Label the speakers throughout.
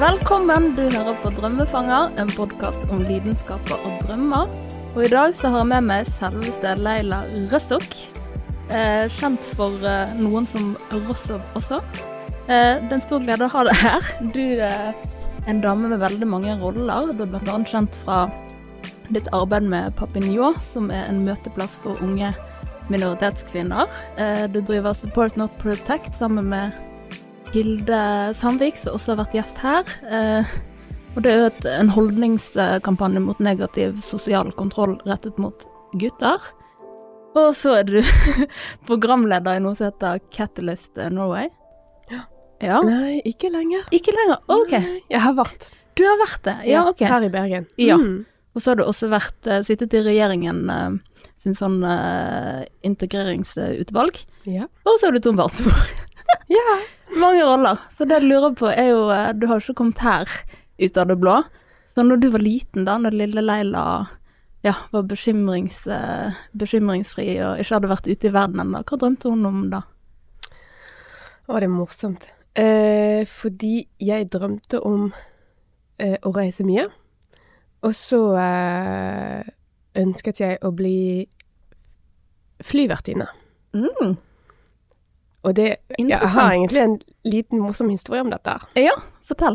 Speaker 1: Velkommen, du hører på Drømmefanger, en podkast om lidenskaper og drømmer. Og i dag så har jeg med meg selveste Leila Røsok. Eh, kjent for eh, noen som Rossov også. Eh, det er en stor glede å ha deg her. Du eh, er en dame med veldig mange roller. Du er bl.a. kjent fra ditt arbeid med Papinjå, som er en møteplass for unge minoritetskvinner. Eh, du driver Support Not Protect sammen med Hilde Sandvik, som også har vært gjest her. Eh, og det er jo et, en holdningskampanje mot negativ sosial kontroll rettet mot gutter. Og så er du programleder i noe som heter Catalyst Norway.
Speaker 2: Ja.
Speaker 1: Ja.
Speaker 2: Nei, ikke lenger.
Speaker 1: Ikke lenger. OK.
Speaker 2: Nei, jeg har vært
Speaker 1: Du har vært det. Ja, OK.
Speaker 2: her i Bergen.
Speaker 1: Ja.
Speaker 2: Mm.
Speaker 1: Og så har du også vært, eh, sittet i regjeringen eh, sin sånn eh, integreringsutvalg.
Speaker 2: Ja.
Speaker 1: Og så er du Tom Bartsmo.
Speaker 2: ja.
Speaker 1: Mange roller. Så det jeg lurer på er jo eh, Du har jo ikke kommet her ut av det blå. Så når du var liten, da, når lille Leila ja, var bekymrings, eh, bekymringsfri og ikke hadde vært ute i verden ennå, hva drømte hun om da?
Speaker 2: Å, det er morsomt. Eh, fordi jeg drømte om eh, å reise mye. Og så eh, ønsket jeg å bli flyvertinne. Og det Jeg har
Speaker 1: Interessant.
Speaker 2: egentlig en liten morsom historie om dette. her.
Speaker 1: Ja, fortell.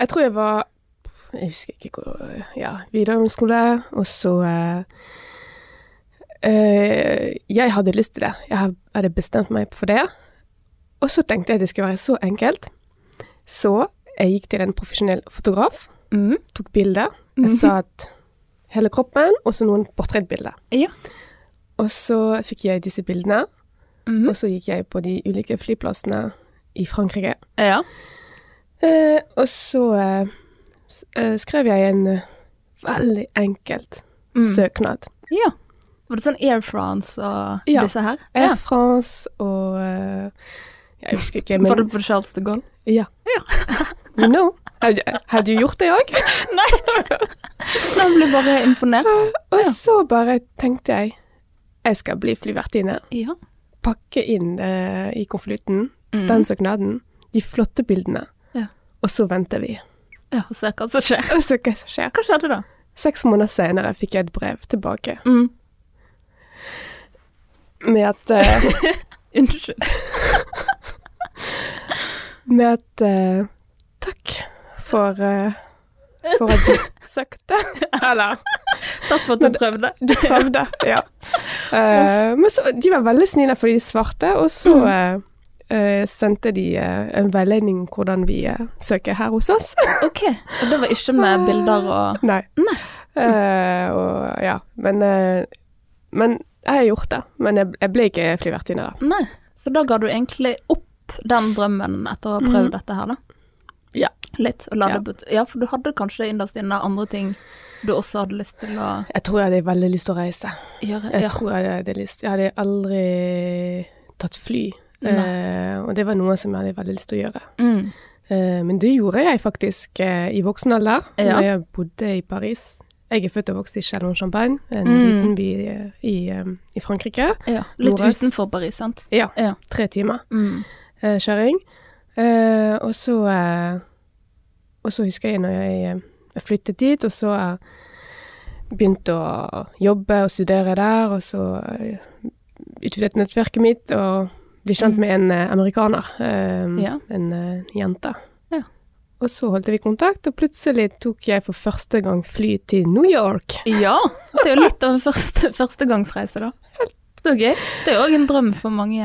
Speaker 2: Jeg tror jeg var Jeg husker ikke hvor Ja, videregående skole, og så eh, eh, Jeg hadde lyst til det. Jeg hadde bestemt meg for det. Og så tenkte jeg det skulle være så enkelt. Så jeg gikk til en profesjonell fotograf,
Speaker 1: Mm.
Speaker 2: tok bilde.
Speaker 1: Mhm.
Speaker 2: Jeg satt hele kroppen, og så noen portrettbilder.
Speaker 1: Ja.
Speaker 2: Og så fikk jeg disse bildene,
Speaker 1: Mhm.
Speaker 2: og så gikk jeg på de ulike flyplassene i Frankrike.
Speaker 1: Ja.
Speaker 2: Eh, og så eh, s- eh, skrev jeg en eh, veldig enkelt
Speaker 1: Mm.
Speaker 2: søknad.
Speaker 1: ja. Var det sånn Air France og
Speaker 2: Ja.
Speaker 1: disse her?
Speaker 2: Air France og eh, Jeg husker ikke,
Speaker 1: Var det
Speaker 2: men
Speaker 1: på Charles de Gaulle?
Speaker 2: ja. You know. Har du- Har du gjort det òg?
Speaker 1: Jeg ble bare imponert.
Speaker 2: Og
Speaker 1: Ja.
Speaker 2: så bare tenkte jeg jeg skal bli flyvertinne.
Speaker 1: Ja.
Speaker 2: Pakke inn eh, i konvolutten
Speaker 1: Mm.
Speaker 2: den søknaden, de flotte bildene,
Speaker 1: Ja.
Speaker 2: og så venter vi.
Speaker 1: ja, og se hva som skjer.
Speaker 2: Og så hva som skjer.
Speaker 1: Hva skjedde da?
Speaker 2: Seks måneder senere fikk jeg et brev tilbake
Speaker 1: Mm.
Speaker 2: med at eh,
Speaker 1: Unnskyld.
Speaker 2: med et eh, takk for, eh, for at du søkte. Eller
Speaker 1: Takk for at du prøvde.
Speaker 2: du prøvde, ja. Eh, men så, de var veldig snille fordi de svarte, og så eh, eh, sendte de eh, en veiledning om hvordan vi eh, søker her hos oss.
Speaker 1: Ok, og det var ikke med bilder og
Speaker 2: Nei. Eh, og ja, men, eh, men jeg har gjort det. Men jeg, jeg ble ikke flyvertinne, da.
Speaker 1: Nei. Så da ga du egentlig opp den drømmen etter å ha prøvd dette her, da?
Speaker 2: Ja.
Speaker 1: Litt. Og la
Speaker 2: Ja.
Speaker 1: det bet Mhm. ja, for du hadde kanskje innerst inne andre ting du også hadde lyst til å
Speaker 2: Jeg tror jeg hadde veldig lyst til å reise.
Speaker 1: gjøre?
Speaker 2: Jeg
Speaker 1: Ja.
Speaker 2: tror jeg hadde lyst Jeg hadde aldri tatt fly.
Speaker 1: Nei.
Speaker 2: Eh, og det var noe som jeg hadde veldig lyst til å gjøre.
Speaker 1: Mm.
Speaker 2: Eh, men det gjorde jeg faktisk eh, i voksen alder,
Speaker 1: Ja.
Speaker 2: da jeg bodde i Paris. Jeg er født og vokst i Chalon-Champagne, en
Speaker 1: Mm.
Speaker 2: liten by eh, i, eh, i Frankrike.
Speaker 1: ja. Litt
Speaker 2: Nordøst.
Speaker 1: utenfor Paris, sant?
Speaker 2: Ja,
Speaker 1: Ja.
Speaker 2: tre timer
Speaker 1: Mm.
Speaker 2: eh, kjøring. Eh, og så eh, Og så husker jeg når jeg eh, jeg flyttet dit, og så eh, begynte å jobbe og studere der, og så eh, utvidet nettverket mitt og ble kjent med en eh, amerikaner. eh,
Speaker 1: Mm. Ja.
Speaker 2: En eh, jente.
Speaker 1: Ja.
Speaker 2: Og så holdt vi kontakt, og plutselig tok jeg for første gang fly til New York.
Speaker 1: ja. Det er jo litt av en første, førstegangsreise, da. Så gøy. Det er jo òg en drøm for mange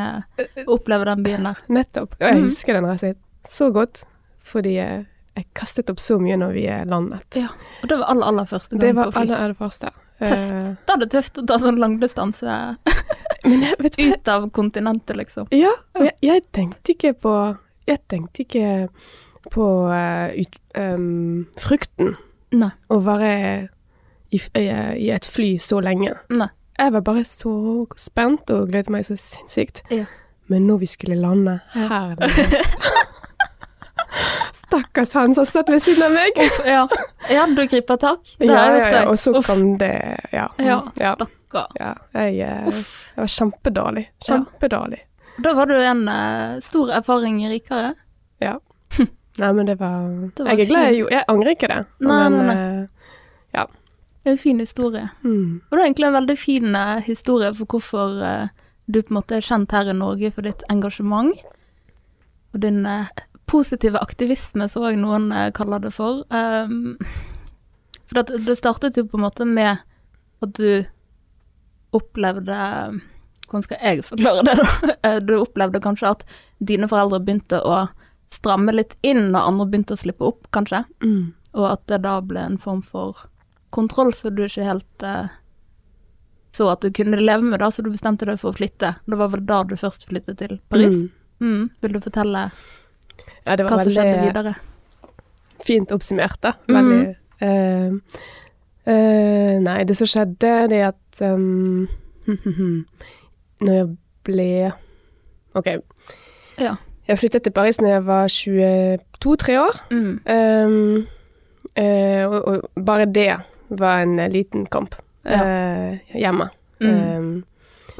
Speaker 1: å oppleve den byen der.
Speaker 2: Nettopp. Og jeg
Speaker 1: Mhm.
Speaker 2: husker den reisen så godt, fordi eh, jeg kastet opp så mye når vi eh, landet.
Speaker 1: Ja. Og det var aller, aller første
Speaker 2: Det
Speaker 1: gang på
Speaker 2: var
Speaker 1: fly.
Speaker 2: aller, aller første. Eh,
Speaker 1: Tøft. Da er det tøft å ta sånn langdistanse
Speaker 2: Men jeg, vet du, hva?
Speaker 1: ut av kontinentet, liksom.
Speaker 2: ja, og jeg, jeg tenkte ikke på Jeg tenkte ikke på eh, ut, em, frukten
Speaker 1: Nei.
Speaker 2: å være i, f- eh, i et fly så lenge.
Speaker 1: Nei.
Speaker 2: Jeg var bare så spent og gledet meg så sinnssykt.
Speaker 1: Ja.
Speaker 2: Men når vi skulle lande her nede. Stakkars han som satt ved siden av meg.
Speaker 1: Ja, ja du griper tak. Det
Speaker 2: Ja,
Speaker 1: har jeg
Speaker 2: ja,
Speaker 1: gjort,
Speaker 2: ja,
Speaker 1: jeg.
Speaker 2: og så
Speaker 1: Uff.
Speaker 2: kan det Ja.
Speaker 1: Ja,
Speaker 2: ja,
Speaker 1: stakkar.
Speaker 2: ja. Jeg, eh,
Speaker 1: Uff.
Speaker 2: jeg var kjempedårlig. Kjempedårlig.
Speaker 1: Da var du en eh, stor erfaring rikere.
Speaker 2: Ja. Nei, men det var,
Speaker 1: Det var
Speaker 2: Jeg er glad jeg
Speaker 1: fint.
Speaker 2: gjorde Jeg angrer ikke det.
Speaker 1: Nei,
Speaker 2: men,
Speaker 1: nei,
Speaker 2: eh,
Speaker 1: Det er en fin historie.
Speaker 2: mm.
Speaker 1: Og det er egentlig en veldig fin eh, historie for hvorfor eh, du på en måte er kjent her i Norge for ditt engasjement. Og din eh, positive aktivisme, som òg noen eh, kaller det for. Um, for det, det startet jo på en måte med at du opplevde Hvordan skal jeg forklare det, da? Eh, Du opplevde kanskje at dine foreldre begynte å stramme litt inn når andre begynte å slippe opp, kanskje?
Speaker 2: Mm.
Speaker 1: Og at det da ble en form for kontroll som du ikke helt eh, så at du kunne leve med, da, så du bestemte deg for å flytte. Det var vel da du først flyttet til Paris.
Speaker 2: Mm.
Speaker 1: Mm. Vil du fortelle
Speaker 2: Ja, det
Speaker 1: hva
Speaker 2: var
Speaker 1: som skjedde
Speaker 2: veldig eh,
Speaker 1: videre? Mm.
Speaker 2: fint oppsummert, da. Veldig eh, eh, Nei, det som skjedde, det er at um, Når jeg ble OK.
Speaker 1: Ja.
Speaker 2: Jeg flyttet til Paris når jeg var 22-3 år.
Speaker 1: Mm.
Speaker 2: Ehm, eh, og, og bare det var en eh, liten kamp
Speaker 1: Ja.
Speaker 2: eh, hjemme.
Speaker 1: Mm.
Speaker 2: Ehm,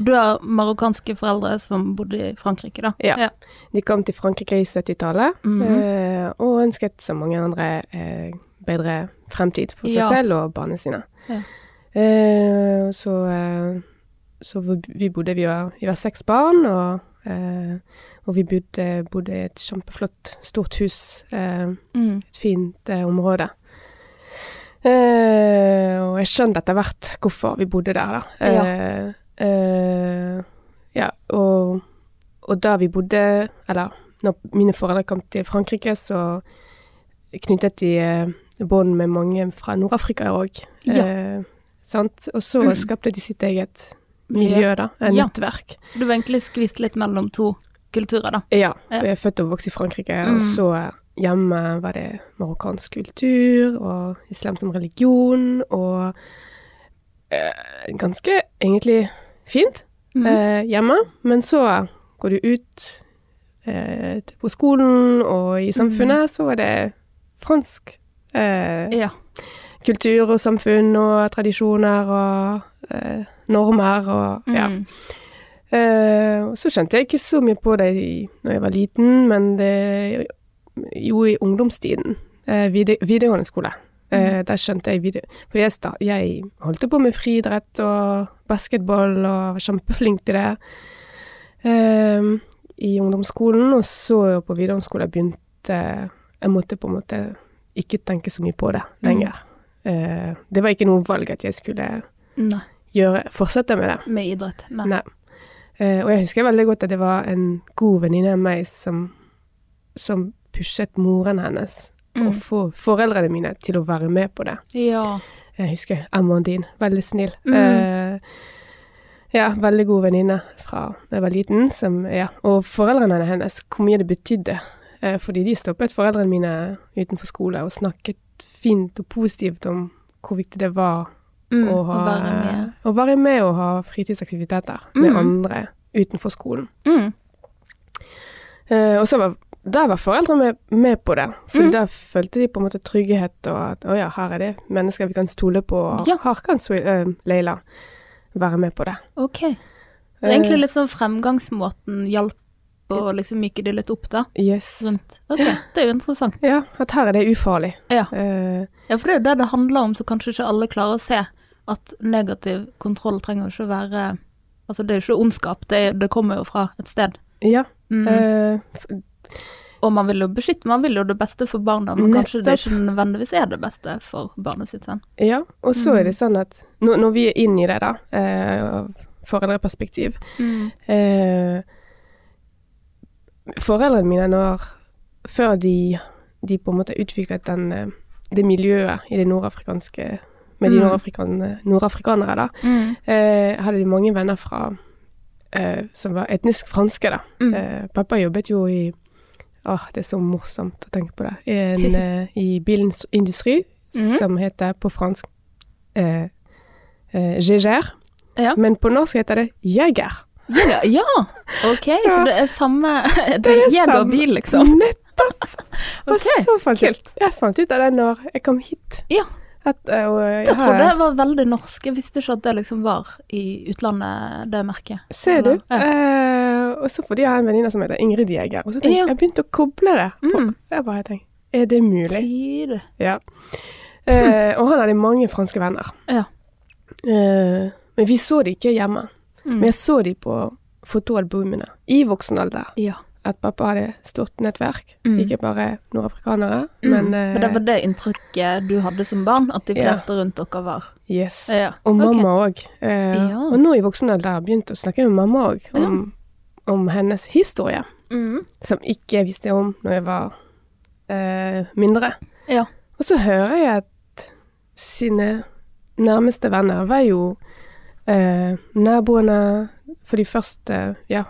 Speaker 1: Du har marokkanske foreldre som bodde i Frankrike, da.
Speaker 2: Ja. de kom til Frankrike i 70-tallet
Speaker 1: Mhm.
Speaker 2: eh, og ønsket som mange andre eh, bedre fremtid for seg
Speaker 1: Ja.
Speaker 2: selv og barna sine.
Speaker 1: Ja.
Speaker 2: Eh, så, eh, så vi- vi bodde vi var, vi var seks barn, og, eh, og vi bodde, bodde i et kjempeflott, stort hus. Eh,
Speaker 1: Mm.
Speaker 2: et fint eh, område. Eh, og jeg skjønte etter hvert hvorfor vi bodde der, da.
Speaker 1: Ja.
Speaker 2: Eh, eh, ja, og, og da vi bodde, eller når mine foreldre kom til Frankrike, så knyttet de eh, bånd med mange fra Nord-Afrika òg.
Speaker 1: Ja.
Speaker 2: sant? Og så
Speaker 1: Mm.
Speaker 2: skapte de sitt eget miljø, da. Et
Speaker 1: Ja.
Speaker 2: nettverk.
Speaker 1: Du var egentlig skvist litt mellom to kulturer, da.
Speaker 2: Ja,
Speaker 1: Ja.
Speaker 2: for jeg er født og vokst i Frankrike,
Speaker 1: Mm.
Speaker 2: og så hjemme var det marokkansk kultur og islam som religion, og eh, ganske egentlig fint
Speaker 1: Mm.
Speaker 2: eh, hjemme. Men så går du ut eh, til- på skolen og
Speaker 1: Mm.
Speaker 2: i samfunnet, så er det fransk eh,
Speaker 1: Ja.
Speaker 2: kultur og samfunn og tradisjoner og eh, normer og ja.
Speaker 1: Mm.
Speaker 2: Eh, og så skjønte jeg ikke så mye på det i, når jeg var liten, men det, jo i ungdomstiden, eh, vide, videregående skole. Eh, Der skjønte jeg video... For jeg, sta, jeg holdt jo på med friidrett og basketball og var kjempeflink til det eh, i ungdomsskolen. Og så på videregående skole begynte Jeg måtte på en måte ikke tenke så mye på det lenger. Eh, Det var ikke noe valg at jeg skulle
Speaker 1: Nei.
Speaker 2: gjøre, fortsette med det.
Speaker 1: Med idrett. Nei.
Speaker 2: Nei. Eh, og jeg husker veldig godt at det var en god venninne av meg som, som pushet moren hennes
Speaker 1: Mm.
Speaker 2: og få foreldrene mine til å være med på det.
Speaker 1: Ja.
Speaker 2: Jeg husker Amandine, veldig snill.
Speaker 1: Mm.
Speaker 2: Eh, ja, veldig god venninne fra da jeg var liten. Som, ja. Og foreldrene hennes, hvor mye det betydde. Eh, fordi de stoppet foreldrene mine utenfor skole og snakket fint og positivt om hvor viktig det var
Speaker 1: Mm.
Speaker 2: å, ha,
Speaker 1: å være med.
Speaker 2: å være med og ha fritidsaktiviteter med
Speaker 1: Mm.
Speaker 2: andre utenfor skolen.
Speaker 1: Mm.
Speaker 2: Eh, og så var, der var foreldrene med, med på det, for
Speaker 1: Mm.
Speaker 2: da følte de på en måte trygghet og at å ja, her er det mennesker vi kan stole på, og
Speaker 1: Ja.
Speaker 2: her kan Swe- eh, Leila være med på det.
Speaker 1: Ok. Så egentlig litt sånn fremgangsmåten hjalp å liksom myke det litt opp, da?
Speaker 2: Yes.
Speaker 1: Rundt. Ok, det er jo interessant.
Speaker 2: Ja, at her er det ufarlig.
Speaker 1: Ja.
Speaker 2: Eh,
Speaker 1: Ja, for det er jo det det handler om, så kanskje ikke alle klarer å se at negativ kontroll trenger jo ikke å være Altså, det er jo ikke ondskap, det, er- det kommer jo fra et sted.
Speaker 2: ja.
Speaker 1: Mm.
Speaker 2: eh, f-
Speaker 1: Og man vil jo beskytte, man vil jo det beste for barna, men kanskje det
Speaker 2: nettopp.
Speaker 1: ikke nødvendigvis er det beste for barnet sitt, sånn.
Speaker 2: ja. Og så er det
Speaker 1: Mm.
Speaker 2: sånn at når, når vi er inne i det, da, eh, av foreldreperspektiv,
Speaker 1: Mm.
Speaker 2: Eh, foreldrene mine, når, før de, de på en måte utviklet den, eh, det miljøet i det nordafrikanske med de
Speaker 1: Mm.
Speaker 2: nordafrikan- nordafrikanere, da, eh, hadde de mange venner fra eh, som var etnisk franske. da.
Speaker 1: Mm.
Speaker 2: Eh, pappa jobbet jo i Åh, det er så morsomt å tenke på det. En, eh, I bilens industri,
Speaker 1: Mhm.
Speaker 2: som heter på fransk eh, eh, Gégère.
Speaker 1: Ja.
Speaker 2: Men på norsk heter det jeger.
Speaker 1: Ja, ja. OK, så,
Speaker 2: Så-
Speaker 1: det er samme Det
Speaker 2: Det
Speaker 1: er
Speaker 2: er
Speaker 1: jegerbil, liksom.
Speaker 2: Nettopp! Og
Speaker 1: Ok,
Speaker 2: så fant jeg,
Speaker 1: kult.
Speaker 2: jeg fant ut av det når jeg kom hit.
Speaker 1: Ja.
Speaker 2: At, eh, og jeg
Speaker 1: Det trodde
Speaker 2: har-
Speaker 1: jeg var veldig norsk. Jeg visste ikke at det liksom var i utlandet, det merket.
Speaker 2: Ser du?
Speaker 1: Ja.
Speaker 2: Eh, og så fordi jeg har en venninne som heter Ingrid Jæger. Og så tenkte
Speaker 1: Ja.
Speaker 2: jeg, jeg begynte å koble det. på-
Speaker 1: Mm.
Speaker 2: Jeg bare tenkte, er det mulig?
Speaker 1: Tid.
Speaker 2: Ja. Eh, og han hadde mange franske venner.
Speaker 1: Ja.
Speaker 2: Eh, men vi så de ikke hjemme.
Speaker 1: Mm.
Speaker 2: Men jeg så de på fotoalbumene i voksen alder.
Speaker 1: ja.
Speaker 2: At pappa hadde stort nettverk.
Speaker 1: Mm.
Speaker 2: Ikke bare nordafrikanere,
Speaker 1: Mm.
Speaker 2: men eh,
Speaker 1: For det var det inntrykket du hadde som barn, at de
Speaker 2: Ja.
Speaker 1: fleste rundt dere var.
Speaker 2: Yes.
Speaker 1: Ja,
Speaker 2: Og
Speaker 1: ok.
Speaker 2: mamma òg. Eh,
Speaker 1: Ja.
Speaker 2: Og nå i voksen alder har jeg begynt å snakke med mamma òg om, om hennes historie,
Speaker 1: Mm.
Speaker 2: som ikke jeg visste om når jeg var eh, mindre.
Speaker 1: Ja.
Speaker 2: Og så hører jeg at sine nærmeste venner var jo eh, naboene for de første Ja,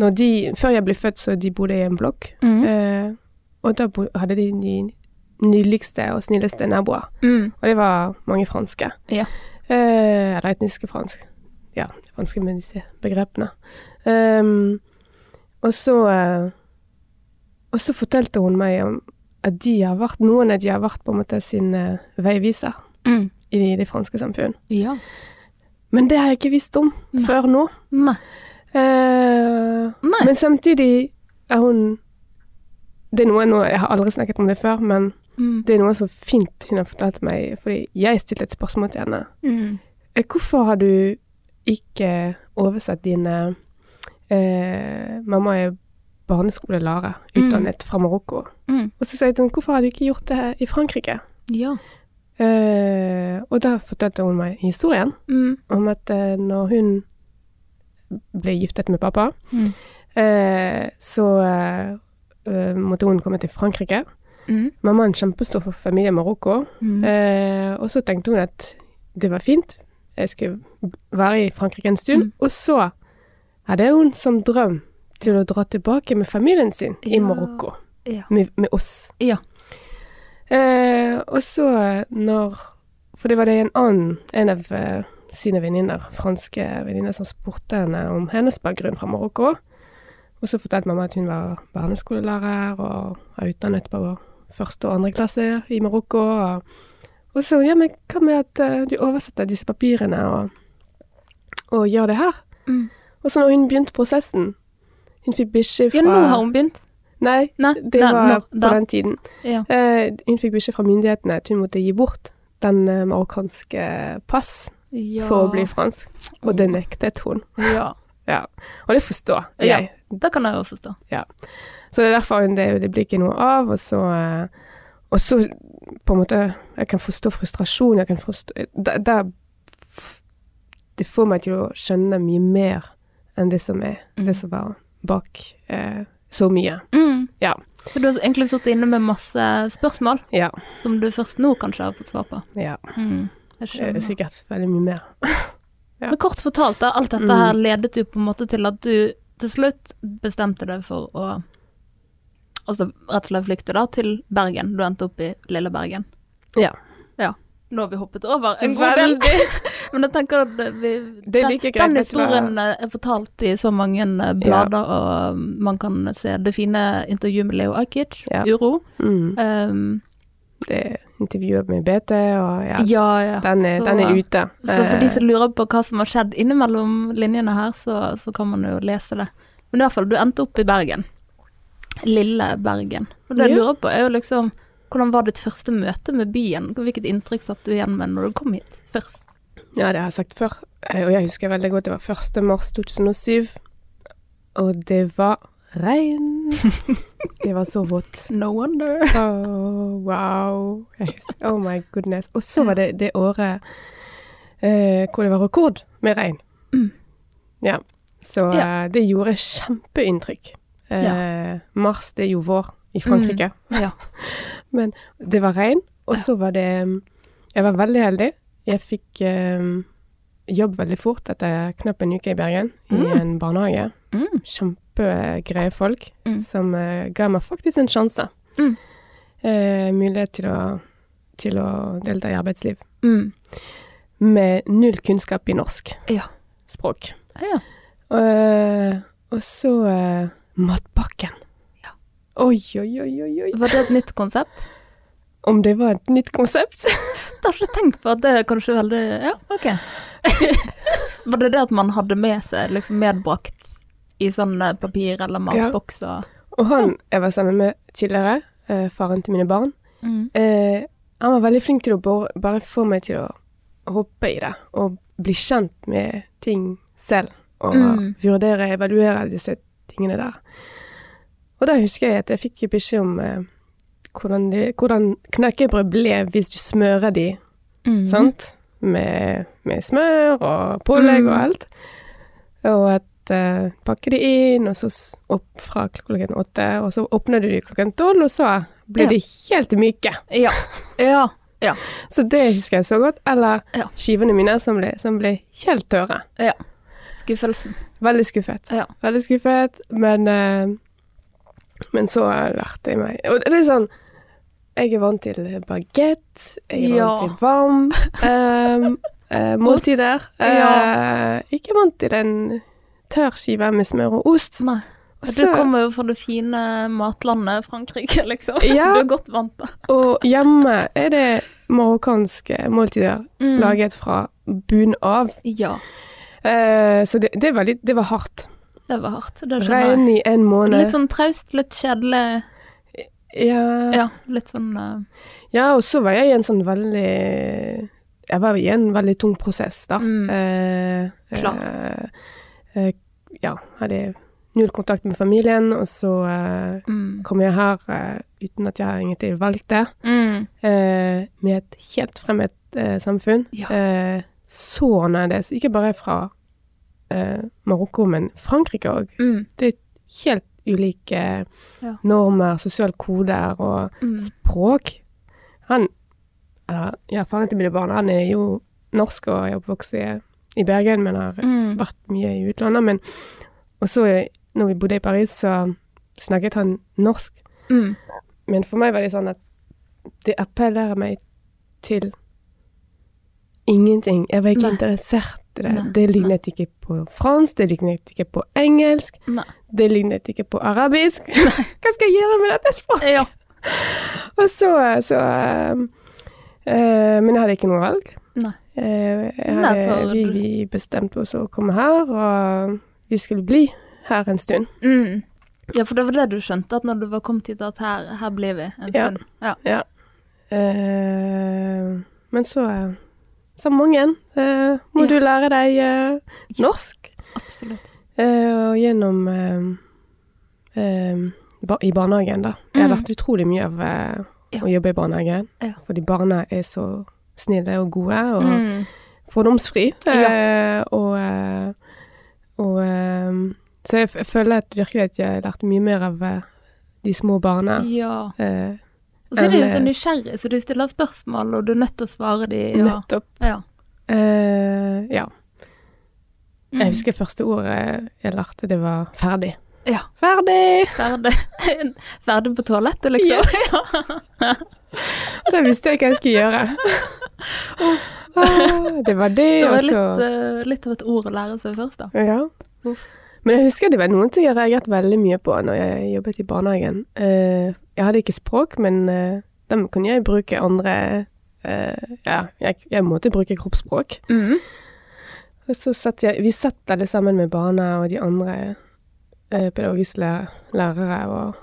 Speaker 2: når de, før jeg ble født, så de bodde i en blokk.
Speaker 1: Mm.
Speaker 2: Eh, og da bo, hadde de de nydeligste og snilleste naboer.
Speaker 1: Mm.
Speaker 2: Og det var mange franske.
Speaker 1: Ja.
Speaker 2: Eh, eller etniske fransk. Ja, franske med disse begrepene. Ehm, og så eh, Og så fortalte hun meg om at de har vært, noen av de har vært på en måte sine veiviser
Speaker 1: Mm.
Speaker 2: i det, det franske samfunn.
Speaker 1: Ja.
Speaker 2: Men det har jeg ikke visst om før nå.
Speaker 1: Nei.
Speaker 2: Eh,
Speaker 1: Nei.
Speaker 2: men samtidig er hun Det er noe, noe Jeg har aldri snakket om det før, men
Speaker 1: Mm.
Speaker 2: det er noe så fint hun har fortalt meg, fordi jeg stilte et spørsmål til henne.
Speaker 1: Mm.
Speaker 2: Eh, Hvorfor har du ikke oversett dine eh, Mamma er barneskolelærer,
Speaker 1: Mm.
Speaker 2: utdannet fra Marokko.
Speaker 1: Mm.
Speaker 2: Og så sier hun hvorfor har du ikke gjort det her i Frankrike?
Speaker 1: Ja.
Speaker 2: Eh, og da fortalte hun meg historien
Speaker 1: Mm.
Speaker 2: om at eh, når hun ble giftet med pappa,
Speaker 1: Mm.
Speaker 2: eh, så eh, eh, måtte hun komme til Frankrike.
Speaker 1: Mm.
Speaker 2: Mamma er en kjempestor familie i Marokko.
Speaker 1: Mm.
Speaker 2: Eh, og så tenkte hun at det var fint, jeg skulle være i Frankrike en stund.
Speaker 1: Mm.
Speaker 2: Og så hadde hun som drøm til å dra tilbake med familien sin i
Speaker 1: Ja.
Speaker 2: Marokko,
Speaker 1: Ja.
Speaker 2: med, med oss.
Speaker 1: Ja.
Speaker 2: Eh, og så når For det var det en annen, en av eh, sine venninner, franske venninner, som spurte henne om hennes bakgrunn fra Marokko. Og så fortalte mamma at hun var barneskolelærer og var utdannet på første og andre klasse i Marokko. Og, og så ja, men hva med at eh, du oversetter disse papirene og, og gjør det her?
Speaker 1: Mm.
Speaker 2: Og så når hun begynte prosessen Hun fikk beskjed fra
Speaker 1: ja, nå har hun begynt.
Speaker 2: Nei,
Speaker 1: Nei,
Speaker 2: det
Speaker 1: nei,
Speaker 2: var
Speaker 1: nå, da.
Speaker 2: på den tiden.
Speaker 1: Ja.
Speaker 2: Eh, hun fikk beskjed fra myndighetene at hun måtte gi bort den eh, marokkanske pass
Speaker 1: Ja.
Speaker 2: for å bli fransk, og det nektet hun.
Speaker 1: Ja.
Speaker 2: Ja. Og det forstår jeg.
Speaker 1: Ja. Det kan jeg jo forstå.
Speaker 2: Så det er derfor hun- det, det blir ikke noe av, og så, eh, og så på en måte Jeg kan forstå frustrasjon, jeg kan forstå da, da, f- Det får meg til å skjønne mye mer enn det som er
Speaker 1: Mm.
Speaker 2: det som var bak eh, så mye.
Speaker 1: Mm.
Speaker 2: Ja.
Speaker 1: Så du har egentlig sittet inne med masse spørsmål
Speaker 2: Ja.
Speaker 1: som du først nå kanskje har fått svar på.
Speaker 2: ja.
Speaker 1: Mm. Jeg
Speaker 2: Det er
Speaker 1: skjønner.
Speaker 2: sikkert veldig mye mer. Ja.
Speaker 1: Men kort fortalt, da, alt dette
Speaker 2: Mm.
Speaker 1: her ledet jo på en måte til at du til slutt bestemte deg for å Altså rett og slett flykte da til Bergen. Du endte opp i lille Bergen.
Speaker 2: Ja.
Speaker 1: Nå har vi hoppet over en god del, men jeg tenker at vi,
Speaker 2: Det er like greit,
Speaker 1: den
Speaker 2: vet du hva?
Speaker 1: historien eh, er fortalt i så mange eh, blader, og um, man kan se det fine intervjuet med Leo Ajkic,
Speaker 2: Ja.
Speaker 1: Uro.
Speaker 2: Mm.
Speaker 1: Um,
Speaker 2: Det er intervjuet med BT, og ja,
Speaker 1: ja, ja.
Speaker 2: den, er,
Speaker 1: Så-
Speaker 2: den er ute.
Speaker 1: Så for de
Speaker 2: Eh,
Speaker 1: som lurer på hva som har skjedd innimellom linjene her, så, så kan man jo lese det. Men i hvert fall, du endte opp i Bergen. Lille Bergen. Og det jeg
Speaker 2: Ja.
Speaker 1: lurer på, er jo liksom Hvordan var ditt første møte med byen? Hvilket inntrykk satt du igjen med når du kom hit først?
Speaker 2: Ja, det har jeg sagt før, eh, og jeg husker veldig godt det var 1. mars 2007, og det var regn. Det var så vått.
Speaker 1: No wonder.
Speaker 2: Oh, wow. Jeg husker, oh my goodness. Og så var det det året eh, hvor det var rekord med regn.
Speaker 1: Mm.
Speaker 2: Ja, så eh, det gjorde kjempeinntrykk. Eh, Mars, det er jo vår i Frankrike.
Speaker 1: Mm. Ja.
Speaker 2: Men det var regn, og så var det um, Jeg var veldig heldig. Jeg fikk um, jobb veldig fort etter knapp en uke i Bergen, i en barnehage.
Speaker 1: Mm.
Speaker 2: Kjempegreie folk
Speaker 1: Mm.
Speaker 2: som eh, ga meg faktisk en sjanse.
Speaker 1: Mm.
Speaker 2: Eh, mulighet til å, til å delta i arbeidsliv.
Speaker 1: Mm.
Speaker 2: Med null kunnskap i norsk
Speaker 1: Ja.
Speaker 2: språk.
Speaker 1: ja.
Speaker 2: Eh, og så eh, matpakken.
Speaker 1: Ja.
Speaker 2: Oi, oi, oi, oi, oi.
Speaker 1: Var det et nytt konsept?
Speaker 2: Om det var et nytt konsept?
Speaker 1: Jeg har ikke tenkt på at det er kanskje veldig Ja, OK. var det det at man hadde med seg, liksom medbrakt i sånne papir- eller matbokser.
Speaker 2: Og han jeg var sammen med tidligere, eh, faren til mine barn,
Speaker 1: Mm.
Speaker 2: eh, han var veldig flink til å bare, bare få meg til å hoppe i det, og bli kjent med ting selv, og
Speaker 1: Mm.
Speaker 2: vurdere, evaluere alle disse tingene der. Og da husker jeg at jeg fikk beskjed om eh, hvordan, de, hvordan knekkebrød ble hvis du smører de
Speaker 1: Mm.
Speaker 2: sant? Med, med smør og pålegg og
Speaker 1: Mm.
Speaker 2: alt. Og at eh, pakke de inn, og så s- opp fra klokken åtte, og så åpner du de klokken tolv, og så blir
Speaker 1: Ja.
Speaker 2: de helt myke.
Speaker 1: Ja. ja. Ja.
Speaker 2: Så det husker jeg så godt. Eller
Speaker 1: Ja.
Speaker 2: skivene mine som ble, som ble helt tørre.
Speaker 1: ja. Skuffelsen.
Speaker 2: Veldig skuffet.
Speaker 1: Ja.
Speaker 2: Veldig skuffet, men eh, Men så lærte jeg meg Og det er sånn Jeg er vant til bagett, jeg er
Speaker 1: Ja.
Speaker 2: vant til varm em, eh, måltider.
Speaker 1: Ja.
Speaker 2: Eh, ikke vant til en tørr skive med smør og ost.
Speaker 1: Nei.
Speaker 2: Og
Speaker 1: Du
Speaker 2: så-
Speaker 1: kommer jo fra det fine matlandet Frankrike, liksom.
Speaker 2: Ja.
Speaker 1: Du er godt vant da.
Speaker 2: Og hjemme er det marokkanske måltider
Speaker 1: Mm.
Speaker 2: laget fra bunn av.
Speaker 1: Ja.
Speaker 2: Eh, så det, det, var litt, det var hardt.
Speaker 1: Det var hardt. Det skjønner jeg.
Speaker 2: Regn i en måned.
Speaker 1: Litt sånn traust, litt kjedelig.
Speaker 2: ja.
Speaker 1: Ja, litt sånn eh,
Speaker 2: Ja, og så var jeg i en sånn veldig Jeg var i en veldig tung prosess, da.
Speaker 1: Mm.
Speaker 2: Eh,
Speaker 1: Klart.
Speaker 2: Eh, eh, ja, hadde null kontakt med familien, og så eh,
Speaker 1: mm.
Speaker 2: kom jeg her eh, uten at jeg egentlig valgte,
Speaker 1: Mm.
Speaker 2: eh, med et helt fremmed eh, samfunn.
Speaker 1: Ja.
Speaker 2: Eh, så annerledes. Ikke bare fra eh, Marokko, men Frankrike òg.
Speaker 1: Mm.
Speaker 2: Det er helt ulike
Speaker 1: Ja.
Speaker 2: normer, sosiale koder og
Speaker 1: Mm.
Speaker 2: språk. Han eller, ja, Faren til mine barn han er jo norsk og er oppvokst i, i Bergen, men har
Speaker 1: Mm.
Speaker 2: vært mye i utlandet. Men også eh, når vi bodde i Paris, så snakket han norsk.
Speaker 1: Mm.
Speaker 2: Men for meg var det sånn at det appellerer meg til ingenting. Jeg var ikke
Speaker 1: Nei.
Speaker 2: interessert i det.
Speaker 1: Nei,
Speaker 2: Det lignet ikke på fransk, det lignet ikke på engelsk,
Speaker 1: Nei.
Speaker 2: det lignet ikke på arabisk. Hva skal jeg gjøre med dette språket?
Speaker 1: Ja.
Speaker 2: Og så, så um, eh, Men jeg hadde ikke noe valg.
Speaker 1: Nei.
Speaker 2: Eh, jeg
Speaker 1: Nei,
Speaker 2: hadde,
Speaker 1: for
Speaker 2: vi,
Speaker 1: du-
Speaker 2: vi bestemte oss å komme her, og vi skulle bli her en stund.
Speaker 1: Mm. Ja, for det var det du skjønte, at når du var kommet hit, at her, her blir vi en
Speaker 2: Ja.
Speaker 1: stund. Ja.
Speaker 2: Eh, men så, eh, som mange, eh, må
Speaker 1: Ja.
Speaker 2: du lære deg eh, norsk.
Speaker 1: Absolutt.
Speaker 2: Eh, og gjennom eh, eh, ba I barnehagen, da. Jeg har
Speaker 1: Mm.
Speaker 2: lært utrolig mye av eh,
Speaker 1: Ja.
Speaker 2: å jobbe i barnehagen.
Speaker 1: Ja.
Speaker 2: Fordi barna er så snille og gode. Og,
Speaker 1: Mm.
Speaker 2: fordomsfri. Eh, og eh, og eh, Så jeg, f jeg føler at virkelig at jeg lærte mye mer av eh, de små barna.
Speaker 1: Ja.
Speaker 2: Eh,
Speaker 1: Og så er de jo
Speaker 2: Eller-
Speaker 1: så nysgjerrige, så de stiller spørsmål, og du er nødt til å svare dem. Ja.
Speaker 2: Nettopp.
Speaker 1: Ja.
Speaker 2: Eh, ja.
Speaker 1: Mm.
Speaker 2: Jeg husker første ordet jeg lærte, det var 'ferdig'.
Speaker 1: Ja.
Speaker 2: Ferdig!
Speaker 1: Ferdig. Ferdig på toalettet, liksom.
Speaker 2: Da visste jeg ikke hva jeg skulle gjøre. Ah, det var det,
Speaker 1: Det
Speaker 2: og
Speaker 1: var
Speaker 2: så
Speaker 1: litt, eh, litt av et ord å lære seg først, da.
Speaker 2: Ja.
Speaker 1: Uff.
Speaker 2: Men jeg husker det var noen ting jeg reagerte veldig mye på når jeg jobbet i barnehagen. Eh, jeg hadde ikke språk, men eh, dem kunne jeg bruke andre eh, Ja, jeg, jeg måtte bruke kroppsspråk. Og så satt jeg Vi satt alle sammen med barna og de andre eh, pedagogiske læ- lærere. Og,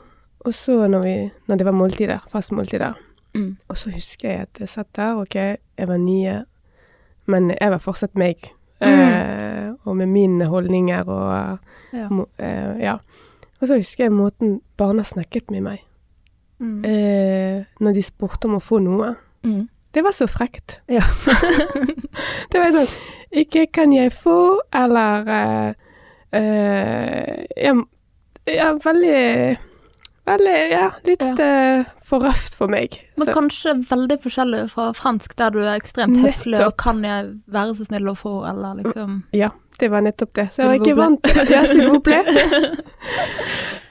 Speaker 2: og så når, vi, når det var måltider, fast måltider,
Speaker 1: Mm.
Speaker 2: og så husker jeg at jeg satt der, ok, jeg var nye, men jeg var fortsatt meg.
Speaker 1: Mhm.
Speaker 2: Eh, og med mine holdninger og
Speaker 1: Ja.
Speaker 2: mo- eh, ja. Og så husker jeg måten barna snakket med meg.
Speaker 1: Mm.
Speaker 2: Eh, når de spurte om å få noe.
Speaker 1: Mm.
Speaker 2: Det var så frekt.
Speaker 1: Ja.
Speaker 2: det var sånn Ikke kan jeg få, eller eh, eh, ja, ja, veldig Veldig Ja, litt
Speaker 1: Ja.
Speaker 2: eh, for røft for meg.
Speaker 1: Men
Speaker 2: Så-
Speaker 1: kanskje veldig forskjellig fra fransk, der du er ekstremt høflig og
Speaker 2: Nettopp.
Speaker 1: kan jeg være så snill å få, eller liksom
Speaker 2: Ja, det var nettopp det. Så jeg var
Speaker 1: S'il
Speaker 2: ikke
Speaker 1: vous
Speaker 2: vant til det. Ja, s'il vous plaît.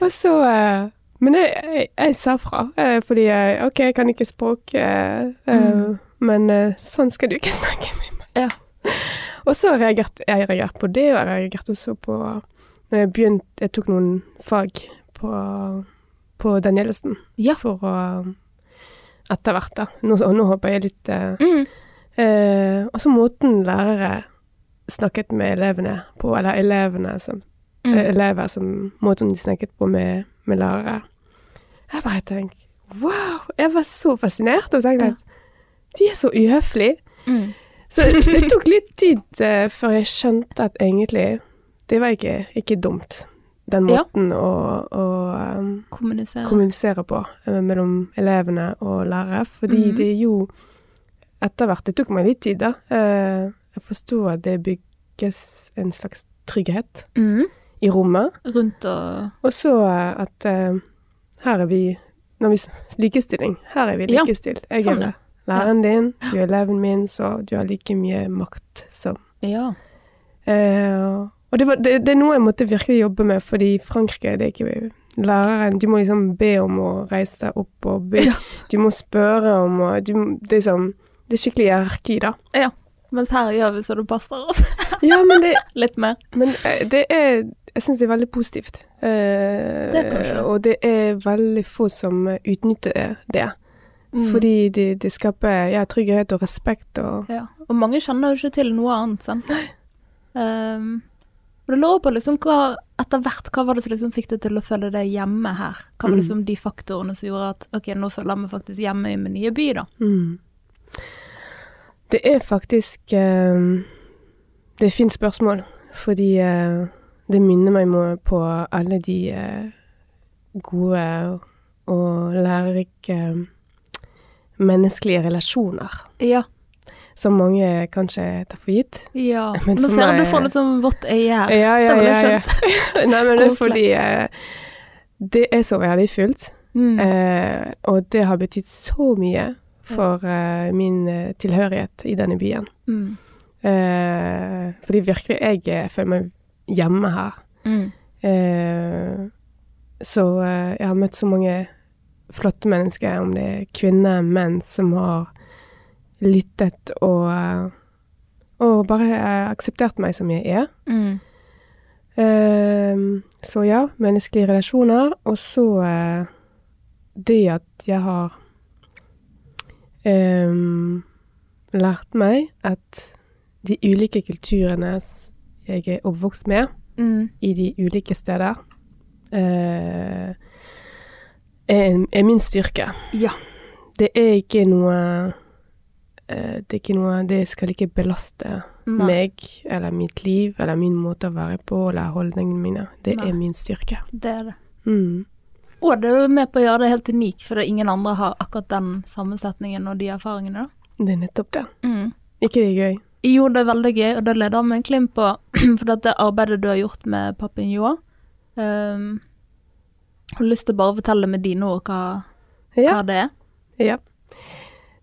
Speaker 2: Og så eh, Men jeg, jeg, jeg sa fra, eh, fordi jeg OK, jeg kan ikke språk, eh, eh,
Speaker 1: Mm.
Speaker 2: men eh, sånn skal du ikke snakke med meg.
Speaker 1: Ja.
Speaker 2: Og så reagerte jeg reagerte på det, og jeg reagerte også på når jeg begynte Jeg tok noen fag på, på Danielsen
Speaker 1: Ja.
Speaker 2: for å Etter hvert, da. Nå, og nå håper jeg litt eh,
Speaker 1: Mm.
Speaker 2: Eh, og så måten lærere snakket med elevene på, eller elevene som
Speaker 1: Mm.
Speaker 2: eh, elever som måten de snakket på med, med lærere. Jeg bare tenkte Wow! Jeg var så fascinert og tenkte
Speaker 1: Ja.
Speaker 2: at de er så uhøflige.
Speaker 1: Mm.
Speaker 2: Så det tok litt tid eh, før jeg skjønte at egentlig det var ikke, ikke dumt. Den
Speaker 1: Ja.
Speaker 2: måten å, å um,
Speaker 1: Kommunisere.
Speaker 2: kommunisere på eh, mellom elevene og lærere. Fordi
Speaker 1: Mhm.
Speaker 2: det jo etter hvert Det tok meg litt tid, da. Eh, Jeg forsto at det bygges en slags trygghet
Speaker 1: mm.
Speaker 2: i rommet.
Speaker 1: Rundt og
Speaker 2: Og så eh, at eh, her er vi når vi, s- Likestilling. Her er vi
Speaker 1: Ja,
Speaker 2: likestilt. Jeg
Speaker 1: sånn, ja.
Speaker 2: er læreren din, du er eleven min, så du har like mye makt som
Speaker 1: Ja.
Speaker 2: Eh, og det, var, det, det er noe jeg måtte virkelig jobbe med, fordi i Frankrike det er ikke læreren Du må liksom be om å reise deg opp, og be,
Speaker 1: Ja.
Speaker 2: du må spørre om og du, det, er sånn, det er skikkelig hierarki, da.
Speaker 1: Mens her gjør vi så det passer oss.
Speaker 2: Ja, men det,
Speaker 1: Litt mer.
Speaker 2: men eh, det er Jeg syns det er veldig positivt. Eh,
Speaker 1: Det er kanskje.
Speaker 2: og det er veldig få som utnytter det.
Speaker 1: Mm.
Speaker 2: Fordi det det skaper ja, trygghet og respekt og
Speaker 1: Ja, og mange kjenner jo ikke til noe annet, sant? Um, og det lå på liksom hva, etter hvert, hva var det som liksom fikk deg til å føle deg hjemme her? Hva var
Speaker 2: Mm.
Speaker 1: liksom de faktorene som gjorde at ok, nå føler jeg meg faktisk hjemme i min nye by, da?
Speaker 2: Mm. Det er faktisk eh, Det er et fint spørsmål, fordi eh, det minner meg må- på alle de eh, gode og lærerike eh, menneskelige relasjoner
Speaker 1: Ja.
Speaker 2: som mange kanskje tar for gitt.
Speaker 1: ja.
Speaker 2: Men
Speaker 1: Nå
Speaker 2: for
Speaker 1: ser jeg
Speaker 2: meg- Eh,
Speaker 1: du får litt sånn vått øye her.
Speaker 2: Ja,
Speaker 1: det
Speaker 2: ja,
Speaker 1: var det
Speaker 2: ja. ja.
Speaker 1: jeg
Speaker 2: Nei, men det er
Speaker 1: Koselig.
Speaker 2: fordi eh, det er så verdifullt.
Speaker 1: Mm.
Speaker 2: Eh, og det har betydd så mye for eh, min eh, tilhørighet i denne byen.
Speaker 1: Mm.
Speaker 2: Eh, fordi virkelig, jeg eh, føler meg hjemme her.
Speaker 1: Mm.
Speaker 2: Eh, så eh, jeg har møtt så mange flotte mennesker, om det er kvinner, menn, som har lyttet og, eh, og bare eh, akseptert meg som jeg er.
Speaker 1: Mm.
Speaker 2: Eh, så ja, menneskelige relasjoner, og så eh, det at jeg har eh, lært meg at de ulike kulturene s- jeg er oppvokst med,
Speaker 1: Mm.
Speaker 2: i de ulike steder, eh, er, er min styrke.
Speaker 1: Ja.
Speaker 2: Det er ikke noe eh, det er ikke noe, det skal ikke belaste
Speaker 1: Nei.
Speaker 2: meg eller mitt liv eller min måte å være på eller holdningene mine. Det
Speaker 1: Nei.
Speaker 2: er min styrke.
Speaker 1: Det er det.
Speaker 2: Mm.
Speaker 1: Og det er jo med på å gjøre det helt unikt, fordi ingen andre har akkurat den sammensetningen og de erfaringene, da.
Speaker 2: Det er nettopp det.
Speaker 1: Mm.
Speaker 2: Ikke det gøy?
Speaker 1: Jo, det er veldig gøy, og det leder meg egentlig inn på for dette arbeidet du har gjort med Papinjoa. Um, har lyst til å bare fortelle med dine ord hva, hva
Speaker 2: Ja.
Speaker 1: det er.
Speaker 2: ja.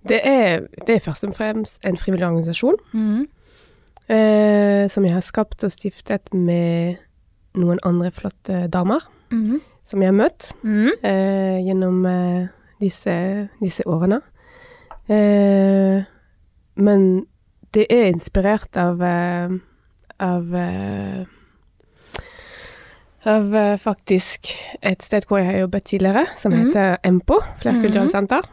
Speaker 2: Det er, det er først og fremst en frivillig organisasjon.
Speaker 1: Mm.
Speaker 2: Eh, som jeg har skapt og stiftet med noen andre flotte damer
Speaker 1: Mhm.
Speaker 2: som jeg har møtt
Speaker 1: Mm.
Speaker 2: eh, gjennom eh, disse, disse årene. Eh, men det er inspirert av eh, av, eh, av eh, faktisk et sted hvor jeg har jobbet tidligere, som
Speaker 1: Mhm.
Speaker 2: heter Empo, flerkulturelt senter.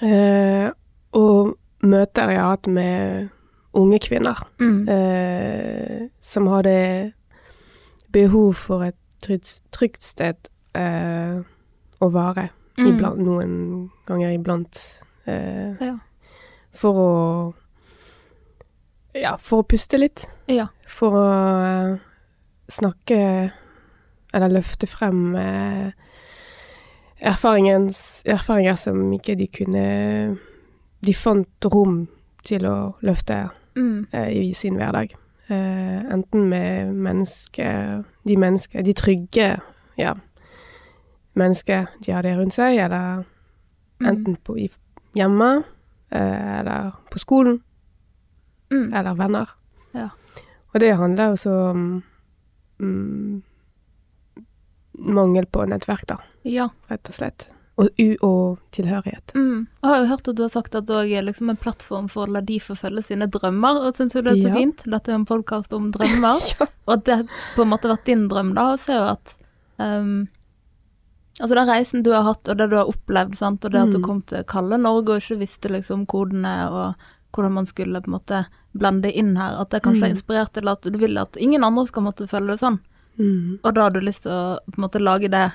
Speaker 2: Eh, og møter jeg har hatt med unge kvinner
Speaker 1: Mm.
Speaker 2: eh, som hadde behov for et trygt, trygt sted eh, å være.
Speaker 1: Mm.
Speaker 2: Eh, Iblant, noen ganger iblant. Eh,
Speaker 1: Ja.
Speaker 2: For å Ja, for å puste litt.
Speaker 1: Mm. Ja.
Speaker 2: For å eh, snakke Eller løfte frem eh, erfaringens- erfaringer som ikke de kunne De fant rom til å løfte
Speaker 1: Mm.
Speaker 2: eh, i sin hverdag. Eh, enten med menneske, de, menneske, de trygge ja, mennesker de hadde rundt seg, eller
Speaker 1: Mm.
Speaker 2: enten på, i, hjemme, eh, eller på skolen,
Speaker 1: Mm.
Speaker 2: eller venner.
Speaker 1: Ja.
Speaker 2: Og det handler også om mm, mangel på nettverk, da,
Speaker 1: Ja.
Speaker 2: rett og slett. Og, u og tilhørighet.
Speaker 1: Mm. Jeg har jo hørt at du har sagt at det òg er liksom en plattform for å la de forfølge sine drømmer, og syns jo det er så
Speaker 2: Ja.
Speaker 1: fint. Dette er en podkast om drømmer. Og at det på en måte har vært din drøm, da. Og ser jo at ehm, Altså den reisen du har hatt, og det du har opplevd, sant, og det at du
Speaker 2: Mm.
Speaker 1: kom til kalde Norge og ikke visste liksom kodene og hvordan man skulle på en måte blende inn her. At det kanskje er inspirert til at du vil at ingen andre skal måtte føle det sånn.
Speaker 2: Mm.
Speaker 1: Og da har du lyst til å på en måte lage det,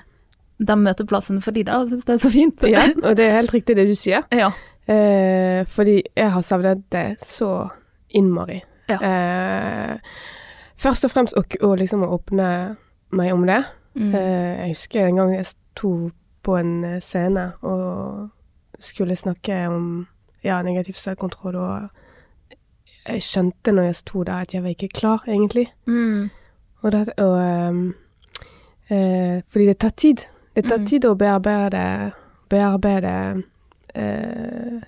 Speaker 1: den møteplassen for de der, og syns det er så fint.
Speaker 2: Ja, og det er helt riktig det du sier.
Speaker 1: ja.
Speaker 2: Eh, fordi jeg har savnet det så innmari.
Speaker 1: Ja.
Speaker 2: Eh, først og fremst å, k- å liksom å åpne meg om det.
Speaker 1: Mm.
Speaker 2: Eh, jeg husker en gang jeg sto på en eh, scene og skulle snakke om ja, negativ selvkontroll, og jeg skjønte når jeg sto der at jeg var ikke klar, egentlig.
Speaker 1: Mm.
Speaker 2: Og det, og, ehm, eh, fordi det tar tid. Det tar
Speaker 1: Mm.
Speaker 2: tid å bearbeide, bearbeide eh,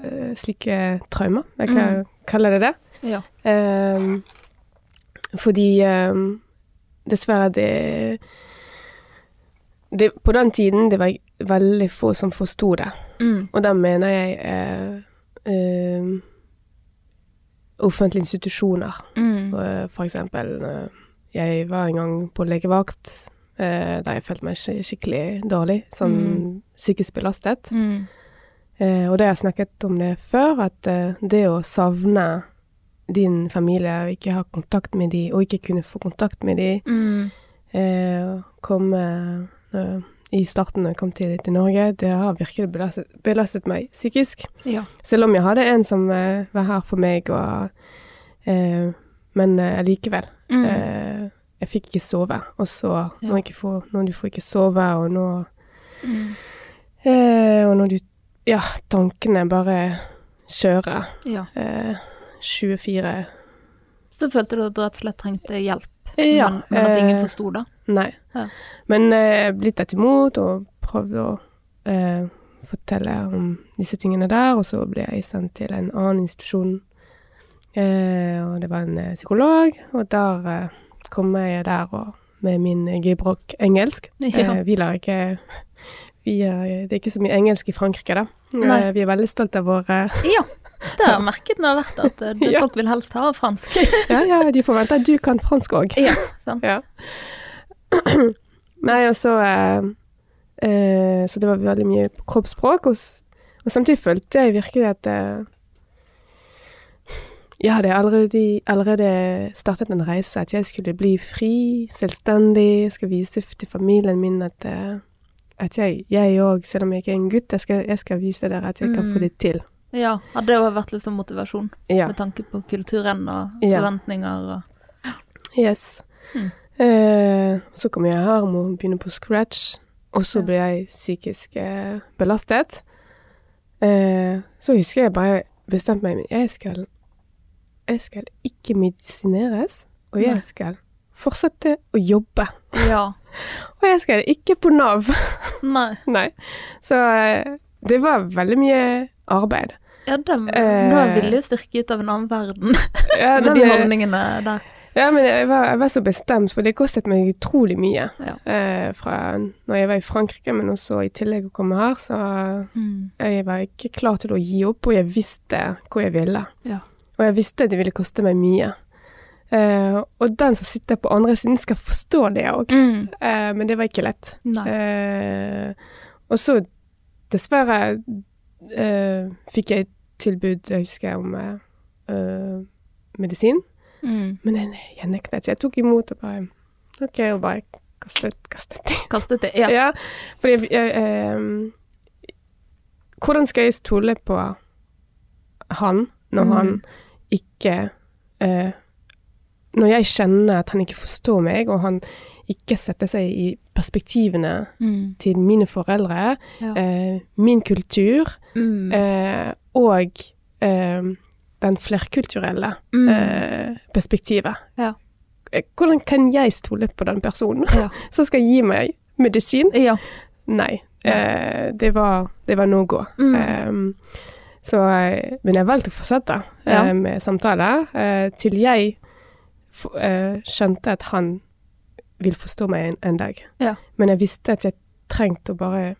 Speaker 2: eh, slike traumer. Jeg kan kalle det det.
Speaker 1: Ja.
Speaker 2: Ehm, fordi ehm, dessverre det, det På den tiden det var veldig få som forsto det.
Speaker 1: Mm.
Speaker 2: Og da mener jeg eh, ehm, offentlige institusjoner.
Speaker 1: Mm.
Speaker 2: Eh, For eksempel, eh, jeg var en gang på legevakt, eh, der jeg følte meg skik- skikkelig dårlig, sånn psykisk belastet.
Speaker 1: Mm.
Speaker 2: Eh, Og det har jeg snakket om det før, at eh, det å savne din familie og ikke ha kontakt med de, og ikke kunne få kontakt med de,
Speaker 1: Mm.
Speaker 2: eh, kom eh, eh, i starten da jeg kom til, til Norge, det har virkelig belastet, belastet meg psykisk.
Speaker 1: Ja.
Speaker 2: Selv om jeg hadde en som eh, var her for meg, og, eh, men eh, allikevel.
Speaker 1: Mm.
Speaker 2: Eh, jeg fikk ikke sove, og så
Speaker 1: Ja.
Speaker 2: når, jeg ikke får, når du får ikke sove, og nå
Speaker 1: Mm.
Speaker 2: eh, Og når du Ja, tankene bare kjører
Speaker 1: ja.
Speaker 2: eh, 24
Speaker 1: Så følte du at du rett og slett trengte hjelp,
Speaker 2: Ja.
Speaker 1: men, men at ingen
Speaker 2: eh,
Speaker 1: forsto det.
Speaker 2: Nei.
Speaker 1: Ja.
Speaker 2: Men eh, jeg ble tatt imot og prøvde å eh, fortelle om disse tingene der, og så ble jeg sendt til en annen institusjon, eh, og det var en eh, psykolog, og der eh, kom jeg der og, med min eh, gebrokk engelsk.
Speaker 1: Ja.
Speaker 2: Eh, vi lærer ikke vi er, Det er ikke så mye engelsk i Frankrike, da.
Speaker 1: Nei.
Speaker 2: Eh, vi er veldig stolte av våre
Speaker 1: ja. Det har jeg merket når det har vært at eh, det
Speaker 2: Ja.
Speaker 1: folk vil helst ha av fransk.
Speaker 2: Ja, ja, de forventer at du kan fransk òg.
Speaker 1: ja, sant.
Speaker 2: Ja. Nei, og så eh, eh, Så det var veldig mye kroppsspråk, og, s- og samtidig følte jeg virkelig at eh, jeg hadde allerede, allerede startet en reise, at jeg skulle bli fri, selvstendig, jeg skal vise f- til familien min at, eh, at jeg jeg òg, selv om jeg ikke er en gutt, jeg skal, jeg skal vise dere at jeg kan
Speaker 1: Mm.
Speaker 2: få det til.
Speaker 1: Ja, hadde det også vært litt sånn motivasjon
Speaker 2: Ja.
Speaker 1: med tanke på kulturen og
Speaker 2: Ja.
Speaker 1: forventninger og
Speaker 2: Yes.
Speaker 1: Mm.
Speaker 2: Eh, så kom jeg her og må begynne på scratch, og så
Speaker 1: Ja.
Speaker 2: ble jeg psykisk eh, belastet. Eh, så husker jeg bare bestemte meg, men jeg skal, jeg skal ikke medisineres, og jeg
Speaker 1: Nei.
Speaker 2: skal fortsette å jobbe.
Speaker 1: Ja.
Speaker 2: Og jeg skal ikke på NAV.
Speaker 1: Nei.
Speaker 2: Nei. Så eh, det var veldig mye arbeid.
Speaker 1: Ja, det,
Speaker 2: Eh.
Speaker 1: da ville jo styrket av en annen verden
Speaker 2: Ja,
Speaker 1: med
Speaker 2: nei,
Speaker 1: de
Speaker 2: men- eh,
Speaker 1: holdningene der.
Speaker 2: Ja, men jeg var, jeg var så bestemt, for det kostet meg utrolig mye.
Speaker 1: Ja.
Speaker 2: Eh, fra når jeg var i Frankrike, men også i tillegg å komme her, så
Speaker 1: Mm.
Speaker 2: jeg var ikke klar til å gi opp, og jeg visste hvor jeg ville.
Speaker 1: Ja.
Speaker 2: Og jeg visste det ville koste meg mye. Eh, og den som sitter på andre siden skal forstå det òg,
Speaker 1: Mm.
Speaker 2: eh, men det var ikke lett.
Speaker 1: Nei.
Speaker 2: Eh, og så, dessverre, eh, fikk jeg et tilbud, jeg husker, om eh, eh, medisin.
Speaker 1: Mm.
Speaker 2: Men jeg, jeg nektet. Jeg tok imot og bare OK, og bare kastet, kastet det.
Speaker 1: Kastet det.
Speaker 2: Ja.
Speaker 1: Ja.
Speaker 2: fordi jeg, jeg, ehm, Hvordan skal jeg stole på han når
Speaker 1: Mm.
Speaker 2: han ikke eh, Når jeg kjenner at han ikke forstår meg, og han ikke setter seg i perspektivene
Speaker 1: Mm.
Speaker 2: til mine foreldre,
Speaker 1: Ja.
Speaker 2: eh, min kultur
Speaker 1: Mm.
Speaker 2: eh, og ehm, den flerkulturelle
Speaker 1: Mm.
Speaker 2: eh, perspektivet.
Speaker 1: Ja.
Speaker 2: Eh, Hvordan kan jeg stole på den personen
Speaker 1: Ja.
Speaker 2: som skal gi meg medisin?
Speaker 1: ja.
Speaker 2: Nei, eh, det var, det var no go.
Speaker 1: Mm.
Speaker 2: Ehm, så, eh, men jeg valgte å fortsette
Speaker 1: Ja.
Speaker 2: eh, med samtaler eh, til jeg f eh, skjønte at han vil forstå meg en, en dag.
Speaker 1: Ja.
Speaker 2: Men jeg visste at jeg trengte å bare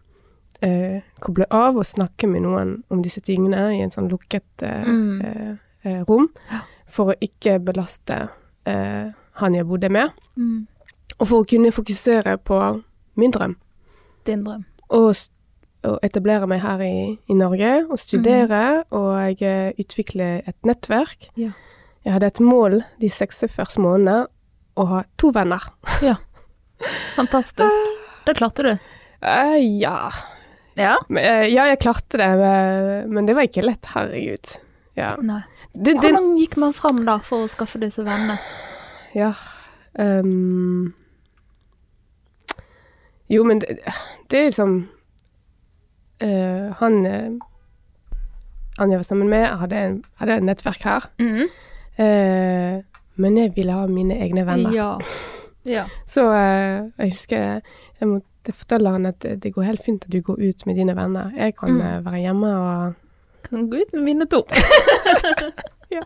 Speaker 2: eh, koble av og snakke med noen om disse tingene i en sånn lukket eh,
Speaker 1: Mm.
Speaker 2: eh, eh, rom,
Speaker 1: Ja.
Speaker 2: for å ikke belaste eh, han jeg bodde med,
Speaker 1: Mm.
Speaker 2: og for å kunne fokusere på min drøm.
Speaker 1: Din drøm.
Speaker 2: Og s- å etablere meg her i, i Norge og studere og eh, utvikle et nettverk.
Speaker 1: Ja.
Speaker 2: Jeg hadde et mål de 46 månedene å ha to venner.
Speaker 1: Fantastisk.
Speaker 2: Ah.
Speaker 1: Det klarte du.
Speaker 2: Eh, ja.
Speaker 1: Ja.
Speaker 2: Men, eh, ja, jeg klarte det, men- men det var ikke lett. Herregud. Ja.
Speaker 1: Nei.
Speaker 2: Det, det,
Speaker 1: Hvordan gikk man fram da for å skaffe disse vennene?
Speaker 2: ja. Ehm. jo, men det, det er liksom eh, Han eh, han jeg var sammen med, hadde, en, hadde et nettverk her. Eh, men jeg ville ha mine egne venner.
Speaker 1: Ja. ja.
Speaker 2: Så eh, jeg husker jeg måtte fortelle han at det går helt fint at du går ut med dine venner. Jeg kan
Speaker 1: Mm.
Speaker 2: eh, være hjemme og
Speaker 1: Kan gå ut med mine to.
Speaker 2: Ja.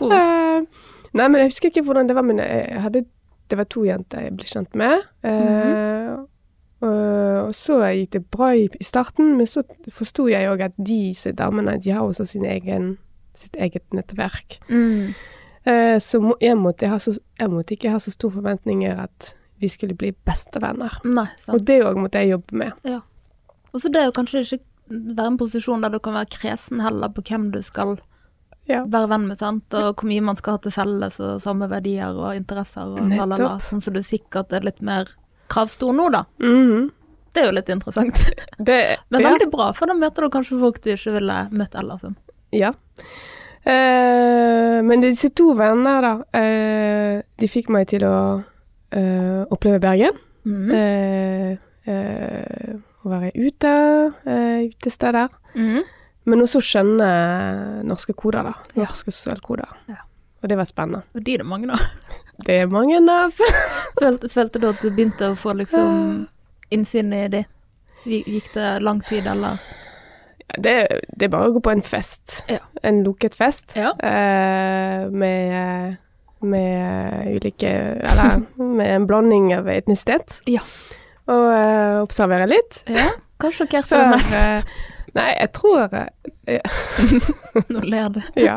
Speaker 1: Kos.
Speaker 2: Eh, Nei, men jeg husker ikke hvordan det var, men jeg jeg hadde, det var to jenter jeg ble kjent med. Eh, og- og så gikk det bra i, i starten, men så forsto jeg òg at disse damene de har også sin egen, sitt eget nettverk.
Speaker 1: Mm.
Speaker 2: Eh, så må, jeg, måtte ha så, jeg måtte ikke ha så store forventninger at vi skulle bli bestevenner.
Speaker 1: Nei, sant.
Speaker 2: Og det òg måtte jeg jobbe med.
Speaker 1: Og så det er jo kanskje ikke være en posisjon der du kan være kresen heller på hvem du skal
Speaker 2: Ja.
Speaker 1: være venn med, sant? og hvor mye man skal ha til felles, og samme verdier og interesser, og
Speaker 2: Nettopp.
Speaker 1: lalala, sånn som du sikkert er litt mer kravstor nå, da.
Speaker 2: Mhm.
Speaker 1: Det er jo litt interessant.
Speaker 2: det,
Speaker 1: Men
Speaker 2: ja.
Speaker 1: veldig bra, for da møter du kanskje folk du ikke ville møtt ellers. sånn.
Speaker 2: Ja. Eh, men disse to vennene, da, eh, de fikk meg til å eh, oppleve Bergen.
Speaker 1: Mhm.
Speaker 2: Eh, eh, å være ute, eh, utesteder.
Speaker 1: Mhm.
Speaker 2: Men også skjønne norske koder, da.
Speaker 1: Ja.
Speaker 2: Norske sosialkoder.
Speaker 1: Ja.
Speaker 2: Og det var spennende.
Speaker 1: Og de er det mange, da.
Speaker 2: Det er mange av.
Speaker 1: Følte, følte du at du begynte å få liksom innsyn i de? Gi- Gikk det lang tid, eller?
Speaker 2: Det, det er bare å gå på en fest.
Speaker 1: Ja.
Speaker 2: En lukket fest
Speaker 1: Ja.
Speaker 2: eh, med, med ulike Eller med en blanding av etnisitet.
Speaker 1: Ja.
Speaker 2: Og eh, observere litt.
Speaker 1: Ja. Hva sjokkerte deg
Speaker 2: Før
Speaker 1: mest?
Speaker 2: eh, Nei, jeg tror eh,
Speaker 1: Nå ler du.
Speaker 2: Ja.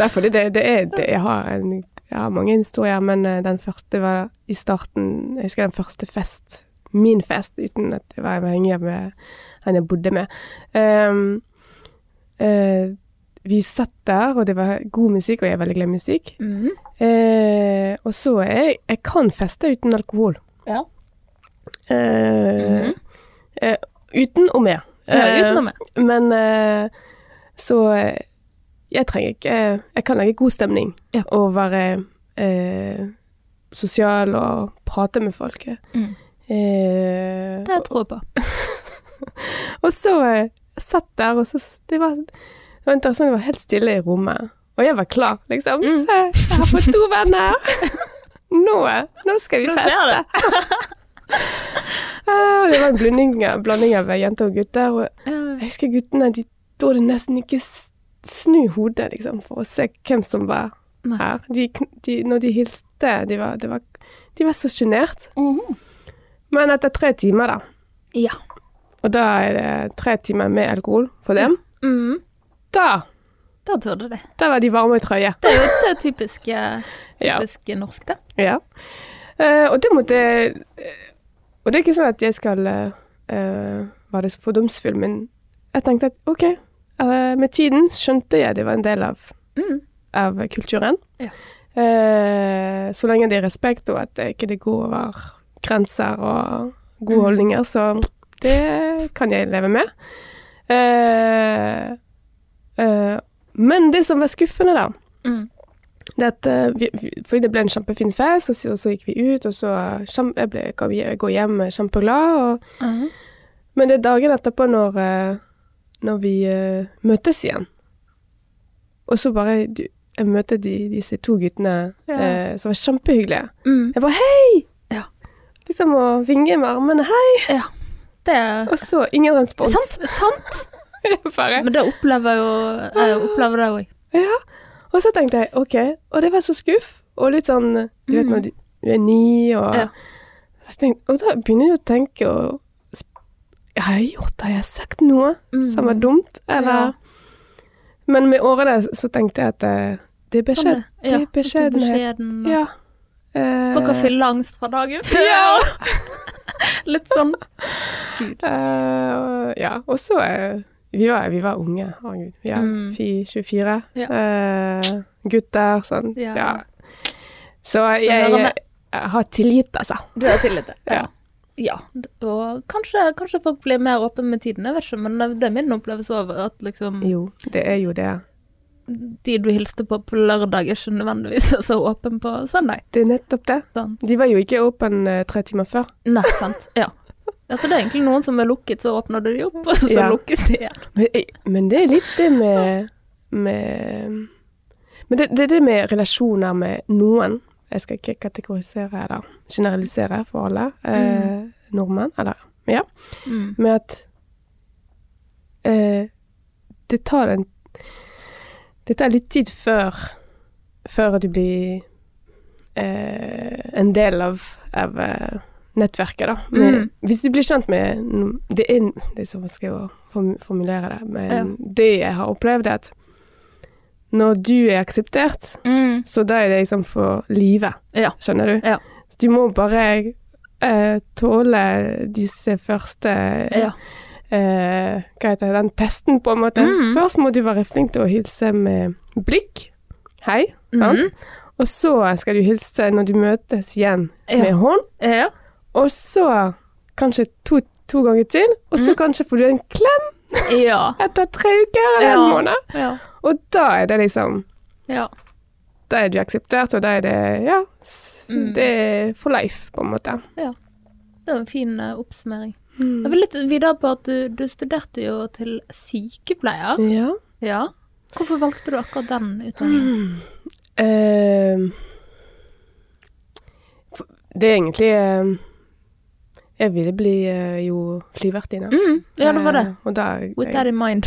Speaker 2: Nei, fordi det, det er det, jeg, har en, jeg har mange historier, men eh, den første var i starten Jeg husker den første fest, min fest, uten at jeg var avhengig av eh, han jeg bodde med. Ehm, eh, vi satt der, og det var god musikk, og jeg er veldig glad i musikk.
Speaker 1: Mhm.
Speaker 2: Eh, og så er jeg Jeg kan feste uten alkohol.
Speaker 1: Ja. Mm.
Speaker 2: Eh, eh, uten og med.
Speaker 1: Ja,
Speaker 2: Eh,
Speaker 1: utenom det.
Speaker 2: men eh, så eh, jeg trenger ikke eh, Jeg kan lage god stemning
Speaker 1: Ja.
Speaker 2: og være eh, sosial og prate med folket.
Speaker 1: Mm.
Speaker 2: Eh,
Speaker 1: Det tror jeg på.
Speaker 2: og så eh, satt der, og så s- det var, det var interessant, det var helt stille i rommet. Og jeg var klar, liksom.
Speaker 1: Mm.
Speaker 2: Eh, Jeg har fått to venner! Nå, eh, nå skal vi
Speaker 1: Nå skjer
Speaker 2: feste! Eh, og det var en blanding, blanding av jenter og gutter. Og
Speaker 1: Ja.
Speaker 2: jeg husker guttene, de torde nesten ikke s- snu hodet, liksom, for å se hvem som var
Speaker 1: Nei.
Speaker 2: her. De, kn- de, når de hilste, de var, det var, de var så sjenert.
Speaker 1: mhm.
Speaker 2: Men etter tre timer, da,
Speaker 1: Ja.
Speaker 2: og da er det tre timer med alkohol for dem,
Speaker 1: Mm.
Speaker 2: da,
Speaker 1: Da turde de.
Speaker 2: da var de varme i trøye.
Speaker 1: Det er jo det er typisk, eh,
Speaker 2: Ja.
Speaker 1: typisk norsk, det.
Speaker 2: Ja. Eh, og det måtte eh, Og det er ikke sånn at jeg skal eh, eh, være så fordomsfull, men jeg tenkte at OK, eh, med tiden skjønte jeg det var en del av,
Speaker 1: Mm.
Speaker 2: av kulturen.
Speaker 1: Ja.
Speaker 2: Eh, så lenge det er respekt, og at det ikke det går over grenser og gode
Speaker 1: Mm.
Speaker 2: holdninger, så det kan jeg leve med. Eh, eh, men det som var skuffende, da,
Speaker 1: Mm.
Speaker 2: det at, eh, vi, vi, fordi det ble en kjempefin fest, og så, og så gikk vi ut, og så eh, kjem, jeg ble, kom, jeg går hjem eh, kjempeglad. Og,
Speaker 1: Mhm.
Speaker 2: men det er dagen etterpå når, eh, når vi eh, møtes igjen. Og så bare du, Jeg møter de, disse to guttene
Speaker 1: Ja.
Speaker 2: eh, som var kjempehyggelige.
Speaker 1: Mm.
Speaker 2: Jeg bare Hei!
Speaker 1: Ja.
Speaker 2: Liksom å vinge med armene. Hei!
Speaker 1: Det er
Speaker 2: Og så ingen respons.
Speaker 1: sant, sant.
Speaker 2: Jeg bare,
Speaker 1: Men det opplever jeg jo Jeg opplever det òg.
Speaker 2: Ja. Og så tenkte jeg OK. Og det var så skuff. Og litt sånn Du vet
Speaker 1: Mm.
Speaker 2: når du, du er ni, og
Speaker 1: Ja.
Speaker 2: jeg tenkte, Og da begynner jeg å tenke og sp- Har jeg gjort det? Har jeg sagt noe
Speaker 1: Mm.
Speaker 2: som var dumt? Eller
Speaker 1: Ja.
Speaker 2: Men med årene så tenkte jeg at eh, det
Speaker 1: Sånn,
Speaker 2: er beskjed. det er beskjedenhet.
Speaker 1: Beskjeden.
Speaker 2: Ja. Eh,
Speaker 1: Dere fyller angst fra dagen før.
Speaker 2: ja.
Speaker 1: Litt sånn Gud.
Speaker 2: Eh, ja, og så eh, vi, var- vi var unge, herregud. Ja,
Speaker 1: Mm.
Speaker 2: fi- 24.
Speaker 1: Ja.
Speaker 2: Eh, gutter, sånn.
Speaker 1: Ja.
Speaker 2: Ja. Så jeg,
Speaker 1: hører
Speaker 2: jeg,
Speaker 1: med.
Speaker 2: har tilgitt, altså.
Speaker 1: Du har tillit til
Speaker 2: Ja.
Speaker 1: Ja, og kanskje, kanskje folk blir mer åpne med tiden, jeg vet ikke, men det er min opplevelse over at liksom
Speaker 2: Jo, det er jo det.
Speaker 1: de du hilste på på lørdag, er ikke nødvendigvis er så åpen på søndag.
Speaker 2: Det er nettopp det.
Speaker 1: Sant?
Speaker 2: De var jo ikke åpen eh, tre timer før.
Speaker 1: Nei, sant. Ja. Altså, det er egentlig noen som er lukket, så åpner du de opp, og så
Speaker 2: Ja.
Speaker 1: lukkes de igjen.
Speaker 2: Men, jeg- men det er litt det med, med Men det, det er det med relasjoner med noen. Jeg skal ikke kategorisere eller generalisere for alle eh, nordmenn. Eller ja.
Speaker 1: Mm.
Speaker 2: Med at eh, det tar en Det tar litt tid før før du blir eh, en del av, av eh, nettverket, da. Men
Speaker 1: Mm.
Speaker 2: Hvis du blir kjent med no- Det er, en- det er så vanskelig å form- formulere det, men det jeg har opplevd, er at når du er akseptert,
Speaker 1: Mm.
Speaker 2: så da er det liksom for livet,
Speaker 1: Ja.
Speaker 2: skjønner du?
Speaker 1: Ja.
Speaker 2: Så du må bare eh, tåle disse første
Speaker 1: Ja.
Speaker 2: eh, Hva heter den testen, på en måte.
Speaker 1: Mm.
Speaker 2: Først må du være flink til å hilse med blikk. Hei. Sant?
Speaker 1: Mhm.
Speaker 2: Og så skal du hilse når du møtes igjen
Speaker 1: Ja.
Speaker 2: med hånd.
Speaker 1: Ja.
Speaker 2: Og så kanskje to, to ganger til, og
Speaker 1: Mhm.
Speaker 2: så kanskje får du en klem
Speaker 1: Ja.
Speaker 2: etter tre uker eller en
Speaker 1: Ja.
Speaker 2: måned.
Speaker 1: Ja.
Speaker 2: Og da er det liksom
Speaker 1: ja.
Speaker 2: da er du akseptert, og da er det ja, s-
Speaker 1: Mm.
Speaker 2: det er for life, på en måte.
Speaker 1: Det var en fin eh, oppsummering. Jeg vil litt videre på at du, du studerte jo til sykepleier.
Speaker 2: Ja.
Speaker 1: Ja. Hvorfor valgte du akkurat den utdanningen?
Speaker 2: Ehm, for- det er egentlig ehm, Jeg ville bli eh, jo flyvertinne.
Speaker 1: Mm. Ja, det var det.
Speaker 2: Eh, og da
Speaker 1: With that
Speaker 2: jeg,
Speaker 1: in mind.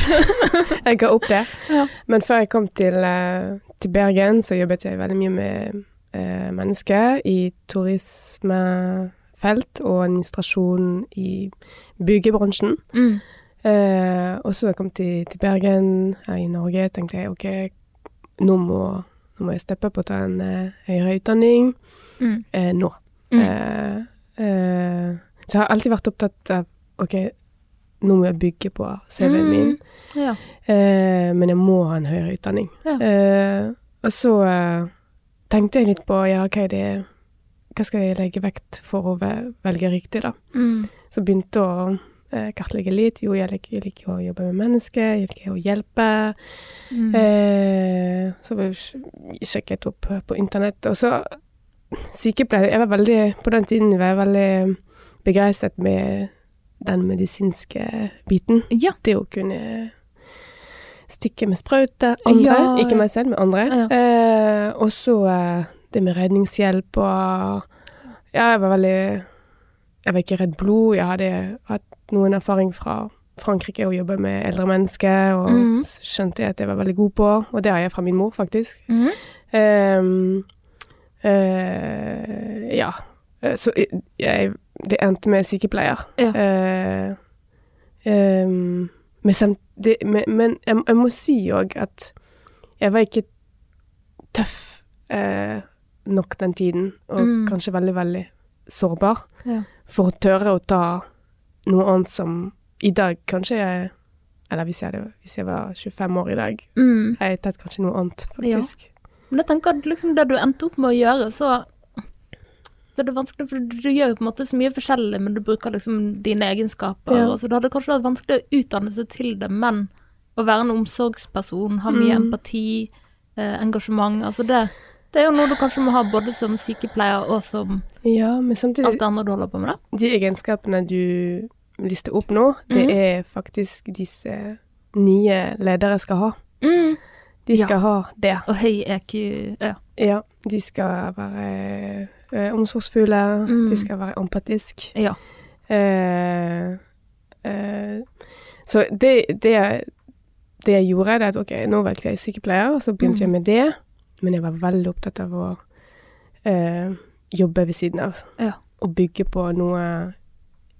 Speaker 2: jeg ga opp det.
Speaker 1: Ja.
Speaker 2: Men før jeg kom til, eh, til Bergen, så jobbet jeg veldig mye med eh, mennesker i turismefelt og administrasjon i byggebransjen.
Speaker 1: Mm.
Speaker 2: Eh, og så da jeg kom til, til Bergen, her i Norge, tenkte jeg ok, nå må, nå må jeg steppe på å ta en eh, høyere utdanning
Speaker 1: Mm.
Speaker 2: eh, nå.
Speaker 1: Mm.
Speaker 2: Eh, eh, så jeg har alltid vært opptatt av ok, nå må jeg bygge på CV-en
Speaker 1: Mm.
Speaker 2: min,
Speaker 1: Ja.
Speaker 2: eh, men jeg må ha en høyere utdanning.
Speaker 1: Ja.
Speaker 2: Eh, og så eh, tenkte jeg litt på ja, hva er det Hva skal jeg legge vekt for å ve- velge riktig, da?
Speaker 1: Mm.
Speaker 2: Så begynte å eh, kartlegge litt. Jo, jeg liker, jeg liker å jobbe med mennesker, jeg liker å hjelpe.
Speaker 1: Mm.
Speaker 2: Eh, så var jeg sj- sjekket opp eh, på internett. Og så sykepleier jeg var veldig, På den tiden var jeg veldig begeistret med den medisinske biten.
Speaker 1: Ja.
Speaker 2: Det å kunne eh, stikke med sprøyte. Andre.
Speaker 1: Ja, ja.
Speaker 2: Ikke meg selv, men andre.
Speaker 1: Ja.
Speaker 2: Eh, og så eh, det med redningshjelp og Ja, jeg var veldig Jeg var ikke redd blod. Jeg hadde hatt noen erfaring fra Frankrike og jobbe med eldre mennesker, og
Speaker 1: Mhm.
Speaker 2: s- skjønte jeg at jeg var veldig god på, og det har jeg fra min mor, faktisk.
Speaker 1: Mm.
Speaker 2: Ehm, eh, ja. Eh, Så jeg- jeg, det endte med sykepleier.
Speaker 1: Ja.
Speaker 2: Eh, ehm, men, samt, det, men, men jeg, jeg må si òg at jeg var ikke tøff eh, nok den tiden, og
Speaker 1: Mm.
Speaker 2: kanskje veldig, veldig sårbar
Speaker 1: Ja.
Speaker 2: for å tørre å ta noe annet som i dag kanskje jeg Eller hvis jeg, hadde, hvis jeg var 25 år i dag,
Speaker 1: Mm.
Speaker 2: har jeg tatt kanskje noe annet,
Speaker 1: Ja.
Speaker 2: faktisk.
Speaker 1: Men jeg tenker at liksom det du endte opp med å gjøre, så, så er det vanskelig, for du gjør jo på en måte så mye forskjellig, men du bruker liksom dine egenskaper.
Speaker 2: Ja.
Speaker 1: Og så det hadde kanskje vært vanskelig å utdanne seg til det, men å være en omsorgsperson, ha
Speaker 2: Mm.
Speaker 1: mye empati, eh, engasjement, altså det, det er jo noe du kanskje må ha både som sykepleier og som
Speaker 2: Ja, men samtidig
Speaker 1: alt det andre du holder på med, da.
Speaker 2: De egenskapene du lister opp nå, det
Speaker 1: Mhm.
Speaker 2: er faktisk disse nye ledere skal ha. Mm. De
Speaker 1: Ja.
Speaker 2: skal ha det.
Speaker 1: Og høy EQ. Ja.
Speaker 2: Ja, de skal være eh, omsorgsfulle,
Speaker 1: Mm.
Speaker 2: de skal være empatiske.
Speaker 1: ja.
Speaker 2: Eh, eh, så det, det, jeg- det jeg gjorde, det er at ok, nå valgte jeg sykepleier, og så begynte
Speaker 1: Mm.
Speaker 2: jeg med det. Men jeg var veldig opptatt av å eh, jobbe ved siden av.
Speaker 1: Ja.
Speaker 2: Og bygge på noe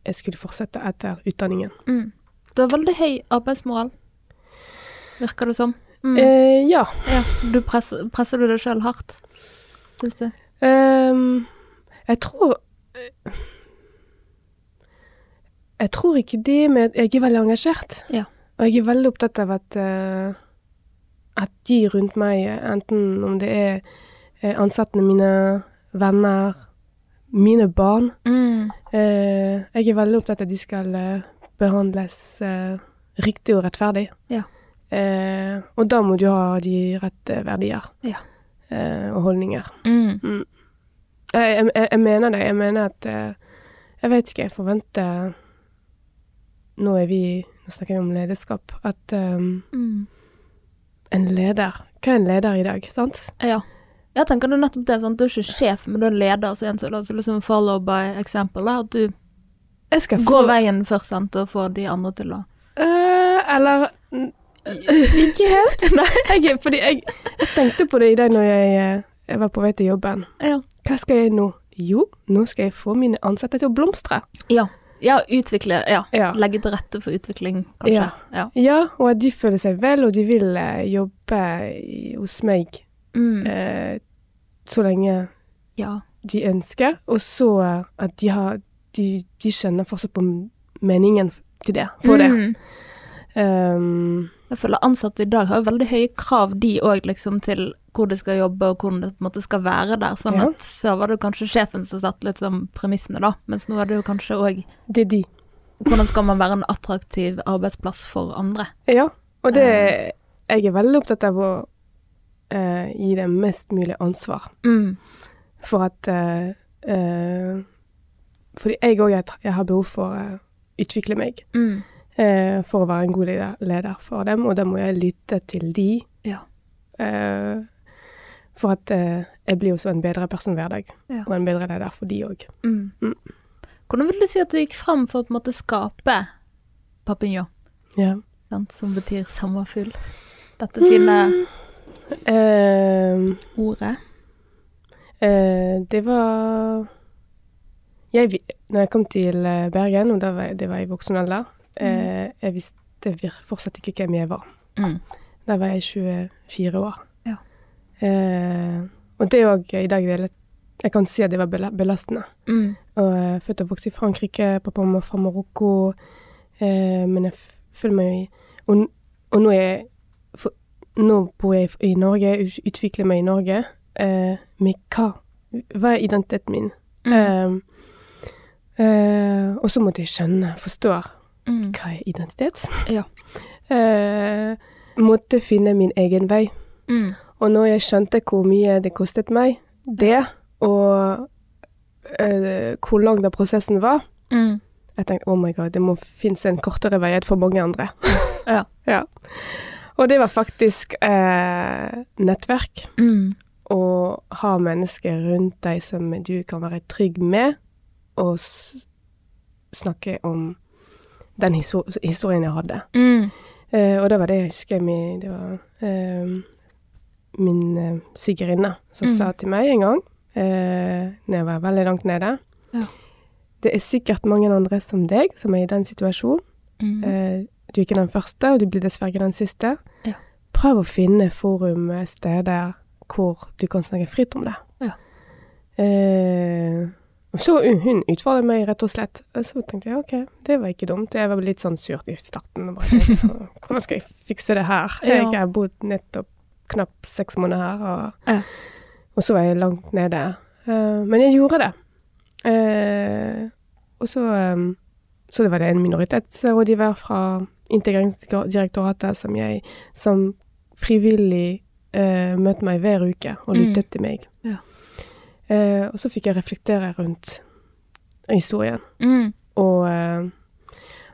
Speaker 2: jeg skulle fortsette etter utdanningen.
Speaker 1: Mm. Du har veldig høy arbeidsmoral, virker det som. Mm.
Speaker 2: Eh, ja.
Speaker 1: Ja, du presser, presser du deg sjøl hardt, syns du?
Speaker 2: Ehm, jeg tror Jeg tror ikke det, men jeg er veldig engasjert.
Speaker 1: Ja.
Speaker 2: Og jeg er veldig opptatt av at, eh, at de rundt meg, eh, enten om det er eh, ansattene mine, venner, mine barn
Speaker 1: Mm.
Speaker 2: eh, Jeg er veldig opptatt av at de skal eh, behandles eh, riktig og rettferdig.
Speaker 1: Ja.
Speaker 2: Eh, og da må du ha de rette verdier
Speaker 1: Ja.
Speaker 2: eh, og holdninger.
Speaker 1: Mm.
Speaker 2: Jeg, jeg, jeg- jeg mener det. Jeg mener at eh, Jeg vet ikke, jeg forventer Nå er vi Nå snakker vi om lederskap. At eh,
Speaker 1: Mm.
Speaker 2: en leder Hva er en leder i dag, sant?
Speaker 1: Ja. Jeg tenker det er nettopp det, sånn, du er ikke sjef, men du er leder, så igjen så er det altså liksom follow by example, da, at du
Speaker 2: Jeg skal få
Speaker 1: går veien først, sant, og får de andre til å
Speaker 2: Eh, Eller n- Ikke helt. jeg, er- fordi jeg, jeg tenkte på det i dag når jeg, eh, jeg var på vei til jobben.
Speaker 1: Ja.
Speaker 2: Hva skal jeg nå? Jo, nå skal jeg få mine ansatte til å blomstre.
Speaker 1: Ja. ja utvikle, ja.
Speaker 2: Ja.
Speaker 1: Legge til rette for utvikling, kanskje.
Speaker 2: Ja. Ja, og at de føler seg vel, og de vil eh, jobbe i, hos meg
Speaker 1: Mm.
Speaker 2: eh, så lenge
Speaker 1: ja.
Speaker 2: de ønsker, og så eh, at de, har, de, de kjenner fortsatt på m- meningen f- til det, for det.
Speaker 1: Mm.
Speaker 2: Um,
Speaker 1: Jeg føler ansatte i dag har jo veldig høye krav, de òg, liksom, til hvor de skal jobbe og hvordan det på en måte skal være der. Sånn
Speaker 2: Ja.
Speaker 1: at før var det jo kanskje sjefen som satt litt som premissene, da, mens nå er det jo kanskje òg
Speaker 2: det er de.
Speaker 1: hvordan skal man være en attraktiv arbeidsplass for andre.
Speaker 2: Ja, og det Jeg er veldig opptatt av å eh, gi dem mest mulig ansvar
Speaker 1: Mm.
Speaker 2: for at eh, eh, Fordi jeg òg jeg har behov for å utvikle meg
Speaker 1: Mm.
Speaker 2: eh, for å være en god leder- leder for dem, og da må jeg lytte til de.
Speaker 1: Ja.
Speaker 2: Eh, for at eh, jeg blir også en bedre person hver dag,
Speaker 1: Ja.
Speaker 2: og en bedre leder for de òg.
Speaker 1: Mm.
Speaker 2: Mm.
Speaker 1: Hvordan vil du si at du gikk fram for å på en måte skape papillon,
Speaker 2: Ja.
Speaker 1: sant? som betyr sommerfugl?
Speaker 2: Mm.
Speaker 1: Dette fine
Speaker 2: Eh,
Speaker 1: ordet.
Speaker 2: eh, det var jeg, vi- Når jeg kom til eh, Bergen, og da var jeg, det var i voksen alder, eh, jeg visste vir- fortsatt ikke hvem jeg var.
Speaker 1: Mm.
Speaker 2: Da var jeg 24 år.
Speaker 1: Ja.
Speaker 2: Eh, og det òg i dag det er litt, Jeg kan si at det var bela- belastende.
Speaker 1: Mm.
Speaker 2: Og jeg er født og vokst i Frankrike, pappa og mamma fra Marokko. Eh, men jeg f- føler meg jo i Og, n- og nå, er jeg, for, nå bor jeg i f- i Norge, ut- utvikler meg i Norge. Eh, men hva? Hva er identiteten min?
Speaker 1: Mm.
Speaker 2: Eh, eh, og så måtte jeg skjønne, forstå,
Speaker 1: Mm.
Speaker 2: hva er identitet?
Speaker 1: Ja.
Speaker 2: Eh, måtte finne min egen vei.
Speaker 1: Mm.
Speaker 2: Og når jeg skjønte hvor mye det kostet meg, det, og eh, hvor lang den prosessen var,
Speaker 1: Mm.
Speaker 2: jeg tenkte oh my god, det må finnes en kortere vei for mange andre.
Speaker 1: Ja.
Speaker 2: ja. Og det var faktisk eh, nettverk.
Speaker 1: Mm.
Speaker 2: Å ha mennesker rundt deg som du kan være trygg med, og s snakke om den histo- historien jeg hadde.
Speaker 1: Mm.
Speaker 2: Eh, og da var det jeg husker min, det var, eh, min eh, svigerinne som
Speaker 1: Mm.
Speaker 2: sa til meg en gang, eh, når jeg var veldig langt nede
Speaker 1: Ja.
Speaker 2: Det er sikkert mange andre som deg som er i den situasjonen.
Speaker 1: Mm.
Speaker 2: Eh, du er ikke den første, og du blir dessverre ikke den siste.
Speaker 1: Ja.
Speaker 2: Prøv å finne forum, eh, steder hvor du kan snakke fritt om det.
Speaker 1: Ja.
Speaker 2: Eh, og så uh, hun utfordret meg rett og slett. Og så tenkte jeg ok, det var ikke dumt. Jeg var litt sånn surt i starten. Og bare, tenkte, Hvordan skal jeg fikse det her? Jeg
Speaker 1: Ja.
Speaker 2: har ikke bodd nettopp knapt seks måneder her. Og,
Speaker 1: Ja.
Speaker 2: og så var jeg langt nede. Eh, men jeg gjorde det. Eh, og så eh, så det var det en minoritetsrådgiver fra Integreringsdirektoratet som jeg som frivillig eh, møtte meg hver uke
Speaker 1: Mm.
Speaker 2: og lyttet til meg.
Speaker 1: Ja.
Speaker 2: Eh, og så fikk jeg reflektere rundt historien.
Speaker 1: Mm.
Speaker 2: Og, eh,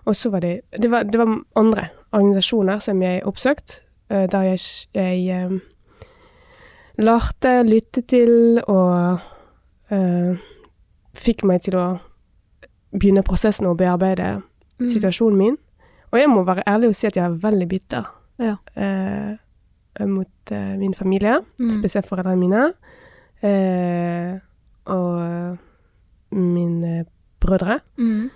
Speaker 2: og så var det det var, det var andre organisasjoner som jeg oppsøkte, eh, der jeg, jeg eh, lærte, lyttet til og eh, fikk meg til å begynne prosessen og bearbeide
Speaker 1: Mm.
Speaker 2: situasjonen min. Og jeg må være ærlig og si at jeg er veldig bitter
Speaker 1: Ja.
Speaker 2: eh, mot eh, min familie,
Speaker 1: Mm.
Speaker 2: spesielt foreldrene mine, eh, og mine brødre.
Speaker 1: Mm.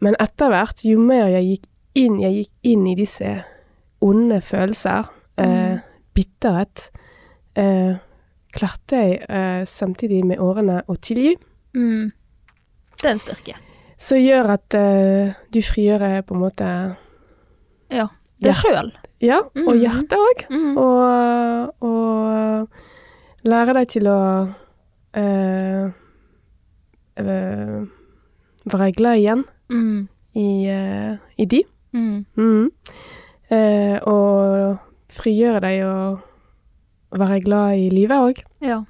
Speaker 2: Men etter hvert, jo mer jeg gikk inn, jeg gikk inn i disse onde følelser, eh, bitterhet, eh, klarte jeg eh, samtidig med årene å tilgi.
Speaker 1: Mm. Det er en styrke.
Speaker 2: Som gjør at eh, du frigjør eh, på en måte
Speaker 1: Ja. Det
Speaker 2: Ja.
Speaker 1: sjøl.
Speaker 2: Ja, og
Speaker 1: Mhm.
Speaker 2: hjertet òg.
Speaker 1: Mm.
Speaker 2: Og, og lære deg til å eh, eh, være glad igjen
Speaker 1: Mm.
Speaker 2: i, eh, i de.
Speaker 1: Mm.
Speaker 2: Mhm. Eh, og frigjøre deg og være glad i livet òg.
Speaker 1: Ja.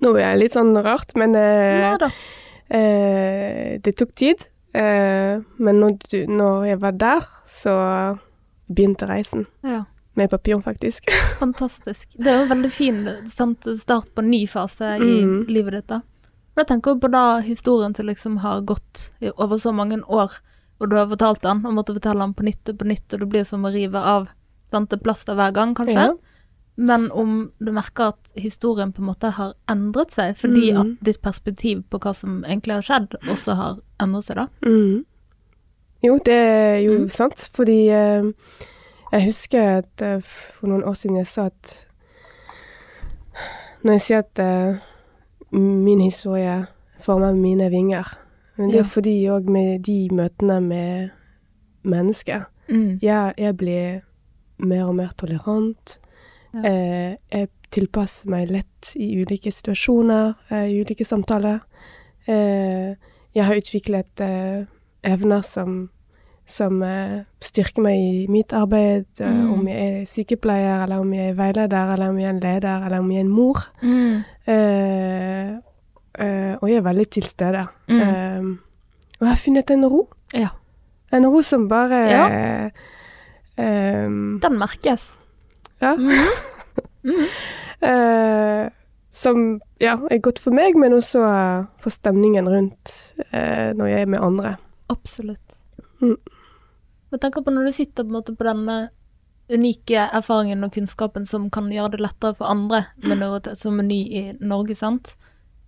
Speaker 2: Nå er jeg litt sånn rart, men eh,
Speaker 1: Nei da.
Speaker 2: eh, det tok tid. Eh, men når, du, når jeg var der, så begynte reisen.
Speaker 1: Ja.
Speaker 2: Med papir, faktisk.
Speaker 1: Fantastisk. Det er jo en veldig fin sant, start på en ny fase i
Speaker 2: Mm.
Speaker 1: livet ditt. da. Men jeg tenker jo på da historien som liksom har gått i- over så mange år, og du har fortalt den, og måtte fortelle den på nytt og på nytt, og det blir som å rive av sant, et plaster hver gang, kanskje.
Speaker 2: Ja.
Speaker 1: Men om du merker at historien på en måte har endret seg, fordi
Speaker 2: Mm.
Speaker 1: at ditt perspektiv på hva som egentlig har skjedd, også har endret seg, da.
Speaker 2: Mhm. Jo, det er jo
Speaker 1: Mm.
Speaker 2: sant, fordi eh, jeg husker at eh, for noen år siden jeg sa at Når jeg sier at eh, min historie former mine vinger, men det
Speaker 1: Ja.
Speaker 2: er fordi òg med de møtene med mennesker
Speaker 1: Mm.
Speaker 2: jeg, jeg blir mer og mer tolerant.
Speaker 1: Ja.
Speaker 2: Eh, jeg tilpasser meg lett i ulike situasjoner, eh, i ulike samtaler. Eh, jeg har utviklet eh, evner som, som eh, styrker meg i mitt arbeid, eh,
Speaker 1: Mm.
Speaker 2: om jeg er sykepleier, eller om jeg er veileder, eller om jeg er en leder, eller om jeg er en mor.
Speaker 1: Mm.
Speaker 2: Eh, eh, og jeg er veldig til stede.
Speaker 1: Mm.
Speaker 2: Eh, og jeg har funnet en ro.
Speaker 1: Ja.
Speaker 2: En ro som bare
Speaker 1: Ja.
Speaker 2: ehm,
Speaker 1: Den merkes.
Speaker 2: Ja.
Speaker 1: Mhm.
Speaker 2: eh, som ja, er godt for meg, men også eh, for stemningen rundt eh, når jeg er med andre.
Speaker 1: Absolutt.
Speaker 2: Mm.
Speaker 1: Men tenk på når du sitter på, en måte på denne unike erfaringen og kunnskapen som kan gjøre det lettere for andre
Speaker 2: Mm.
Speaker 1: med noe til- som er ny i Norge, sant?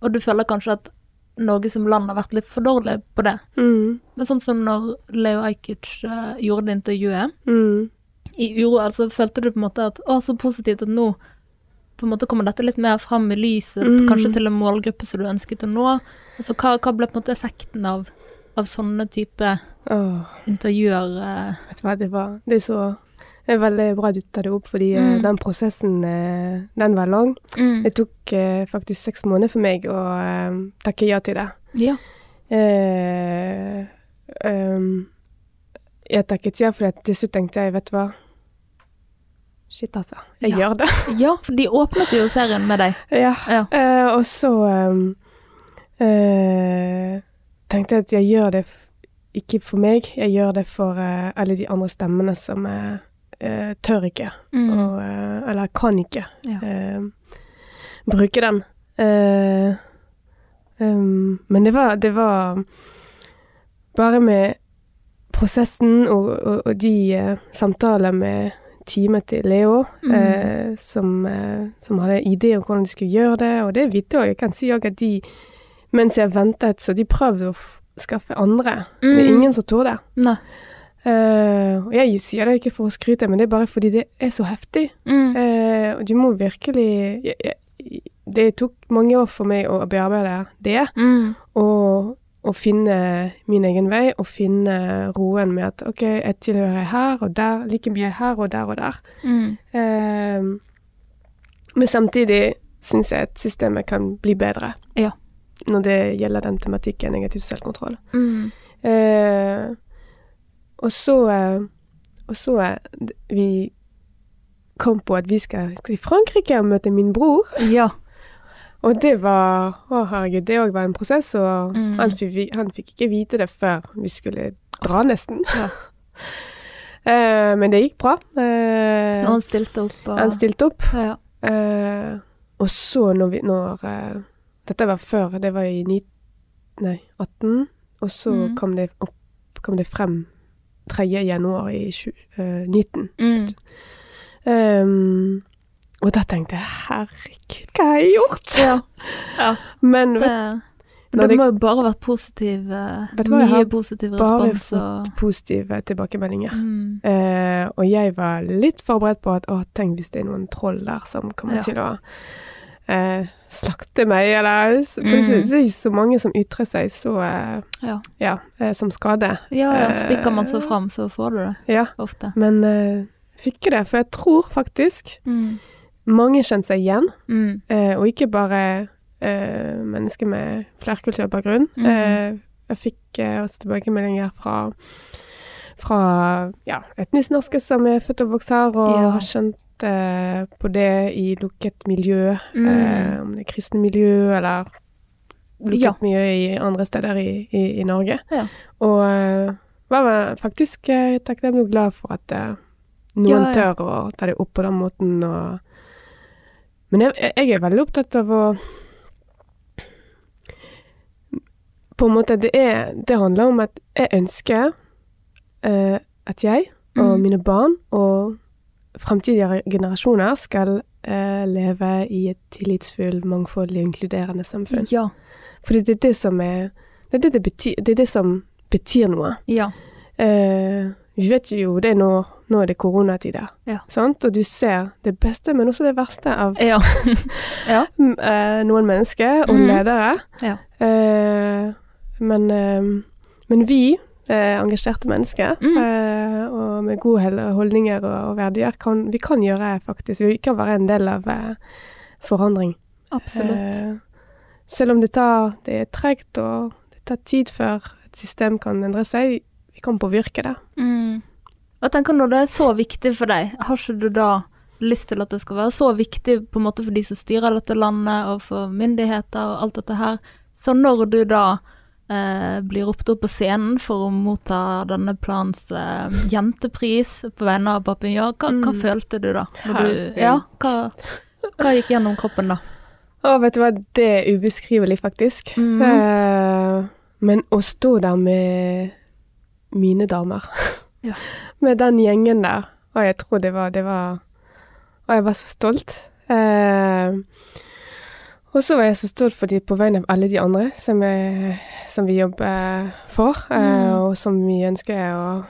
Speaker 1: Og du føler kanskje at Norge som land har vært litt for dårlig på det.
Speaker 2: Mm,
Speaker 1: Men sånn som når Leo Ajkic eh, gjorde det intervjuet
Speaker 2: mm,
Speaker 1: i uro, altså følte du på en måte at å, så positivt at nå på en måte kommer dette litt mer fram i lyset,
Speaker 2: Mm.
Speaker 1: kanskje til en målgruppe som du ønsket å nå. Altså, hva, hva ble på en måte effekten av, av sånne type
Speaker 2: Åh,
Speaker 1: intervjuer eh,
Speaker 2: vet du hva, det var Det er så det er veldig bra du tar det opp, fordi eh,
Speaker 1: Mm.
Speaker 2: den prosessen, eh, den var lang. Det tok eh, faktisk seks måneder for meg å eh, takke ja til det.
Speaker 1: Ja.
Speaker 2: Eh, ehm, jeg takket ja, for til slutt tenkte jeg, vet du hva Shit, altså. Jeg
Speaker 1: Ja.
Speaker 2: gjør det.
Speaker 1: ja, for de åpnet jo serien med deg.
Speaker 2: ja.
Speaker 1: Ja.
Speaker 2: Eh, og så ehm, eh, tenkte jeg at jeg gjør det f- ikke for meg, jeg gjør det for eh, alle de andre stemmene som eh, eh, tør ikke,
Speaker 1: Mm.
Speaker 2: og, eh, eller kan ikke,
Speaker 1: Ja.
Speaker 2: eh, bruke den. Eh, ehm, men det var, det var bare med prosessen og, og, og de eh, samtaler med teamet til Leo,
Speaker 1: Mm.
Speaker 2: eh, som, eh, som hadde ideer om hvordan de skulle gjøre det, og det vet jeg også. Jeg kan si også at de, mens jeg ventet, så de prøvde å f- skaffe andre. men Det
Speaker 1: Mm.
Speaker 2: er ingen som torde.
Speaker 1: Nei.
Speaker 2: Eh, og jeg sier det ikke for å skryte, men det er bare fordi det er så heftig. Eh, og du må virkelig jeg, jeg, Det tok mange år for meg å bearbeide det, Mm. og, og finne min egen vei, og finne roen med at OK, jeg tilhører her og der, like mye her og der og der. Eh, men samtidig syns jeg at systemet kan bli bedre
Speaker 1: Ja.
Speaker 2: når det gjelder den tematikken negativ selvkontroll. Eh, og så eh, Og så eh, d- vi kom på at vi skal, skal til Frankrike og møte min bror.
Speaker 1: Ja.
Speaker 2: Og det var Å, herregud, det òg var en prosess, og
Speaker 1: Mm.
Speaker 2: han, fikk, vi- han fikk ikke vite det før vi skulle dra, nesten.
Speaker 1: Ja.
Speaker 2: eh, men det gikk bra. Eh,
Speaker 1: Og han stilte opp. Og,
Speaker 2: han stilte opp.
Speaker 1: ja.
Speaker 2: Eh, og så når vi når, eh, Dette var før, det var i ni, nei, 18. Og så
Speaker 1: Mhm.
Speaker 2: kom, det opp, kom det frem 3. januar i tju- eh, 19. Ehm, og da tenkte jeg herregud, hva har jeg gjort?
Speaker 1: ja. ja.
Speaker 2: Men
Speaker 1: Det,
Speaker 2: vet
Speaker 1: det,
Speaker 2: Når det-
Speaker 1: må jo bare ha vært positiv, eh,
Speaker 2: Vet du hva, jeg
Speaker 1: mye
Speaker 2: har
Speaker 1: positiv
Speaker 2: bare
Speaker 1: respons. Og,
Speaker 2: du, positive tilbakemeldinger.
Speaker 1: mm.
Speaker 2: Eh, og jeg var litt forberedt på at å, tenk hvis det er noen troll der som kommer
Speaker 1: Ja.
Speaker 2: til å eh, slakte meg, eller s- for det er
Speaker 1: Mhm.
Speaker 2: så- det er ikke så mange som ytrer seg så eh,
Speaker 1: Ja.
Speaker 2: ja, eh, som skade.
Speaker 1: Ja, ja.
Speaker 2: Eh,
Speaker 1: Stikker man så fram, så får du det
Speaker 2: Ja,
Speaker 1: ofte.
Speaker 2: men eh, fikk ikke det, for jeg tror faktisk
Speaker 1: Mm.
Speaker 2: mange kjente seg igjen,
Speaker 1: Mm.
Speaker 2: eh, og ikke bare eh, mennesker med flerkulturell bakgrunn.
Speaker 1: Mhm.
Speaker 2: Eh, jeg fikk eh, også tilbakemeldinger fra, fra ja, etnisk norske som er født og vokst her, og
Speaker 1: Ja.
Speaker 2: har kjent eh, på det i lukket miljø.
Speaker 1: Mm.
Speaker 2: Eh, om det er kristne miljø, eller lukket
Speaker 1: Ja.
Speaker 2: miljø i andre steder i, i, i Norge.
Speaker 1: Ja.
Speaker 2: Og eh, var vel faktisk eh, takknemlig og glad for at eh, noen
Speaker 1: Ja, ja.
Speaker 2: tør å ta det opp på den måten. Og... Men jeg, jeg er veldig opptatt av å På en måte, det, er, det handler om at jeg ønsker eh, at jeg og
Speaker 1: Mm.
Speaker 2: mine barn og fremtidige generasjoner skal eh, leve i et tillitsfullt, mangfoldig, inkluderende samfunn.
Speaker 1: Ja.
Speaker 2: Fordi det er det som er Det er det, det, betyr, det, er det som betyr noe.
Speaker 1: Ja.
Speaker 2: Eh, vi vet jo det nå, nå er det koronatider,
Speaker 1: Ja.
Speaker 2: sant? og du ser det beste, men også det verste av
Speaker 1: Ja.
Speaker 2: m- eh, noen mennesker og
Speaker 1: Mhm.
Speaker 2: ledere.
Speaker 1: Ja.
Speaker 2: Eh, men, eh, men vi, eh, engasjerte mennesker,
Speaker 1: Mm.
Speaker 2: eh, og med gode hel- holdninger og, og verdier, kan, vi kan gjøre faktisk, vi kan være en del av eh, forandring.
Speaker 1: Absolutt.
Speaker 2: Eh, selv om det, tar, det er tregt og det tar tid før et system kan endre seg, vi kan påvirke det.
Speaker 1: Mm. Og jeg tenker når det er så viktig for deg, har ikke du da lyst til at det skal være så viktig på en måte for de som styrer dette landet og for myndigheter og alt dette her? Så når du da eh, blir ropt opp på scenen for å motta denne plans eh, jentepris på vegne av Papillon, hva, hva
Speaker 2: Mm.
Speaker 1: følte du da? Når du,
Speaker 2: Herregud.
Speaker 1: ja, hva, hva gikk gjennom kroppen da?
Speaker 2: Å, vet du hva, det er ubeskrivelig, faktisk.
Speaker 1: Mhm.
Speaker 2: Eh, men å stå der med mine damer,
Speaker 1: Ja.
Speaker 2: med den gjengen der, og jeg tror det var, det var Og jeg var så stolt. Eh, og så var jeg så stolt fordi på vegne av alle de andre som, jeg, som vi jobber for, eh,
Speaker 1: Mhm.
Speaker 2: og som vi ønsker å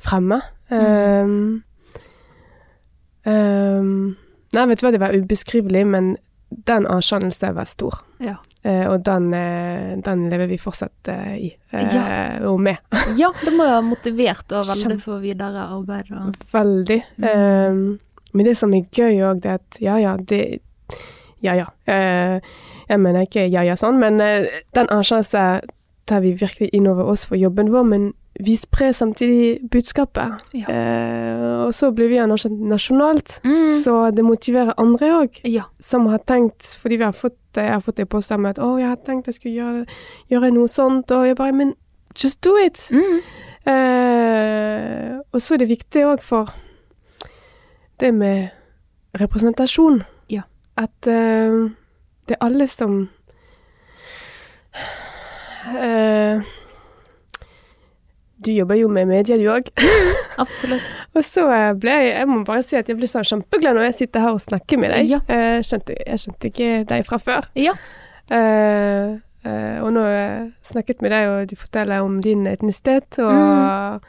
Speaker 2: fremme.
Speaker 1: Mm.
Speaker 2: Eh, eh, Nei, vet du hva, det var ubeskrivelig, men den anerkjennelsen var stor.
Speaker 1: Ja.
Speaker 2: Eh, og den, eh, den lever vi fortsatt eh, i, eh, og med.
Speaker 1: Ja, det må jo ha motivert og veldig
Speaker 2: Kjempe-
Speaker 1: for videre arbeid. Og,
Speaker 2: Veldig.
Speaker 1: Mm.
Speaker 2: Eh, men det som er gøy òg, det er at ja ja, det Ja ja. Eh, jeg mener ikke ja ja sånn, men eh, den anerkjennelsen tar vi virkelig inn over oss for jobben vår, men vi sprer samtidig budskapet.
Speaker 1: Ja.
Speaker 2: Eh, og så blir vi anerkjent nasjonalt,
Speaker 1: mm.
Speaker 2: så det motiverer andre òg.
Speaker 1: Ja.
Speaker 2: som har tenkt, fordi vi har fått, jeg har fått det på stemmen at å, jeg har tenkt jeg skulle gjøre, gjøre noe sånt, og jeg bare, men just do it!
Speaker 1: Mm.
Speaker 2: Eh, og så er det viktig også for det med representasjon.
Speaker 1: Ja.
Speaker 2: At eh, det er alle som eh, Du jobber jo med media, du òg.
Speaker 1: Absolutt.
Speaker 2: Og så eh, ble jeg Jeg må bare si at jeg ble sånn kjempeglad når jeg sitter her og snakker med deg.
Speaker 1: Ja.
Speaker 2: Eh, Kjente, jeg kjente ikke deg fra før.
Speaker 1: Ja.
Speaker 2: Eh, eh, og nå har jeg snakket med deg, og du forteller om din etnisitet og,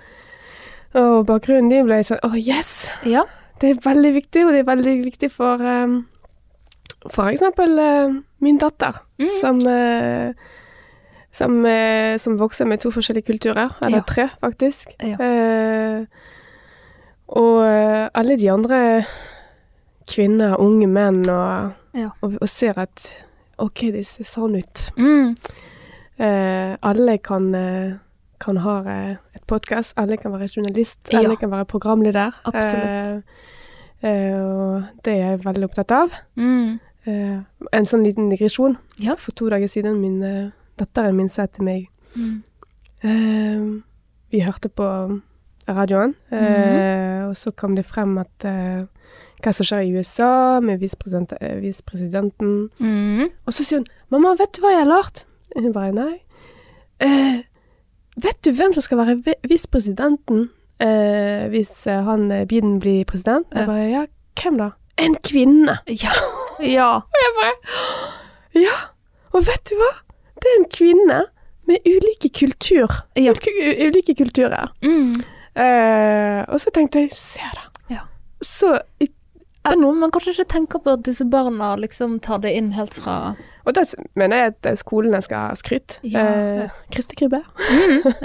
Speaker 2: og bakgrunnen din, ble jeg sånn Å, yes!
Speaker 1: Ja.
Speaker 2: Det er veldig viktig, og det er veldig viktig for um, for eksempel eh, min datter,
Speaker 1: Mm.
Speaker 2: som, eh, som, eh, som vokser med to forskjellige kulturer, eller
Speaker 1: Ja.
Speaker 2: tre faktisk.
Speaker 1: Ja.
Speaker 2: Eh, og eh, alle de andre kvinner, unge menn, og,
Speaker 1: Ja.
Speaker 2: og, og ser at ok, det ser sånn ut.
Speaker 1: Mm.
Speaker 2: Eh, alle kan, eh, kan ha eh, et podkast, alle kan være journalist,
Speaker 1: Ja.
Speaker 2: alle kan være programleder.
Speaker 1: Absolutt.
Speaker 2: Eh, eh, og det er jeg veldig opptatt av.
Speaker 1: Mm.
Speaker 2: Eh, en sånn liten digresjon.
Speaker 1: Ja.
Speaker 2: For to dager siden min eh, datteren min sa til meg
Speaker 1: Mm.
Speaker 2: eh, Vi hørte på radioen,
Speaker 1: Mhm.
Speaker 2: eh, og så kom det frem at eh, hva som skjer i USA med visepresident- eh, visepresidenten.
Speaker 1: Mm.
Speaker 2: Og så sier hun 'Mamma, vet du hva jeg har lært?' Hun bare 'Nei'. Eh, vet du hvem som skal være vi- visepresidenten eh, hvis eh, han eh, Biden blir president?
Speaker 1: Ja.
Speaker 2: Jeg bare 'Ja, hvem da?' En kvinne!
Speaker 1: Ja. ja.
Speaker 2: Ja, og vet du hva? Det er en kvinne med ulike kultur.
Speaker 1: Ja.
Speaker 2: Ulike, u- ulike kulturer.
Speaker 1: Mm.
Speaker 2: Eh, og så tenkte jeg, se da.
Speaker 1: Ja.
Speaker 2: Så i-
Speaker 1: Det er noe man kanskje ikke tenker på at disse barna liksom tar det inn helt fra
Speaker 2: Og da s- mener jeg at eh, skolene skal ha skryt.
Speaker 1: Ja. Mhm.
Speaker 2: Eh, Kristi Krybbe,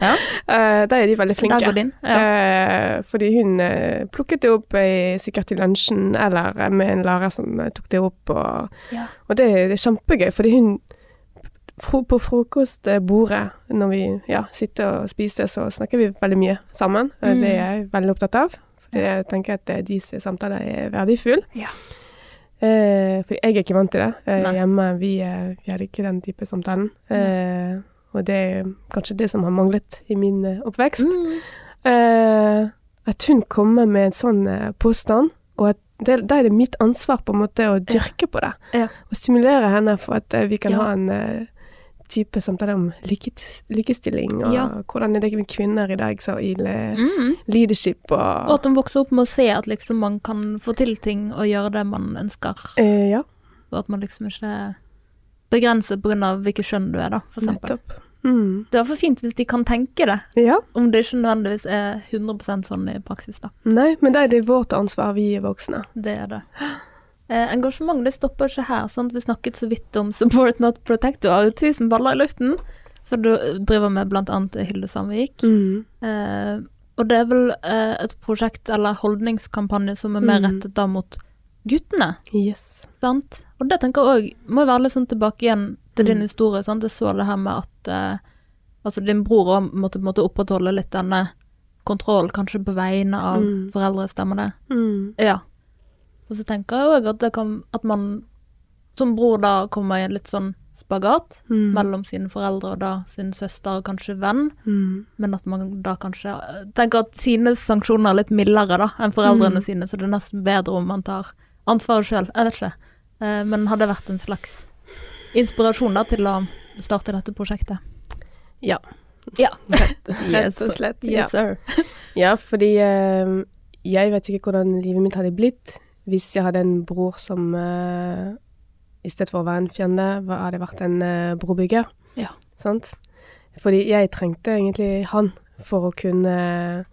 Speaker 1: Ja,
Speaker 2: eh, der er de veldig flinke.
Speaker 1: der går det inn. Ja.
Speaker 2: Eh, fordi hun eh, plukket det opp eh, sikkert i lunsjen, eller eh, med en lærer som eh, tok det opp. Og,
Speaker 1: Ja.
Speaker 2: og det, det er kjempegøy, fordi hun fro, på frokostbordet, når vi ja, sitter og spiser, så snakker vi veldig mye sammen. Eh,
Speaker 1: Mm.
Speaker 2: Det er jeg veldig opptatt av. Fordi jeg tenker at eh, deres samtaler er verdifull.
Speaker 1: Ja.
Speaker 2: Eh, fordi jeg er ikke vant til det. Eh,
Speaker 1: Nei.
Speaker 2: hjemme vi, eh, vi hadde ikke den type samtalen. Eh, og det er kanskje det som har manglet i min eh, oppvekst.
Speaker 1: Mm.
Speaker 2: Eh, at hun kommer med en sånn eh, påstand, og at det, da er det mitt ansvar på en måte å dyrke på det.
Speaker 1: Ja.
Speaker 2: Og stimulere henne for at eh, vi kan
Speaker 1: Ja.
Speaker 2: ha en eh, type samtale om likes- likestilling, og
Speaker 1: Ja.
Speaker 2: hvordan er det med kvinner i dag så i le-
Speaker 1: Mm.
Speaker 2: leadership
Speaker 1: Og
Speaker 2: og
Speaker 1: at de vokser opp med å se at liksom man kan få til ting og gjøre det man ønsker,
Speaker 2: Eh, Ja,
Speaker 1: og at man liksom ikke begrenser pga. hvilket kjønn du er, da, for eksempel.
Speaker 2: nettopp. Mm.
Speaker 1: Det er for fint hvis de kan tenke det,
Speaker 2: Ja.
Speaker 1: om det ikke nødvendigvis er 100 sånn i praksis, da.
Speaker 2: Nei, men da er det vårt ansvar, vi voksne.
Speaker 1: Det er det. Eh, engasjement det stopper ikke her. sant? Vi snakket så vidt om Support Not Protect. Du har jo tusen baller i luften, som du driver med bl.a. Hilde Sandvik.
Speaker 2: Mm.
Speaker 1: Eh, og det er vel eh, et prosjekt eller holdningskampanje som er mer
Speaker 2: Mm.
Speaker 1: rettet da mot guttene.
Speaker 2: Yes.
Speaker 1: sant? Og det tenker jeg òg må jo være litt sånn tilbake igjen til din
Speaker 2: Mm.
Speaker 1: historie. sant? Jeg så det her med at eh, altså din bror òg måtte på en måte opprettholde litt denne kontrollen, kanskje på vegne av
Speaker 2: Mm.
Speaker 1: foreldre, stemmer det?
Speaker 2: Mm.
Speaker 1: Ja. Og så tenker jeg òg at, det kan- at man som bror da kommer i en litt sånn spagat
Speaker 2: Mm.
Speaker 1: mellom sine foreldre og da sin søster og kanskje venn,
Speaker 2: Mm.
Speaker 1: men at man da kanskje eh, tenker at sine sanksjoner er litt mildere da enn foreldrene
Speaker 2: Mm.
Speaker 1: sine, så det er nesten bedre om man tar ansvaret sjøl. Jeg vet ikke. Eh, Men har det vært en slags inspirasjon da til å starte dette prosjektet?
Speaker 2: Ja.
Speaker 1: Ja.
Speaker 2: Rett og slett. Ja.
Speaker 1: Yes, sir.
Speaker 2: Ja, fordi eh, jeg vet ikke hvordan livet mitt hadde blitt hvis jeg hadde en bror som eh, i stedet for å være en fiende, var- hadde vært en eh, brobygger.
Speaker 1: Ja.
Speaker 2: Sant? Fordi jeg trengte egentlig han for å kunne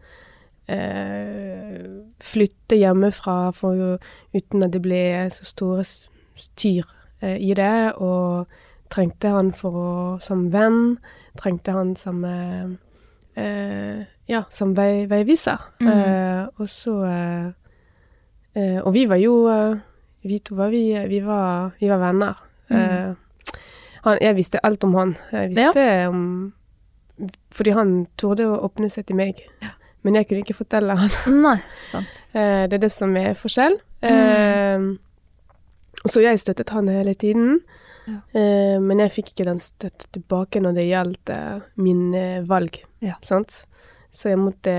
Speaker 2: eh, flytte hjemmefra for, å- uten at det ble så store s- styr eh, i det, og trengte han for å, som venn, trengte han som eh, eh, ja, som vei, veiviser.
Speaker 1: Mm.
Speaker 2: Eh, og så eh, eh, Og vi var jo eh, Vi to var vi, vi var, vi var venner.
Speaker 1: Mm.
Speaker 2: Eh, han, jeg visste alt om han. Jeg visste om Fordi han torde å åpne seg til meg. Men jeg kunne ikke fortelle han.
Speaker 1: Nei, sant.
Speaker 2: Eh, det er det som er forskjell. Eh,
Speaker 1: Mm.
Speaker 2: så jeg støttet han hele tiden.
Speaker 1: Ja.
Speaker 2: Eh, men jeg fikk ikke den støtten tilbake når det gjaldt eh, mine valg.
Speaker 1: Ja.
Speaker 2: Sant? Så jeg måtte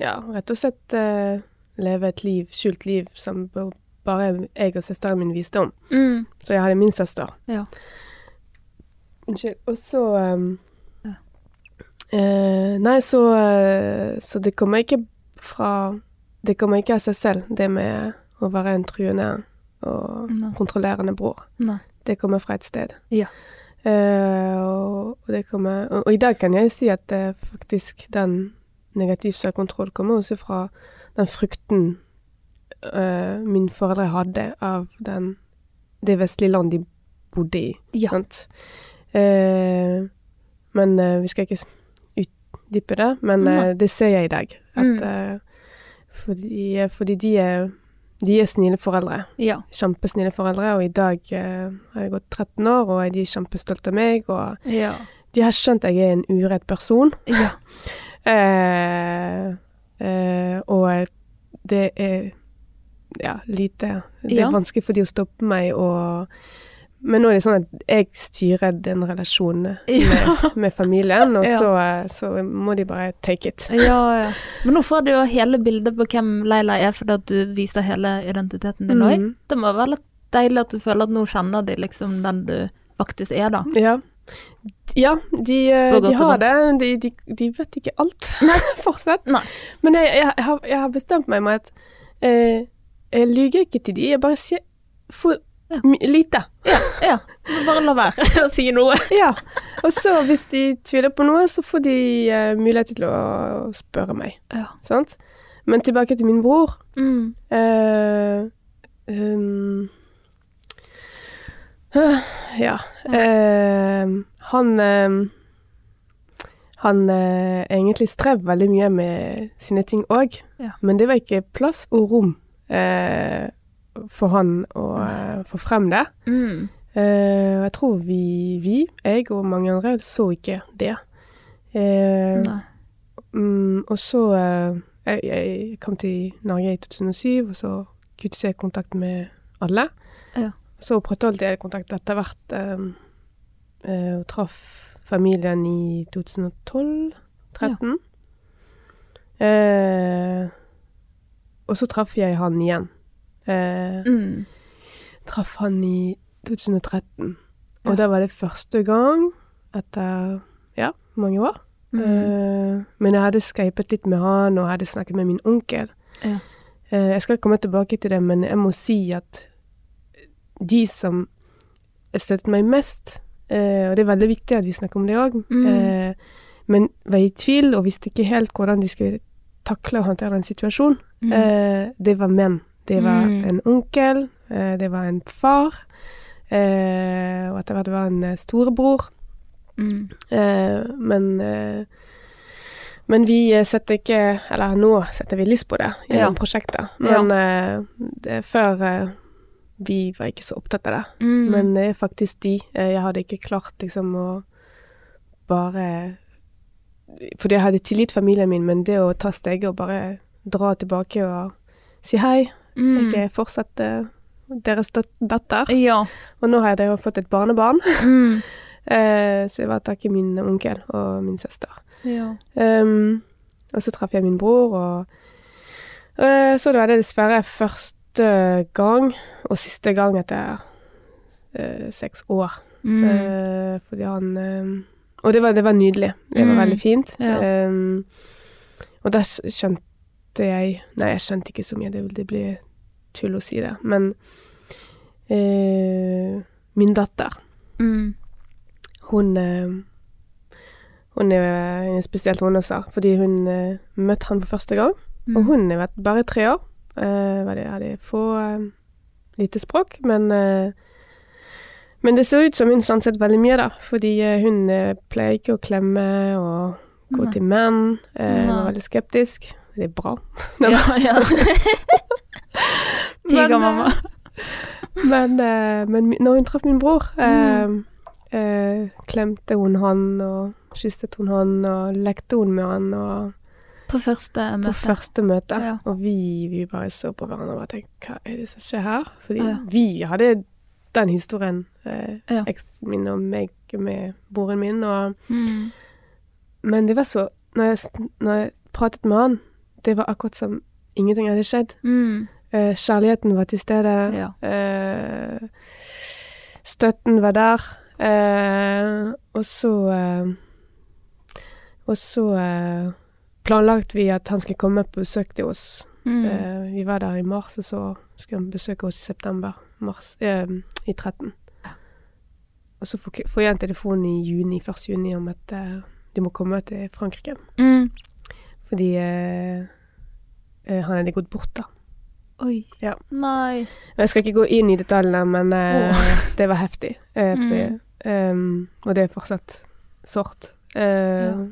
Speaker 2: ja, rett og slett eh, leve et liv, skjult liv som b- bare jeg og søsteren min visste om.
Speaker 1: Mm.
Speaker 2: Så jeg hadde min søster.
Speaker 1: Ja.
Speaker 2: Unnskyld. Og så um,
Speaker 1: Ja.
Speaker 2: eh, Nei, så, eh, så det kommer ikke fra Det kommer ikke av seg selv, det med å være en truende og
Speaker 1: Nei.
Speaker 2: kontrollerende bror.
Speaker 1: Nei.
Speaker 2: Det kommer fra et sted.
Speaker 1: Ja.
Speaker 2: Eh, og, og, det kommer, og, og i dag kan jeg si at eh, faktisk den negativ selvkontroll kommer også fra den frykten eh, min foreldre hadde av den, det vestlige land de bodde i.
Speaker 1: Ja.
Speaker 2: Sant? Eh, men eh, vi skal ikke s- utdype det, men eh,
Speaker 1: Nei.
Speaker 2: det ser jeg i dag. At,
Speaker 1: Mm.
Speaker 2: eh, fordi eh, fordi de, er, de er snille foreldre
Speaker 1: Ja.
Speaker 2: kjempesnille foreldre, og i dag eh, har jeg gått 13 år, og de er kjempestolte av meg, og
Speaker 1: Ja.
Speaker 2: de har skjønt at jeg er en uredd person.
Speaker 1: ja.
Speaker 2: Eh, eh, og det er ja, lite Det er
Speaker 1: Ja.
Speaker 2: vanskelig for de å stoppe meg, og men nå er det sånn at jeg styrer den relasjonen
Speaker 1: Ja.
Speaker 2: med familien, og
Speaker 1: Ja.
Speaker 2: så, eh, så må de bare take it.
Speaker 1: Ja, ja. Men nå får du jo hele bildet på hvem Leila er, fordi at du viser hele identiteten din òg.
Speaker 2: Mhm.
Speaker 1: Det må være litt deilig at du føler at nå kjenner de liksom den du faktisk er, da.
Speaker 2: Ja. Ja, de,
Speaker 1: På
Speaker 2: eh,
Speaker 1: godt og
Speaker 2: de har
Speaker 1: vondt.
Speaker 2: det. De, de, de vet ikke alt fortsatt.
Speaker 1: Nei.
Speaker 2: Men jeg, jeg, har, jeg har bestemt meg med at eh, jeg lyver ikke til de, jeg bare sier for
Speaker 1: Ja.
Speaker 2: my- lite.
Speaker 1: Ja. ja. Men Bare la være å si noe.
Speaker 2: Ja. Og så hvis de tviler på noe, så får de eh, mulighet til å spørre meg.
Speaker 1: Ja.
Speaker 2: Sant? Men tilbake til min bror.
Speaker 1: Mm.
Speaker 2: Eh, Um, øh, ja. Ehm, han ehm, han eh, egentlig strev veldig mye med sine ting òg,
Speaker 1: Ja.
Speaker 2: men det var ikke plass og rom eh, for han å eh, få frem det.
Speaker 1: Mm.
Speaker 2: Eh, og jeg tror vi, vi, jeg og mange andre, så ikke det. Eh,
Speaker 1: Nei.
Speaker 2: Mm, og så eh, jeg, jeg kom til Norge i 2007, og så kuttet jeg kontakt med alle.
Speaker 1: Ja.
Speaker 2: Så opprettholdt jeg kontakt etter hvert, eh, eh, og traff familien i 2012-2013. Eh, og så traff jeg han igjen. Eh,
Speaker 1: Mm.
Speaker 2: traff han i 2013. Og
Speaker 1: Ja.
Speaker 2: da var det første gang etter ja, mange år.
Speaker 1: Mm.
Speaker 2: Eh, men jeg hadde skypet litt med han, og jeg hadde snakket med min onkel.
Speaker 1: Ja.
Speaker 2: Eh, jeg skal komme tilbake til det, men jeg må si at de som støttet meg mest, eh, og det er veldig viktig at vi snakker om det òg,
Speaker 1: Mm.
Speaker 2: men var i tvil og visste ikke helt hvordan de skulle takle og håndtere en situasjon.
Speaker 1: Mm.
Speaker 2: Eh, det var menn. Det var
Speaker 1: Mm.
Speaker 2: en onkel, eh, det var en far, eh, og etter hvert var det en eh, storebror.
Speaker 1: Mm.
Speaker 2: Eh, men eh, men vi eh, setter ikke Eller nå setter vi lys på det gjennom
Speaker 1: Ja.
Speaker 2: prosjektet. Men eh, det, før eh, vi var ikke så opptatt av det.
Speaker 1: Mm.
Speaker 2: Men det er faktisk de. Eh, Jeg hadde ikke klart liksom å bare Fordi jeg hadde tilgitt familien min, men det å ta steget og bare dra tilbake og si hei,
Speaker 1: Mm.
Speaker 2: jeg er fortsatt eh, deres dat datter.
Speaker 1: Ja.
Speaker 2: Og nå har jeg da fått et barnebarn,
Speaker 1: Mm.
Speaker 2: eh, så jeg var takket min onkel og min søster.
Speaker 1: ja.
Speaker 2: Ehm, og så traff jeg min bror, og eh, så da er det dessverre første gang, og siste gang etter eh, seks år.
Speaker 1: Mm.
Speaker 2: Eh, fordi han eh, Og det var, det var nydelig. Det var
Speaker 1: Mm.
Speaker 2: veldig fint.
Speaker 1: Ja.
Speaker 2: Ehm, og da skj- skjønte jeg Nei, jeg skjønte ikke så mye, det, det blir tull å si det. Men eh, min datter,
Speaker 1: Mm.
Speaker 2: hun eh, Hun er hun er spesielt, hun også. Fordi hun eh, møtte han for første gang.
Speaker 1: Mm.
Speaker 2: Og hun har vært bare tre år. Uh, var det, hadde få eh, lite språk, men eh, Men det ser ut som hun sanset veldig mye, da. Fordi eh, hun eh, pleier ikke å klemme og gå
Speaker 1: Nei.
Speaker 2: til menn. Eh, hun var
Speaker 1: Nei.
Speaker 2: veldig skeptisk. Det er bra.
Speaker 1: Mm. Ja, ja. Tiger,
Speaker 2: Men, eh,
Speaker 1: mamma.
Speaker 2: Men, eh, men mi- når hun traff min bror,
Speaker 1: Mm.
Speaker 2: eh, eh, klemte hun han, og kysset hun han, og lekte hun med han. og...
Speaker 1: På første
Speaker 2: eh, På
Speaker 1: møte.
Speaker 2: første møte.
Speaker 1: Ja.
Speaker 2: Og vi, vi bare så på hverandre og bare tenkte hva er det som skjer her? Fordi
Speaker 1: Ja.
Speaker 2: vi hadde den historien, eh,
Speaker 1: Ja.
Speaker 2: eksen min og meg med broren min. Og,
Speaker 1: Mm.
Speaker 2: men det var så når jeg, sn- når jeg pratet med han, det var akkurat som ingenting hadde skjedd.
Speaker 1: Mm.
Speaker 2: Eh, kjærligheten var til stede.
Speaker 1: Ja.
Speaker 2: Eh, støtten var der. Eh, og så eh, Og så eh, planlagte vi at han skulle komme på besøk til oss.
Speaker 1: Mm.
Speaker 2: Eh, vi var der i mars, og så skulle han besøke oss i september. Mars, eh, I 13. Og så får får jeg en telefon i juni, 1. juni om at eh, du må komme til Frankrike.
Speaker 1: Mm.
Speaker 2: Fordi eh, eh, han hadde gått bort, da.
Speaker 1: Oi.
Speaker 2: Ja.
Speaker 1: Nei.
Speaker 2: Og Jeg skal ikke gå inn i detaljene, men eh, det var heftig. Eh,
Speaker 1: Mm.
Speaker 2: fordi, ehm, og det er fortsatt sårt. Eh,
Speaker 1: Ja.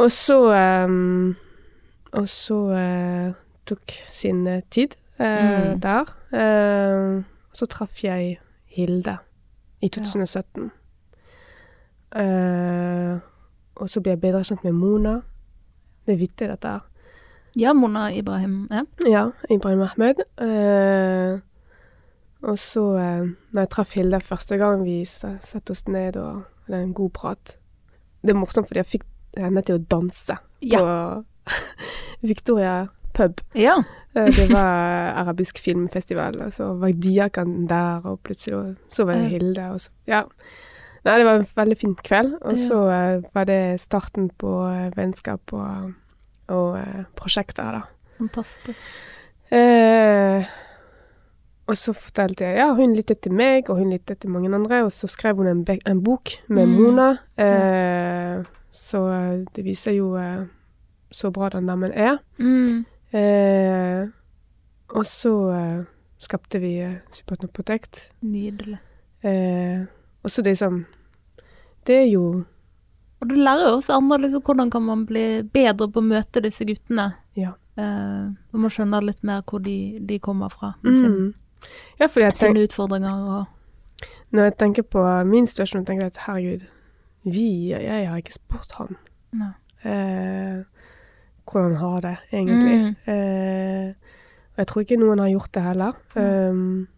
Speaker 2: Og så ehm, Og så eh, tok sin eh, tid eh,
Speaker 1: Mm.
Speaker 2: der. Eh, og så traff jeg Hilde i 2017. Eh, og så ble jeg bedre kjent med Mona. Det er vittig, dette her.
Speaker 1: Ja, Mona Ibrahim. Ja.
Speaker 2: Ja, Ibrahim Ahmed. Eh, og så, eh, når jeg traff Hilde første gang, vi s- satte oss ned og hadde en god prat. Det er morsomt, fordi jeg fikk henne til å danse på Victoria pub.
Speaker 1: Ja.
Speaker 2: Eh, det var arabisk filmfestival, og så var Diakan der, og plutselig og så var
Speaker 1: Ja.
Speaker 2: det Hilde. Og så, ja. Nei, det var en veldig fin kveld, og
Speaker 1: Ja.
Speaker 2: så eh, var det starten på eh, vennskap og, og eh, prosjekter, da.
Speaker 1: Fantastisk.
Speaker 2: Eh, og så fortalte jeg ja, hun lyttet til meg, og hun lyttet til mange andre. Og så skrev hun en, be en bok med
Speaker 1: Mm.
Speaker 2: Mona. Eh, Så eh, det viser jo eh, så bra den damen er.
Speaker 1: Mm.
Speaker 2: Eh, Og så eh, skapte vi eh, Supportner Protect.
Speaker 1: Nydelig.
Speaker 2: Eh, og så liksom Det er jo
Speaker 1: Og du lærer jo også andre liksom, hvordan kan man bli bedre på å møte disse guttene.
Speaker 2: Ja.
Speaker 1: Eh, man må skjønne litt mer hvor de, de kommer fra, med sin,
Speaker 2: Mm. Ja, fordi jeg tenk,
Speaker 1: sine utfordringer. Og,
Speaker 2: når jeg tenker på min situasjon, tenker jeg at herregud, vi Jeg har ikke spurt han
Speaker 1: Nei.
Speaker 2: eh, hvordan han har det, egentlig.
Speaker 1: Mm.
Speaker 2: Eh, og jeg tror ikke noen har gjort det heller. Um,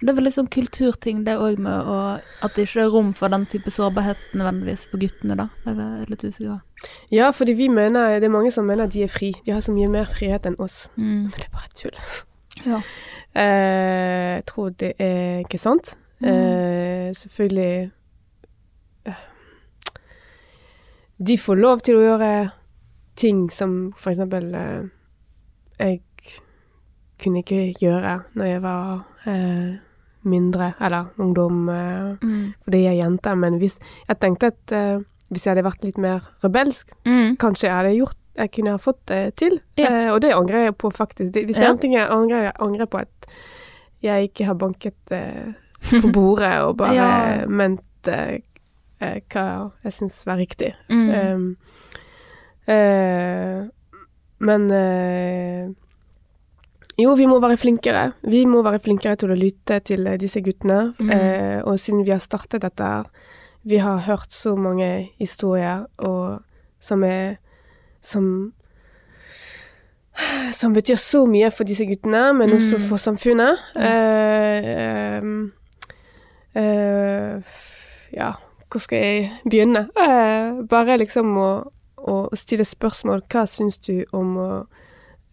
Speaker 1: det er vel litt sånn kulturting det òg med å, at det ikke er rom for den type sårbarhet nødvendigvis for guttene, da. Det er jeg litt usikker på.
Speaker 2: ja, fordi vi mener Det er mange som mener at de er fri. De har så mye mer frihet enn oss.
Speaker 1: Mm.
Speaker 2: Men det er bare tull.
Speaker 1: Ja.
Speaker 2: Eh, jeg tror det er ikke sant. Eh, selvfølgelig eh, De får lov til å gjøre ting som for eksempel eh, jeg kunne ikke gjøre når jeg var eh, mindre, eller ungdom, eh,
Speaker 1: Mm.
Speaker 2: fordi jeg er jente. Men hvis, jeg tenkte at eh, hvis jeg hadde vært litt mer rebelsk,
Speaker 1: Mm.
Speaker 2: kanskje jeg hadde gjort jeg kunne ha fått det til.
Speaker 1: Ja.
Speaker 2: Eh, og det angrer jeg på, faktisk. Det, hvis det er
Speaker 1: Ja.
Speaker 2: en ting jeg angrer, jeg angrer på at jeg ikke har banket eh, på bordet og bare
Speaker 1: Ja.
Speaker 2: ment eh, eh, hva jeg syns var riktig.
Speaker 1: Mm.
Speaker 2: Eh, eh, men eh, jo, vi må være flinkere. Vi må være flinkere til å lytte til eh, disse guttene.
Speaker 1: Mm.
Speaker 2: Eh, og siden vi har startet dette her, vi har hørt så mange historier og, som er som som betyr så mye for disse guttene, men også
Speaker 1: Mm.
Speaker 2: for samfunnet. Eh, em, eh, ja, hvor skal jeg begynne? Eh, bare liksom å, å stille spørsmål. Hva syns du om å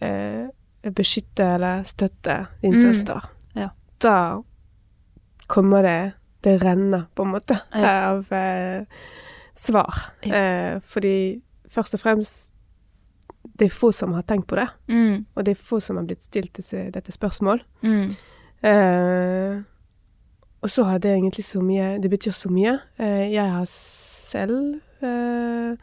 Speaker 2: eh, beskytte eller støtte din
Speaker 1: Mm.
Speaker 2: søster?
Speaker 1: Ja.
Speaker 2: Da kommer det Det renner, på en måte,
Speaker 1: Ja.
Speaker 2: av eh, svar.
Speaker 1: Ja.
Speaker 2: Eh, fordi først og fremst Det er få som har tenkt på det,
Speaker 1: Mm.
Speaker 2: og det er få som har blitt stilt disse, dette spørsmål.
Speaker 1: Mm.
Speaker 2: Eh, og så har det egentlig så mye Det betyr så mye. Eh, jeg har selv eh,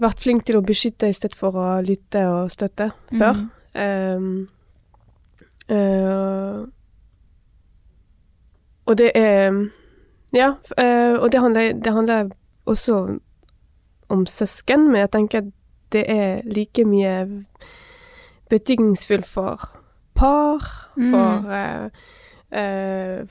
Speaker 2: vært flink til å beskytte i stedet for å lytte og støtte før.
Speaker 1: Mm.
Speaker 2: Eh, eh, og det er Ja, f- eh, og det handler, det handler også om søsken, men jeg tenker at det er like mye betydningsfullt for par,
Speaker 1: Mm.
Speaker 2: for eh, eh,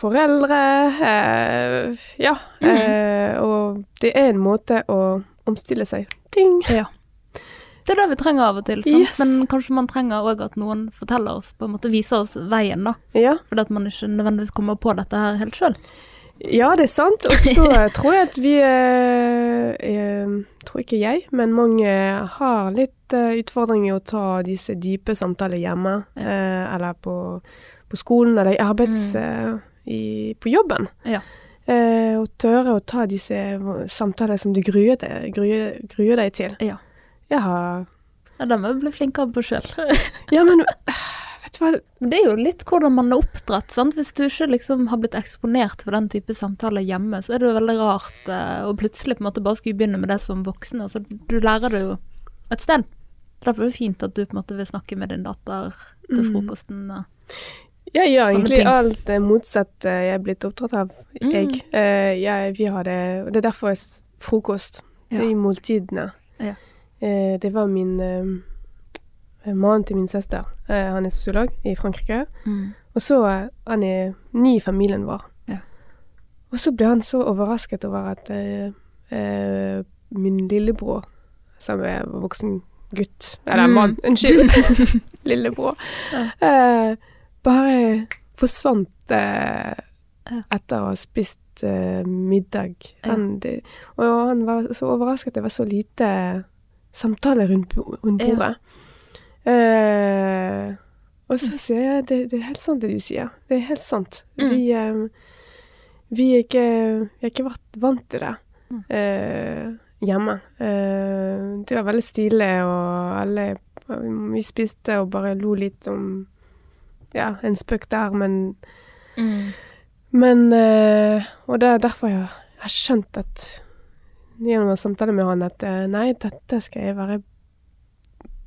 Speaker 2: foreldre eh, Ja.
Speaker 1: Mm.
Speaker 2: eh, og det er en måte å omstille seg Ding!
Speaker 1: Det er det vi trenger av og til, sant?
Speaker 2: Yes.
Speaker 1: men kanskje man trenger òg at noen forteller oss, på en måte viser oss veien, da.
Speaker 2: Ja.
Speaker 1: Fordi at man ikke nødvendigvis kommer på dette her helt sjøl.
Speaker 2: Ja, det er sant. Og så eh, tror jeg at vi eh, eh, Tror ikke jeg, men mange har litt eh, utfordringer i å ta disse dype samtaler hjemme.
Speaker 1: Ja. Mm.
Speaker 2: eh, eller på, på skolen, eller i arbeids... eh, i, på jobben.
Speaker 1: Ja.
Speaker 2: Eh, og tørre å ta disse samtaler som du gruer deg, gruer, gruer deg til.
Speaker 1: Ja.
Speaker 2: Jeg har
Speaker 1: Ja, det må vi bli flinkere på sjøl.
Speaker 2: Ja, men eh, Vet du hva
Speaker 1: Men det er jo litt hvordan man er oppdratt, sant. Hvis du ikke liksom har blitt eksponert for den type samtaler hjemme, så er det jo veldig rart eh, å plutselig på en måte bare skulle begynne med det som voksen. Altså, du lærer det jo et sted. Derfor er det fint at du på en måte vil snakke med din datter til
Speaker 2: Mm.
Speaker 1: frokosten. ja.
Speaker 2: Jeg gjør
Speaker 1: Sånne
Speaker 2: egentlig
Speaker 1: ting.
Speaker 2: alt det motsatte jeg er blitt opptatt av.
Speaker 1: Mm.
Speaker 2: Jeg. Eh, jeg vi har det, og det er derfor jeg s- frokost
Speaker 1: Ja.
Speaker 2: i måltidene.
Speaker 1: Ja.
Speaker 2: Eh, det var min eh, mann til min søster. Eh, han er sosiolog i Frankrike.
Speaker 1: Mm.
Speaker 2: Og så eh, han er ny i familien vår.
Speaker 1: Ja.
Speaker 2: Og så ble han så overrasket over at eh, eh, min lillebror, som er voksen gutt Eller
Speaker 1: Mm.
Speaker 2: mann, unnskyld. lillebror. Eh, bare forsvant eh,
Speaker 1: Ja.
Speaker 2: etter å ha spist eh, middag.
Speaker 1: Ja.
Speaker 2: Han, det, og han var så overrasket. Det var så lite eh, samtale rundt, bo- rundt
Speaker 1: Ja.
Speaker 2: bordet. Eh, og så sier jeg det, det er helt sant det du sier. Det er helt sant.
Speaker 1: Mm.
Speaker 2: Vi, eh, vi er ikke Vi har ikke vært vant til det
Speaker 1: Mm.
Speaker 2: eh, hjemme. Eh, det var veldig stilig, og alle Vi spiste og bare lo litt om ja, en spøk der, men
Speaker 1: Mm.
Speaker 2: men eh, Og det er derfor jeg har skjønt at gjennom en samtale med han at eh, nei, dette skal jeg være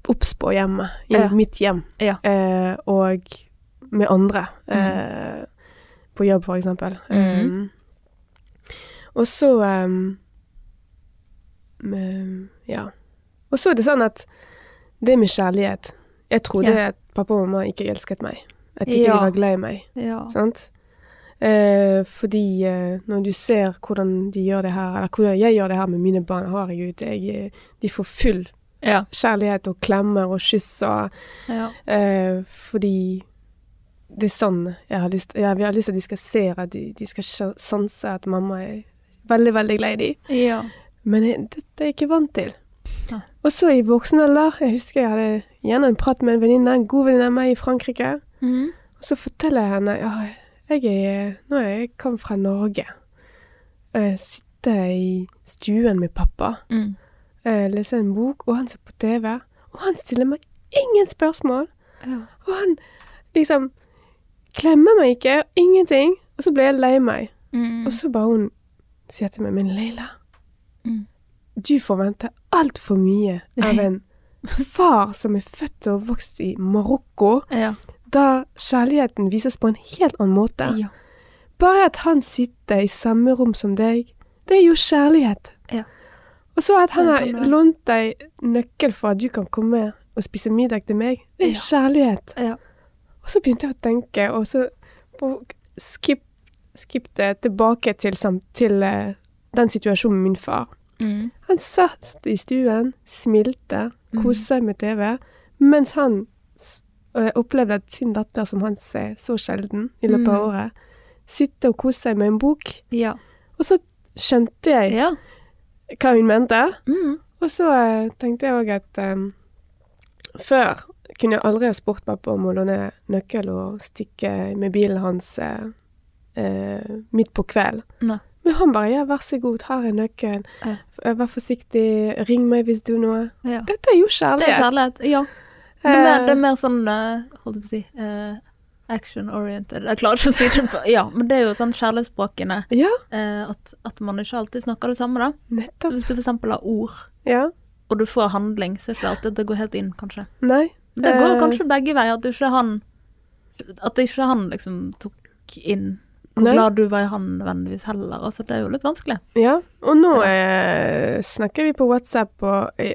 Speaker 2: obs på hjemmet, i
Speaker 1: Ja.
Speaker 2: mitt hjem,
Speaker 1: Ja. Mm.
Speaker 2: eh, og med andre. Eh, På jobb, for eksempel.
Speaker 1: Mhm.
Speaker 2: Um, og så um, um, Ja. Og så er det sånn at det med kjærlighet Jeg trodde
Speaker 1: Ja.
Speaker 2: at pappa og mamma ikke elsket meg. At ikke
Speaker 1: Ja.
Speaker 2: de var glad i meg.
Speaker 1: Ja.
Speaker 2: Sant? Eh, fordi eh, når du ser hvordan de gjør det her, eller hvordan jeg gjør det her med mine barn, herregud, jeg, eh, de får full
Speaker 1: Ja.
Speaker 2: kjærlighet og klemmer og kyss og
Speaker 1: ja.
Speaker 2: eh, Fordi det er sånn jeg har lyst Jeg, jeg har lyst til at de skal se at de, de skal skj- sanse at mamma er veldig, veldig glad i dem.
Speaker 1: ja.
Speaker 2: Men jeg, dette er jeg ikke vant til.
Speaker 1: Nei.
Speaker 2: Og så i voksen alder Jeg husker jeg hadde igjen en prat med en venninne, en god venninne av meg i Frankrike.
Speaker 1: Mhm.
Speaker 2: Og så forteller jeg henne ja, jeg er, nå er jeg kom fra Norge. Jeg sitter i stuen med pappa,
Speaker 1: Mm.
Speaker 2: jeg leser en bok, og han ser på TV. Og han stiller meg ingen spørsmål.
Speaker 1: Ja.
Speaker 2: Og han liksom klemmer meg ikke, ingenting. Og så ble jeg lei meg.
Speaker 1: Mm.
Speaker 2: Og så bare hun sier til meg, men Leila,
Speaker 1: Mm.
Speaker 2: du forventer altfor mye av en far som er født og vokst i Marokko,
Speaker 1: Ja.
Speaker 2: da kjærligheten vises på en helt annen måte.
Speaker 1: Ja.
Speaker 2: Bare at han sitter i samme rom som deg, det er jo kjærlighet.
Speaker 1: Ja.
Speaker 2: Og så at han
Speaker 1: Ja,
Speaker 2: har
Speaker 1: det kan være.
Speaker 2: lånt deg nøkkel for at du kan komme og spise middag til meg, det er
Speaker 1: Ja.
Speaker 2: kjærlighet.
Speaker 1: Ja.
Speaker 2: Og så begynte jeg å tenke, og så skip, skippet jeg tilbake til, sam- til eh, den situasjonen med min far.
Speaker 1: Mm.
Speaker 2: Han satt, satt i stuen, smilte, koste seg med TV, mens han s- øh, opplevde at sin datter, som han ser så sjelden i løpet av
Speaker 1: Mm.
Speaker 2: året, sitter og koser seg med en bok.
Speaker 1: Ja.
Speaker 2: Og så skjønte jeg
Speaker 1: Ja.
Speaker 2: hva hun mente,
Speaker 1: Mm.
Speaker 2: og så øh, tenkte jeg òg at ehm, før kunne jeg aldri ha spurt pappa om å låne nøkkel og stikke med bilen hans eh, eh, midt på kvelden.
Speaker 1: Nei.
Speaker 2: Men han bare ja, vær så god, her er nøkkelen.
Speaker 1: Ja.
Speaker 2: Eh, Vær forsiktig, ring meg hvis du har noe.
Speaker 1: Ja.
Speaker 2: Dette er jo
Speaker 1: Det
Speaker 2: kjærlighet.
Speaker 1: er kjærlighet. Ja. Det er mer, det er mer sånn eh, Holdt jeg på å si eh, Action-oriented. Jeg klarer ikke å si det på Ja, men det er jo sånn kjærlighetsspråkene.
Speaker 2: Eh, Ja,
Speaker 1: eh, at, at man ikke alltid snakker det samme, da.
Speaker 2: nettopp.
Speaker 1: Hvis du f.eks. har ord,
Speaker 2: Ja.
Speaker 1: og du får handling, så er ikke det alltid det går helt inn, kanskje.
Speaker 2: Nei.
Speaker 1: Men det går
Speaker 2: Eh,
Speaker 1: kanskje begge veier, at ikke han At ikke han liksom tok inn hvor
Speaker 2: Nei.
Speaker 1: glad du var i han nødvendigvis heller. Altså, det er jo litt vanskelig.
Speaker 2: Ja. Og nå eh, snakker vi på WhatsApp, og eh,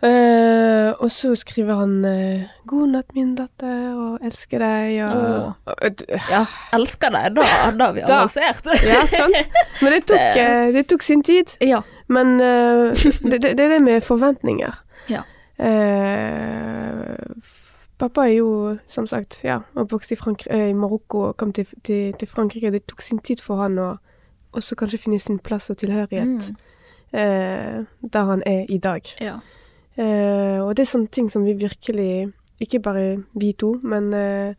Speaker 2: eh, Og så skriver han eh, 'God natt, min datter', og 'elsker deg', og, og, og
Speaker 1: Ja, elsker deg, da, da er vi
Speaker 2: Da.
Speaker 1: avansert.
Speaker 2: Ja, sant. Men det tok,
Speaker 1: Det-
Speaker 2: eh, det tok sin tid.
Speaker 1: ja.
Speaker 2: Men eh, det, det, det er det med forventninger.
Speaker 1: Ja.
Speaker 2: Eh, f- pappa er jo, som sagt, ja, oppvokst i, Frank eh, i Marokko og kom til, til, til Frankrike. Det tok sin tid for han å også kanskje finne sin plass og tilhørighet
Speaker 1: Mm.
Speaker 2: eh, der han er i dag.
Speaker 1: ja.
Speaker 2: Eh, og det er sånne ting som vi virkelig, ikke bare vi to, men eh,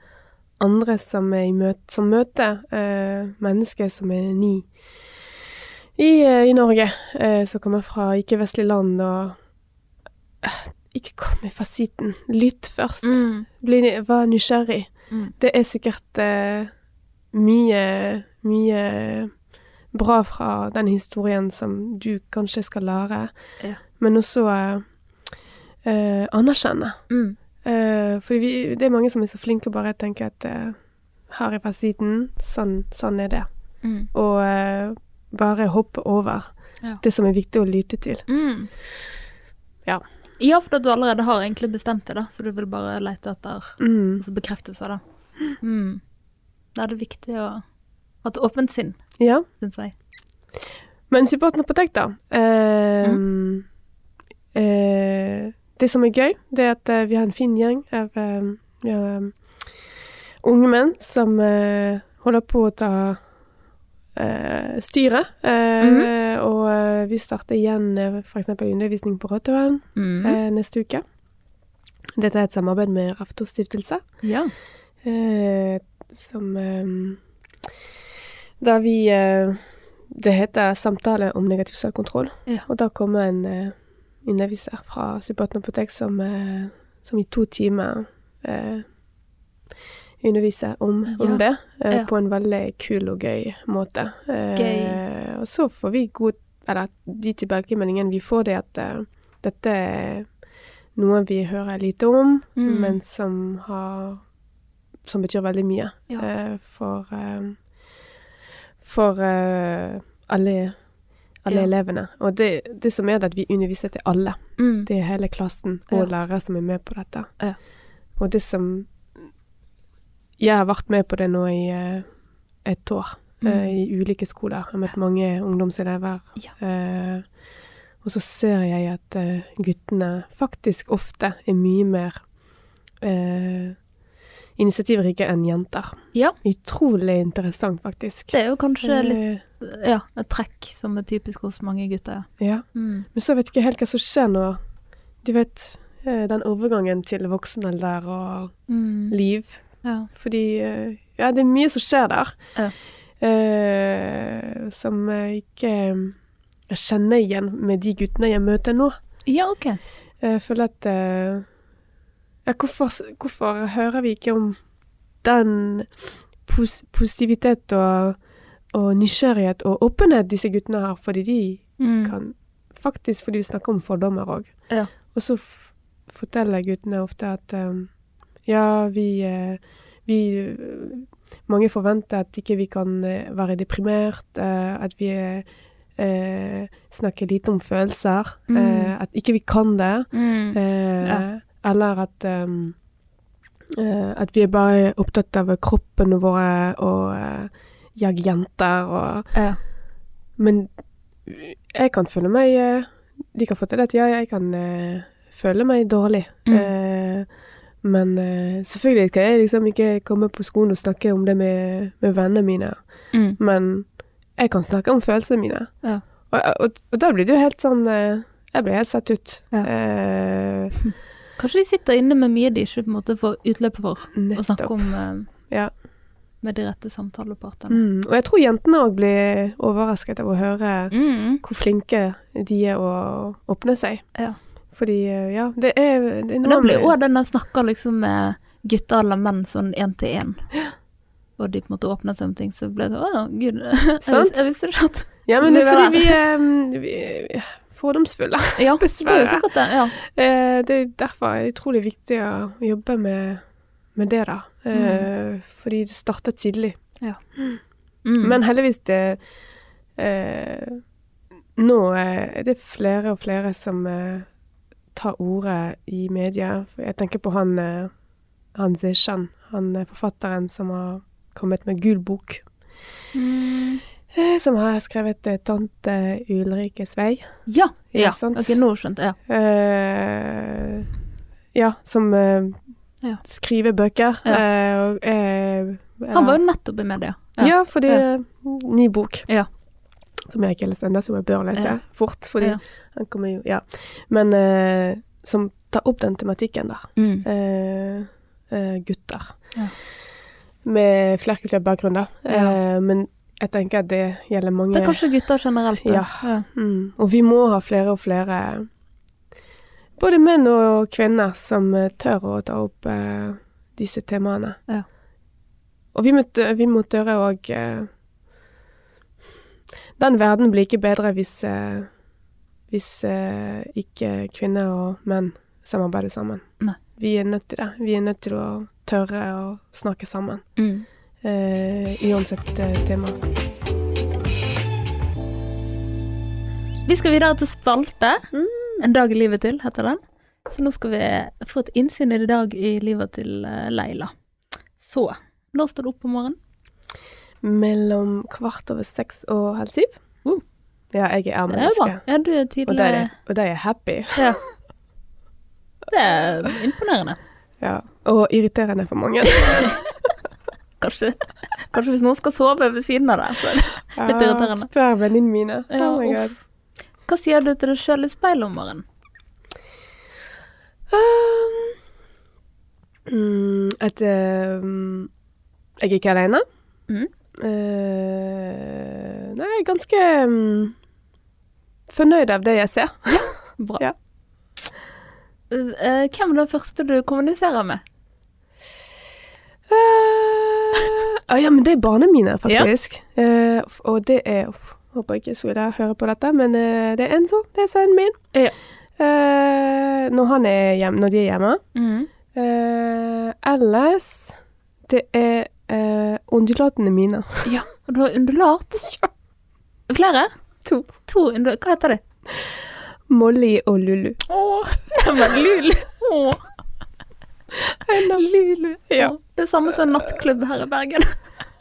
Speaker 2: andre som, er i møte, som møter eh, mennesker som er ni i, eh, i Norge, eh, som kommer fra ikke-vestlige land og eh, Ikke kom med fasiten. Lytt først.
Speaker 1: Mm.
Speaker 2: Bli, vær nysgjerrig.
Speaker 1: Mm.
Speaker 2: Det er sikkert eh, mye, mye bra fra den historien som du kanskje skal lære,
Speaker 1: Ja.
Speaker 2: men også eh, eh, anerkjenne.
Speaker 1: Mm.
Speaker 2: Eh, for vi, det er mange som er så flinke og bare tenker at eh, her er fasiten, sånn, sånn er det.
Speaker 1: Mm.
Speaker 2: Og eh, bare hoppe over
Speaker 1: Ja.
Speaker 2: det som er viktig å lytte til.
Speaker 1: Mm.
Speaker 2: Ja.
Speaker 1: Ja, for at du allerede har egentlig bestemt det, da, så du vil bare lete etter
Speaker 2: Mm,
Speaker 1: altså bekreftelser, da. Mm. Da er det viktig å ha et åpent sinn,
Speaker 2: ja.
Speaker 1: syns jeg.
Speaker 2: Men support and protect, da. Eh, eh, det som er gøy, det er at eh, vi har en fin gjeng av eh, vi har, eh, unge menn som eh, holder på å ta eh, styret. Eh, Og eh, vi starter igjen eh, for f.eks. undervisning på Rådhøen
Speaker 1: Mm.
Speaker 2: eh, neste uke. Dette er et samarbeid med Raftos stiftelse.
Speaker 1: Ja.
Speaker 2: Eh, som eh, Da vi eh, Det heter 'Samtale om negativ selvkontroll'.
Speaker 1: Ja.
Speaker 2: Og da kommer en eh, underviser fra Subaten Apotek som, eh, som i to timer eh, underviser om,
Speaker 1: Ja.
Speaker 2: om det. Eh,
Speaker 1: Ja.
Speaker 2: På en veldig kul og gøy måte. Eh,
Speaker 1: Gøy.
Speaker 2: Og så får vi god Eller de tilbakemeldingene vi får, det er at eh, dette er noen vi hører lite om,
Speaker 1: Mm.
Speaker 2: men som har Som betyr veldig mye
Speaker 1: Ja.
Speaker 2: eh, for eh, For eh, alle, alle
Speaker 1: Ja.
Speaker 2: elevene. Og det, det som er det, at vi underviser til alle.
Speaker 1: Mm.
Speaker 2: Det er hele klassen og
Speaker 1: Ja.
Speaker 2: lærere som er med på dette.
Speaker 1: Ja.
Speaker 2: Og det som Jeg har vært med på det nå i eh, et år,
Speaker 1: Mm.
Speaker 2: eh, i ulike skoler. Jeg har møtt mange ungdomselever.
Speaker 1: Ja.
Speaker 2: Eh, og så ser jeg at eh, guttene faktisk ofte er mye mer eh, initiativrike enn jenter.
Speaker 1: Ja.
Speaker 2: Utrolig interessant, faktisk.
Speaker 1: Det er jo kanskje litt
Speaker 2: Eh,
Speaker 1: ja, et trekk som er typisk hos mange gutter.
Speaker 2: Eh, ja.
Speaker 1: Ja. Mm.
Speaker 2: Men så vet jeg ikke helt hva som skjer når Du vet eh, den overgangen til voksen alder og
Speaker 1: Mm.
Speaker 2: liv.
Speaker 1: Ja.
Speaker 2: Fordi eh, ja, det er mye som skjer der.
Speaker 1: Ja.
Speaker 2: Eh, som jeg ikke jeg kjenner igjen med de guttene jeg møter nå.
Speaker 1: ja, OK.
Speaker 2: Jeg føler at eh, ja, hvorfor, s- hvorfor hører vi ikke om den pos positivitet og, og nysgjerrighet og åpenhet disse guttene har? Fordi de
Speaker 1: Mm.
Speaker 2: kan Faktisk fordi vi snakker om fordommer òg.
Speaker 1: Ja.
Speaker 2: Og så f forteller guttene ofte at eh, ja, vi, eh, vi eh, Mange forventer at ikke vi kan eh, være deprimert, eh, at vi eh, snakker lite om følelser,
Speaker 1: Mm.
Speaker 2: eh, at ikke vi kan det.
Speaker 1: Mm.
Speaker 2: Eh,
Speaker 1: Ja.
Speaker 2: Eller at ehm, eh, At vi er bare opptatt av kroppen våre og eh, jeg jenter og
Speaker 1: Ja.
Speaker 2: Men jeg kan føle meg eh, De kan få til at jeg, jeg kan eh, føle meg dårlig.
Speaker 1: Mm.
Speaker 2: Eh, men eh, selvfølgelig kan jeg liksom ikke komme på skolen og snakke om det med, med vennene mine.
Speaker 1: Mm.
Speaker 2: Men jeg kan snakke om følelsene mine.
Speaker 1: Ja.
Speaker 2: Og, og, og da blir det jo helt sånn eh, Jeg blir helt satt ut.
Speaker 1: Ja.
Speaker 2: Eh,
Speaker 1: Kanskje de sitter inne med mye de ikke på en måte får utløp for å snakke
Speaker 2: nettopp.
Speaker 1: om eh,
Speaker 2: Ja.
Speaker 1: med de rette samtalepartene.
Speaker 2: Mm. Og jeg tror jentene òg blir overrasket av å høre
Speaker 1: Mm.
Speaker 2: hvor flinke de er å åpne seg.
Speaker 1: Ja.
Speaker 2: Fordi, eh, ja, det er, det er
Speaker 1: Men da blir òg den der snakker liksom med gutter eller menn sånn én til én. Og de på en måte åpner seg om ting, så ble det sånn Å, gud. Jeg,
Speaker 2: Sant?
Speaker 1: vis, jeg visste ikke at
Speaker 2: Ja, men det er
Speaker 1: Det var
Speaker 2: fordi vi, eh, vi er fordomsfulle.
Speaker 1: Ja, det er jo
Speaker 2: Dessverre.
Speaker 1: sikkert det. Ja.
Speaker 2: Eh, Det er derfor utrolig viktig å jobbe med, med det, da. Eh, Fordi det starter tidlig.
Speaker 1: Mm.
Speaker 2: Men heldigvis det eh, Nå eh, er det flere og flere som eh, tar ordet i media. For Jeg tenker på han, eh, han Zishan, han eh, forfatteren som har kommet med gul bok.
Speaker 1: Mm.
Speaker 2: eh, Som har skrevet eh, 'Tante Ulrikes vei'.
Speaker 1: Ja.
Speaker 2: Ja,
Speaker 1: ja.
Speaker 2: sant.
Speaker 1: Ok, nå skjønte jeg.
Speaker 2: Eh, ja, som eh,
Speaker 1: Ja.
Speaker 2: skriver bøker.
Speaker 1: Ja.
Speaker 2: eh, og, eh,
Speaker 1: Han var jo nettopp i media.
Speaker 2: Ja,
Speaker 1: Ja.
Speaker 2: fordi
Speaker 1: Ja.
Speaker 2: eh, ny bok.
Speaker 1: Ja.
Speaker 2: Som jeg ikke har lest ennå, som jeg bør lese
Speaker 1: Ja.
Speaker 2: fort. Fordi
Speaker 1: Ja.
Speaker 2: han kommer jo Ja. Men eh, som tar opp den tematikken, da.
Speaker 1: Mm.
Speaker 2: Eh, eh, gutter.
Speaker 1: Ja.
Speaker 2: Med flerkulturell bakgrunn, da. Eh, men jeg tenker at det gjelder mange
Speaker 1: Det er kanskje gutter generelt. da.
Speaker 2: Ja. mm, Og vi må ha flere og flere både menn og kvinner som eh, tør å ta opp eh, disse temaene.
Speaker 1: Ja.
Speaker 2: Og vi må, tø- vi må tørre òg Den verden blir ikke bedre hvis, eh, hvis eh, ikke kvinner og menn samarbeider sammen.
Speaker 1: Nei.
Speaker 2: Vi er nødt til det. Vi er nødt til å tørre å snakke sammen,
Speaker 1: Mm.
Speaker 2: eh, uansett eh, tema.
Speaker 1: Vi skal videre til spalte. En dag i livet til, heter den. Så nå skal vi få et innsyn i det dag i livet til eh, Leila. Så Når står du opp om morgenen?
Speaker 2: Mellom kvart over seks og halv syv.
Speaker 1: Uh.
Speaker 2: Ja, jeg
Speaker 1: Det
Speaker 2: er
Speaker 1: er jo bra.
Speaker 2: menneske.
Speaker 1: Ja, du er
Speaker 2: Og
Speaker 1: tidlig
Speaker 2: da er, jeg- og da er jeg happy.
Speaker 1: Ja. Det er imponerende.
Speaker 2: Ja. Og irriterende for mange.
Speaker 1: Kanskje, kanskje hvis noen skal sove ved siden av deg. Så. Litt irriterende.
Speaker 2: Ja, Spør venninnene mine.
Speaker 1: Ja,
Speaker 2: oh my god.
Speaker 1: Hva sier du til deg sjøl i speilet om morgenen?
Speaker 2: Mm, at eh, jeg er ikke alene.
Speaker 1: Mm.
Speaker 2: Eh, nei, jeg er ganske mm, fornøyd av det jeg ser.
Speaker 1: Bra.
Speaker 2: Ja.
Speaker 1: Eh, Hvem er den første du kommuniserer med?
Speaker 2: Eh, ah, ja, men det er barna mine, faktisk. Eh, og det er uff, Håper ikke Sola hører på dette, men eh, det er Enzo. Det er sønnen min.
Speaker 1: Ja.
Speaker 2: eh, når, han er hjem, når de er hjemme.
Speaker 1: Mhm.
Speaker 2: Eh, ellers det er eh, ondulatene mine.
Speaker 1: Ja, og du har undulat. Flere?
Speaker 2: To.
Speaker 1: To undulat. Hva heter de?
Speaker 2: Molly og Lulu.
Speaker 1: Åh, den var lul. Åh,
Speaker 2: Lulu. Ja,
Speaker 1: det er samme som nattklubb her i Bergen.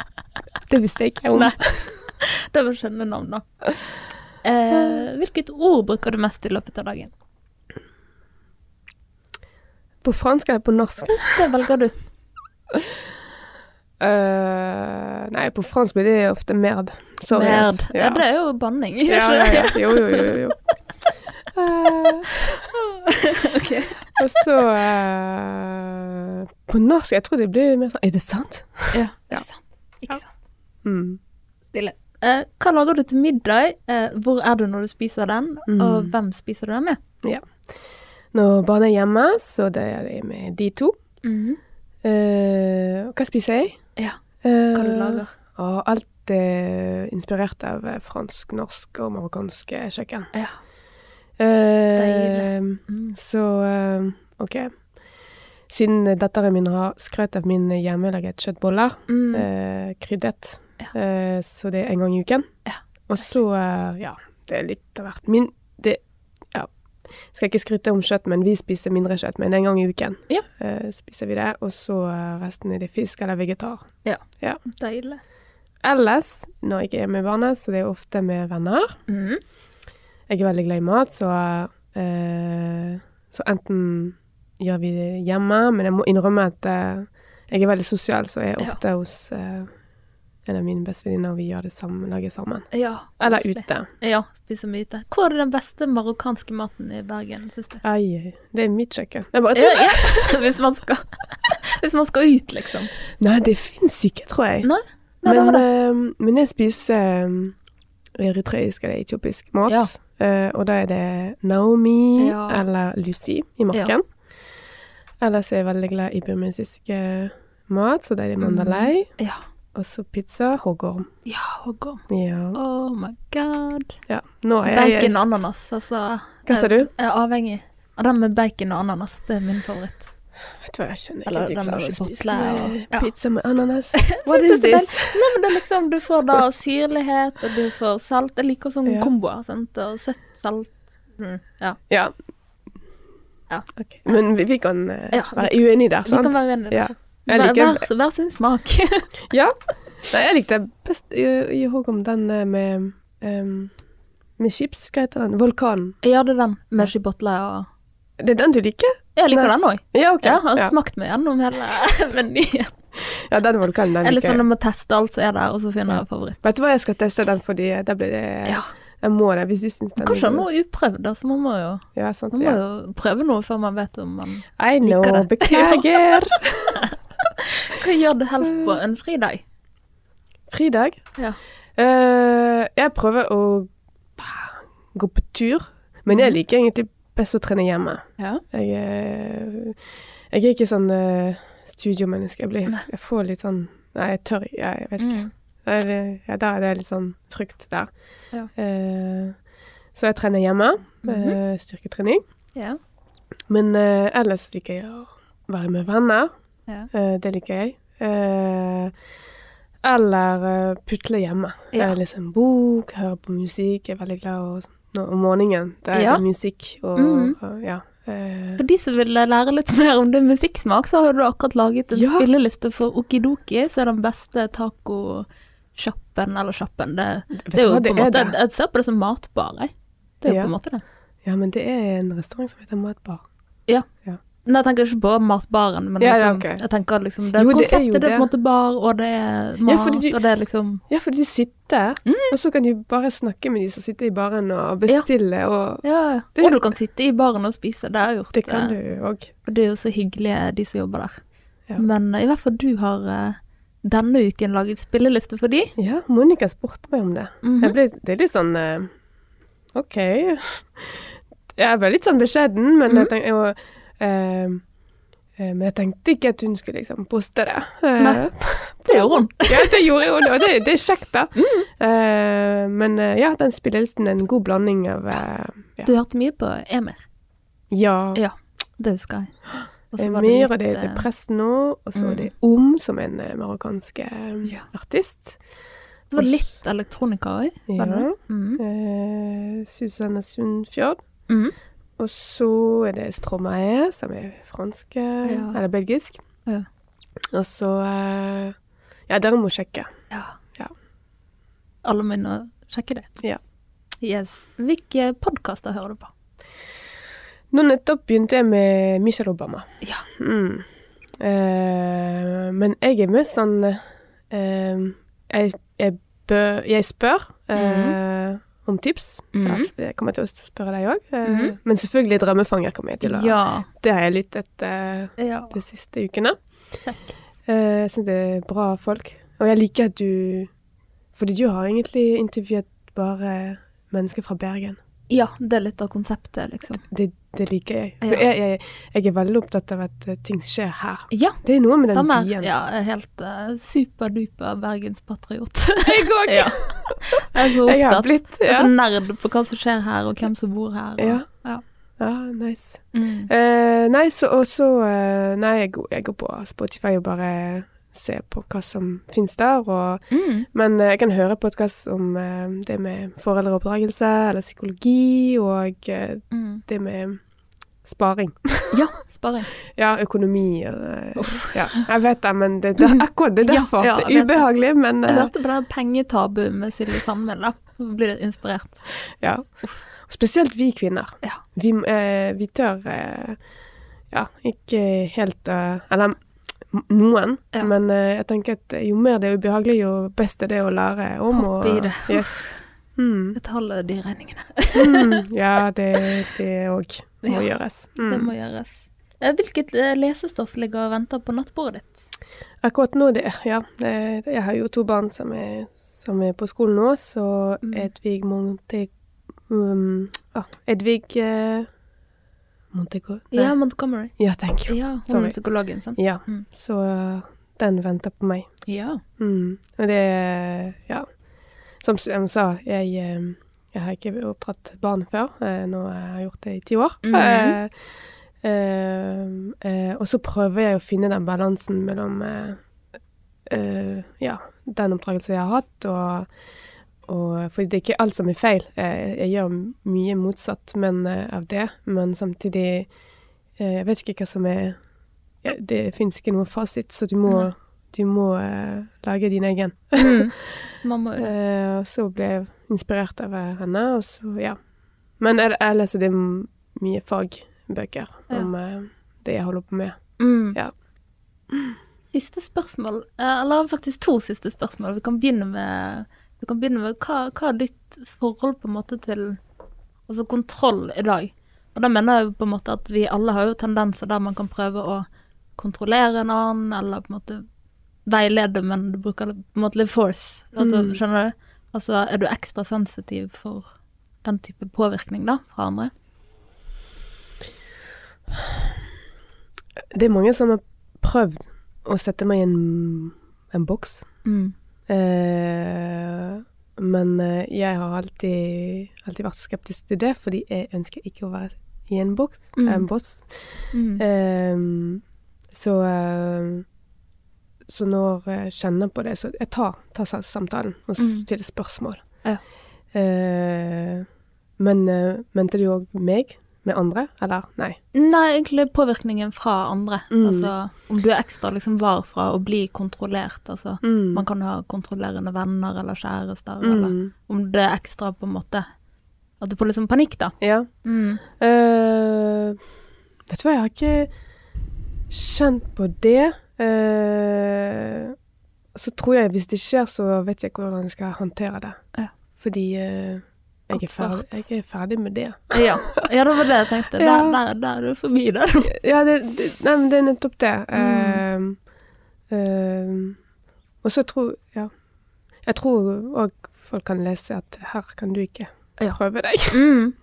Speaker 2: det visste jeg ikke om.
Speaker 1: Nei. Det var skjønne navn da. Eh, hvilket ord bruker du mest i løpet av dagen?
Speaker 2: På fransk eller på norsk?
Speaker 1: Det velger du.
Speaker 2: Eh, nei, på fransk blir det ofte merd. Sorry,
Speaker 1: Merd.
Speaker 2: ass.
Speaker 1: Ja, det er jo banning.
Speaker 2: ja,
Speaker 1: ikke
Speaker 2: ja,
Speaker 1: det?
Speaker 2: ja. Jo, jo, jo. jo. Eh,
Speaker 1: Ok.
Speaker 2: og så eh, På norsk, jeg tror det blir mer sånn Er det sant?
Speaker 1: Ja,
Speaker 2: Ja.
Speaker 1: ikke sant. Ikke
Speaker 2: Ja.
Speaker 1: sant.
Speaker 2: Mm.
Speaker 1: Stille. Eh, hva lager du til middag? Eh, hvor er du når du spiser den?
Speaker 2: Mm.
Speaker 1: Og hvem spiser du den med?
Speaker 2: Når barna er hjemme, så det er det med de to. Mm. Eh, hva spiser jeg?
Speaker 1: Ja,
Speaker 2: Eh,
Speaker 1: hva du lager.
Speaker 2: og alt er inspirert av eh, fransk, norsk og marokkansk eh, kjøkken.
Speaker 1: Ja.
Speaker 2: Eh,
Speaker 1: Mm.
Speaker 2: Så eh, OK. Siden datteren min har skrøt av min hjemmelaget kjøttboller,
Speaker 1: Mm.
Speaker 2: eh, krydret,
Speaker 1: Ja.
Speaker 2: eh, så det er en gang i uken.
Speaker 1: Ja.
Speaker 2: Og så, eh, ja, det er litt av hvert. Min, det, ja, skal ikke skryte om kjøtt, men vi spiser mindre kjøtt, men en gang i uken
Speaker 1: Ja.
Speaker 2: eh, spiser vi det, og så eh, resten er det fisk eller vegetar.
Speaker 1: Deilig.
Speaker 2: Ellers, når jeg ikke er med barna, så det er ofte med venner. Mhm.
Speaker 1: Mm.
Speaker 2: Jeg er veldig glad i mat, så, eh, så enten gjør vi det hjemme, men jeg må innrømme at eh, jeg er veldig sosial, så jeg er
Speaker 1: Ja.
Speaker 2: ofte hos eh, en av mine bestevenninner, og vi gjør det sammen, lager sammen.
Speaker 1: Ja.
Speaker 2: Eller
Speaker 1: koselig.
Speaker 2: ute.
Speaker 1: Ja, spiser mye ute. Hvor er den beste marokkanske maten i Bergen, syns du?
Speaker 2: Ai, det er mitt kjøkken. Jeg bare
Speaker 1: Ja,
Speaker 2: tror
Speaker 1: ja. Hvis, man skal, hvis man skal ut, liksom.
Speaker 2: Nei, det fins ikke, tror jeg.
Speaker 1: Nei, nei det
Speaker 2: Men,
Speaker 1: var det.
Speaker 2: eh, men jeg spiser eh, eritreisk eller etiopisk mat.
Speaker 1: Ja.
Speaker 2: Eh, og da er det Naomi
Speaker 1: Ja.
Speaker 2: eller Lucy i marken. Ellers er jeg veldig glad i burmesisk eh, mat, så da er det mandalai.
Speaker 1: Ja.
Speaker 2: Og så pizza, hoggorm.
Speaker 1: Ja, og gå.
Speaker 2: Ja.
Speaker 1: Oh my god.
Speaker 2: ja. Nå er jeg
Speaker 1: Bacon og ananas, altså.
Speaker 2: Hva sa du?
Speaker 1: Jeg er avhengig av den med bacon og ananas. Det er min favoritt.
Speaker 2: Vet du hva, jeg skjønner ikke
Speaker 1: Eller
Speaker 2: at jeg
Speaker 1: den
Speaker 2: klarer
Speaker 1: med
Speaker 2: ikke å spise
Speaker 1: chipotle og-
Speaker 2: med
Speaker 1: ja.
Speaker 2: pizza med ananas. What
Speaker 1: Synes
Speaker 2: is
Speaker 1: det er
Speaker 2: this?
Speaker 1: deilig. Nei, men det er liksom, du får da syrlighet, og du får salt. Jeg liker sånne
Speaker 2: Ja.
Speaker 1: komboer, sant. Og søtt, salt. Mm, ja.
Speaker 2: Ja.
Speaker 1: Ja.
Speaker 2: Ok. Men vi, vi kan eh,
Speaker 1: Ja, vi-
Speaker 2: være uenige der,
Speaker 1: Vi
Speaker 2: sant?
Speaker 1: kan være uenige.
Speaker 2: Ja. Jeg
Speaker 1: Hver,
Speaker 2: liker
Speaker 1: hver, hver sin smak.
Speaker 2: Ja. Nei, jeg likte best i, i Håkon den eh, med ehm, Med chips, hva heter den? Vulkanen.
Speaker 1: ja, det er den med chipotle og
Speaker 2: Det er den du liker?
Speaker 1: Jeg liker
Speaker 2: Nei.
Speaker 1: den òg.
Speaker 2: Ja, ok.
Speaker 1: Ja, har
Speaker 2: ja.
Speaker 1: smakt meg gjennom hele menyen.
Speaker 2: Ja, den
Speaker 1: Jeg
Speaker 2: vulkanen, den
Speaker 1: er litt
Speaker 2: liker
Speaker 1: sånn
Speaker 2: jeg.
Speaker 1: jeg må teste alt som er der, og så finner jeg favoritt.
Speaker 2: Vet du hva, jeg skal teste den fordi da blir det
Speaker 1: Ja.
Speaker 2: Jeg må det, hvis du syns den
Speaker 1: Kanskje
Speaker 2: er god.
Speaker 1: noe uprøvd, da, så man må jo
Speaker 2: Ja, sant.
Speaker 1: Man må
Speaker 2: Ja.
Speaker 1: jo prøve noe før man vet om man
Speaker 2: I know,
Speaker 1: liker det.
Speaker 2: beklager.
Speaker 1: Hva gjør du helst på en fridag?
Speaker 2: Fridag.
Speaker 1: Ja.
Speaker 2: Eh, jeg prøver å gå på tur, men
Speaker 1: Mhm.
Speaker 2: jeg liker egentlig best å trene hjemme.
Speaker 1: Ja.
Speaker 2: Jeg, er- jeg er ikke sånn eh, studiomenneske. Jeg, blir, jeg får litt sånn Nei, jeg tør ikke. Jeg, jeg vet ikke.
Speaker 1: Mm.
Speaker 2: Jeg- Ja, der er det litt sånn frykt der.
Speaker 1: Ja.
Speaker 2: Eh, så jeg trener hjemme. eh, styrketrening.
Speaker 1: Mhm. ja.
Speaker 2: Men eh, ellers liker jeg å være med venner.
Speaker 1: Ja.
Speaker 2: Eh, det liker jeg. Eh, eller eh, putle hjemme.
Speaker 1: Ja.
Speaker 2: Eh, lese en bok, høre på musikk. Jeg er veldig glad og, nå, om morgenen. Da er
Speaker 1: Ja.
Speaker 2: det musikk og,
Speaker 1: Mhm.
Speaker 2: og ja. Eh,
Speaker 1: For de som vil lære litt mer om din musikksmak, så har du akkurat laget en
Speaker 2: Ja.
Speaker 1: spilleliste for Okidoki, som er den beste tacosjappen eller sjappen. Det, det er
Speaker 2: du
Speaker 1: jo
Speaker 2: hva, det
Speaker 1: på en
Speaker 2: er
Speaker 1: måte
Speaker 2: det.
Speaker 1: Jeg ser på det som matbar, jeg. Det er jo
Speaker 2: Ja.
Speaker 1: på en måte det.
Speaker 2: Ja, men det er en restaurant som heter Matbar.
Speaker 1: Nei, jeg tenker ikke på matbaren, men
Speaker 2: Ja,
Speaker 1: liksom,
Speaker 2: ja, ok.
Speaker 1: jeg tenker liksom Det er
Speaker 2: Jo, det er
Speaker 1: konfetti,
Speaker 2: jo
Speaker 1: det er på en
Speaker 2: det.
Speaker 1: måte bar, og det er mat,
Speaker 2: Ja, fordi du-
Speaker 1: og det er liksom
Speaker 2: Ja, for de sitter,
Speaker 1: Mm.
Speaker 2: og så kan de bare snakke med de som sitter i baren og bestille, og
Speaker 1: Ja, ja.
Speaker 2: Det-
Speaker 1: Og du kan sitte i baren og spise. Det har jeg gjort.
Speaker 2: det kan
Speaker 1: eh,
Speaker 2: du òg.
Speaker 1: Og det er jo så hyggelige, de som jobber der.
Speaker 2: Ja.
Speaker 1: Men eh, i hvert fall du har eh, denne uken laget spilleliste for de.
Speaker 2: Ja, Monica spurte meg om det.
Speaker 1: Mhm.
Speaker 2: jeg ble, det er litt sånn eh, OK. Jeg ble litt sånn beskjeden, men
Speaker 1: Mhm.
Speaker 2: jeg, tenk, og, eh, eh, men jeg tenkte ikke at hun skulle liksom poste det. Eh,
Speaker 1: Nei. Det gjorde hun.
Speaker 2: ja, det gjorde hun, og det, det er kjekt, da.
Speaker 1: Mm.
Speaker 2: Eh, men eh, ja, den spillelsen er en god blanding av eh, ja.
Speaker 1: Du hørte mye på Emir.
Speaker 2: Ja.
Speaker 1: Ja, det husker jeg. Og
Speaker 2: Eh,
Speaker 1: så var det
Speaker 2: Myhre, det,
Speaker 1: litt,
Speaker 2: det er
Speaker 1: eh,
Speaker 2: presten nå, og så
Speaker 1: mm.
Speaker 2: er det Om, som er en eh, marokkansk eh,
Speaker 1: Ja.
Speaker 2: artist.
Speaker 1: Det var litt elektronika òg, var det
Speaker 2: Ja.
Speaker 1: det? Mm.
Speaker 2: Eh, Susanne Sundfjord.
Speaker 1: Mm.
Speaker 2: Og så er det Stromae, som er fransk, eh,
Speaker 1: Ja.
Speaker 2: eller belgisk.
Speaker 1: Ja.
Speaker 2: Og så eh, Ja, dere må sjekke.
Speaker 1: Ja.
Speaker 2: Ja.
Speaker 1: Alle må inn og sjekke det.
Speaker 2: Ja.
Speaker 1: Yes. Hvilke podkaster hører du på?
Speaker 2: Nå nettopp begynte jeg med Michelle Obama.
Speaker 1: Ja.
Speaker 2: Mm. Eh, men jeg er mest sånn eh, jeg, jeg, bø- jeg spør eh, om tips.
Speaker 1: Mhm.
Speaker 2: Ja, så Jeg kommer til å spørre deg òg.
Speaker 1: Mhm.
Speaker 2: Men selvfølgelig 'Drømmefanger' kommer jeg til å
Speaker 1: Ja.
Speaker 2: Det har jeg lyttet eh, de siste ukene. Eh, jeg syns det er bra folk. Og jeg liker at du Fordi du har egentlig intervjuet bare mennesker fra Bergen.
Speaker 1: ja. Det er litt av konseptet, liksom.
Speaker 2: Det, det liker jeg. For
Speaker 1: Ja.
Speaker 2: jeg, jeg. Jeg er veldig opptatt av at eh, ting skjer her.
Speaker 1: Ja.
Speaker 2: Det er noe med den
Speaker 1: Samme.
Speaker 2: byen.
Speaker 1: Ja, jeg er helt eh, superduper bergenspatriot.
Speaker 2: Jeg òg.
Speaker 1: Ja. jeg er så
Speaker 2: Jeg har
Speaker 1: opptatt.
Speaker 2: blitt
Speaker 1: Jeg
Speaker 2: ja.
Speaker 1: er så nerd på hva som skjer her, og hvem som bor her. Og,
Speaker 2: Ja.
Speaker 1: ja.
Speaker 2: ja, nice.
Speaker 1: Mm.
Speaker 2: Eh, nei, så og så, eh, Nei, jeg, går- jeg går på Spotify og bare ser på hva som finnes der. Og,
Speaker 1: Mm.
Speaker 2: men eh, jeg kan høre podkast om eh, det med foreldreoppdragelse eller psykologi, og eh,
Speaker 1: Mm.
Speaker 2: det med sparing.
Speaker 1: Ja, sparing.
Speaker 2: Ja, økonomi og eh,
Speaker 1: Uff.
Speaker 2: Ja, jeg vet det, men det, det er akkurat det er
Speaker 1: Ja,
Speaker 2: derfor.
Speaker 1: ja,
Speaker 2: det er
Speaker 1: jeg vet det.
Speaker 2: ubehagelig, men
Speaker 1: Jeg
Speaker 2: eh,
Speaker 1: hørte på det der pengetabu med Silje Sandvild, da. Så blir jeg inspirert.
Speaker 2: Ja. Og Spesielt vi kvinner.
Speaker 1: Ja.
Speaker 2: Vi, eh, vi tør eh, ja, ikke helt eh, Eller m- noen,
Speaker 1: Ja.
Speaker 2: men eh, jeg tenker at jo mer det er ubehagelig, jo best er det å lære om.
Speaker 1: Hoppe
Speaker 2: og,
Speaker 1: i det.
Speaker 2: Yes. Mm,
Speaker 1: Betale de regningene.
Speaker 2: mm, ja, det òg må
Speaker 1: Ja.
Speaker 2: gjøres.
Speaker 1: Det
Speaker 2: Mm.
Speaker 1: må gjøres. Eh, Hvilket eh, lesestoff ligger og venter på nattbordet ditt?
Speaker 2: Akkurat nå, det, ja. Det, jeg har jo to barn som er, som er på skolen nå, så
Speaker 1: Mm.
Speaker 2: Edvig Monte... Um, ah, Edvig eh, Montego... nei.
Speaker 1: Ja, Montgomery.
Speaker 2: ja, thank you.
Speaker 1: Ja, hun
Speaker 2: Sorry.
Speaker 1: er psykologen, sant?
Speaker 2: Ja,
Speaker 1: Mm.
Speaker 2: så uh, den venter på meg.
Speaker 1: Ja.
Speaker 2: Mm. Og det uh, Ja. Som s- jeg sa, jeg, um, jeg har ikke oppdratt barn før. eh, Nå har jeg gjort det i ti år.
Speaker 1: Mhm.
Speaker 2: Eh, eh, eh, og så prøver jeg å finne den balansen mellom eh, eh, ja, den oppdragelsen jeg har hatt, og, og For det er ikke alt som er feil. Eh, jeg gjør m- mye motsatt men, eh, av det, men samtidig eh, Jeg vet ikke hva som er ja, Det fins ikke noen fasit, så du må,
Speaker 1: Nei.
Speaker 2: du må eh, lage din egen.
Speaker 1: Mamma er
Speaker 2: Eh, og så ble jeg inspirert av henne, og så, ja. Men jeg, jeg leser det m- mye fagbøker
Speaker 1: Ja.
Speaker 2: om eh, det jeg holder på med.
Speaker 1: mm.
Speaker 2: ja.
Speaker 1: Siste spørsmål, eh, eller faktisk to siste spørsmål. Vi kan begynne med, vi kan begynne med hva, hva er ditt forhold på en måte til altså kontroll i dag? Og da mener jeg jo på en måte at vi alle har jo tendenser der man kan prøve å kontrollere en annen, eller på en måte veilede, men du bruker på en måte litt force. Altså,
Speaker 2: Mm.
Speaker 1: Skjønner du? Altså, er du ekstra sensitiv for den type påvirkning da, fra andre?
Speaker 2: Det er mange som har prøvd å sette meg i en, en boks.
Speaker 1: Mm.
Speaker 2: Eh, men eh, jeg har alltid, alltid vært skeptisk til det, fordi jeg ønsker ikke å være i en boks.
Speaker 1: Mm.
Speaker 2: En boss.
Speaker 1: Mm.
Speaker 2: Ehm, så eh, Så når jeg kjenner på det, så jeg tar, tar sa- samtalen og
Speaker 1: Mm.
Speaker 2: stiller spørsmål.
Speaker 1: Ja.
Speaker 2: Eh, men eh, mente du òg meg med andre, eller? Nei.
Speaker 1: Nei, egentlig påvirkningen fra andre.
Speaker 2: Mm.
Speaker 1: Altså, om du er ekstra liksom var fra å bli kontrollert, altså. Man kan ha kontrollerende venner eller kjærester, eller
Speaker 2: Mm.
Speaker 1: om det er ekstra på en måte At du får liksom panikk, da.
Speaker 2: Ja.
Speaker 1: Mm.
Speaker 2: Eh, vet du hva, jeg har ikke kjent på det. Eh, så tror jeg hvis det skjer, så vet jeg hvordan jeg skal håndtere det.
Speaker 1: Ja.
Speaker 2: Fordi eh,
Speaker 1: Godt
Speaker 2: jeg, er ferdig,
Speaker 1: svart.
Speaker 2: jeg er ferdig med det.
Speaker 1: Ja. ja, det var det jeg tenkte. Der,
Speaker 2: Ja.
Speaker 1: der, der er du forbi det.
Speaker 2: Ja, det, det, nei, men det er nettopp det.
Speaker 1: Mm.
Speaker 2: Eh, eh, og så tror Ja. Jeg tror òg folk kan lese at her kan du ikke
Speaker 1: Ja.
Speaker 2: prøve deg.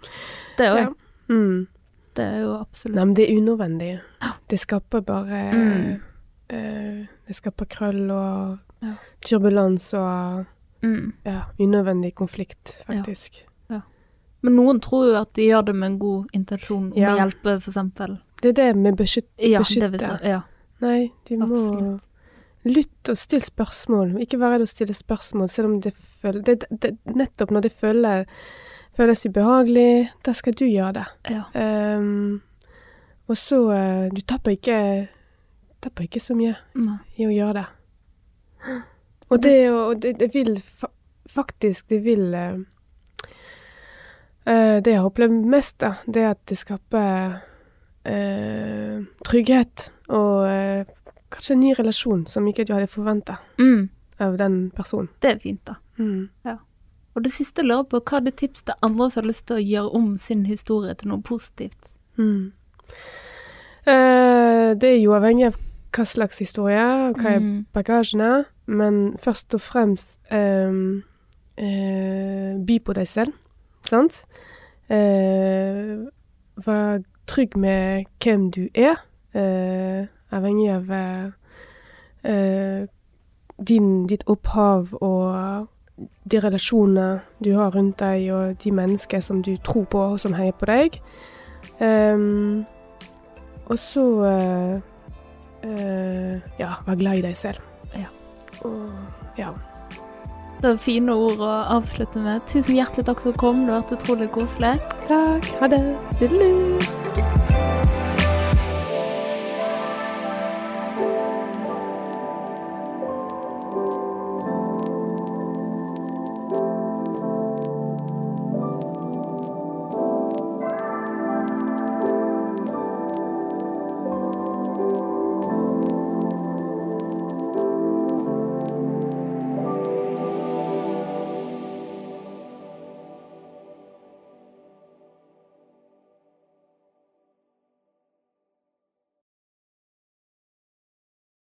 Speaker 1: Det er jo,
Speaker 2: Ja. Mm.
Speaker 1: det er jo
Speaker 2: Nei,
Speaker 1: absolutt
Speaker 2: men det er unødvendig. Det skaper bare
Speaker 1: Mm.
Speaker 2: eh, Det skaper krøll og
Speaker 1: Ja.
Speaker 2: turbulens og
Speaker 1: mm.
Speaker 2: ja, unødvendig konflikt, faktisk.
Speaker 1: Ja. Men noen tror jo at de gjør det med en god intensjon, om
Speaker 2: Ja.
Speaker 1: å hjelpe, for eksempel.
Speaker 2: Det er det med beskytt...
Speaker 1: Ja, det
Speaker 2: Beskytte.
Speaker 1: vil si- Ja,
Speaker 2: Nei, de må
Speaker 1: absolutt.
Speaker 2: lytte og stille spørsmål. Ikke vær redd å stille spørsmål, selv om det føles det, det, Nettopp når det føle- føles ubehagelig, da skal du gjøre det.
Speaker 1: Ja.
Speaker 2: Ehm, og så eh, Du tapper ikke, tapper ikke så mye
Speaker 1: Nei.
Speaker 2: i å gjøre det. Og det, er jo- og det, det vil fa faktisk Det vil eh, eh, Det jeg har opplevd mest, da, det er at det skaper eh, trygghet og eh, kanskje en ny relasjon som ikke du hadde forventa
Speaker 1: Mm,
Speaker 2: av den personen.
Speaker 1: det er fint, da.
Speaker 2: Mm.
Speaker 1: Og det siste jeg lurer på, hva er det tips til andre som har lyst til å gjøre om sin historie til noe positivt?
Speaker 2: Mm. Eh, det er jo avhengig av hva slags historie og hva jeg
Speaker 1: Mm,
Speaker 2: bagasjene, men først og fremst ehm, eh, by på deg selv, sant? Eh, vær trygg med hvem du er, eh, avhengig av eh, eh, din, ditt opphav og de relasjoner du har rundt deg, og de mennesker som du tror på og som heier på deg. Ehm, og så eh, eh, ja, vær glad i deg selv.
Speaker 1: Ja.
Speaker 2: Og ja.
Speaker 1: Det er fine ord å avslutte med. Tusen hjertelig takk som kom, det har vært utrolig koselig.
Speaker 2: Takk. Ha det. Tudelu.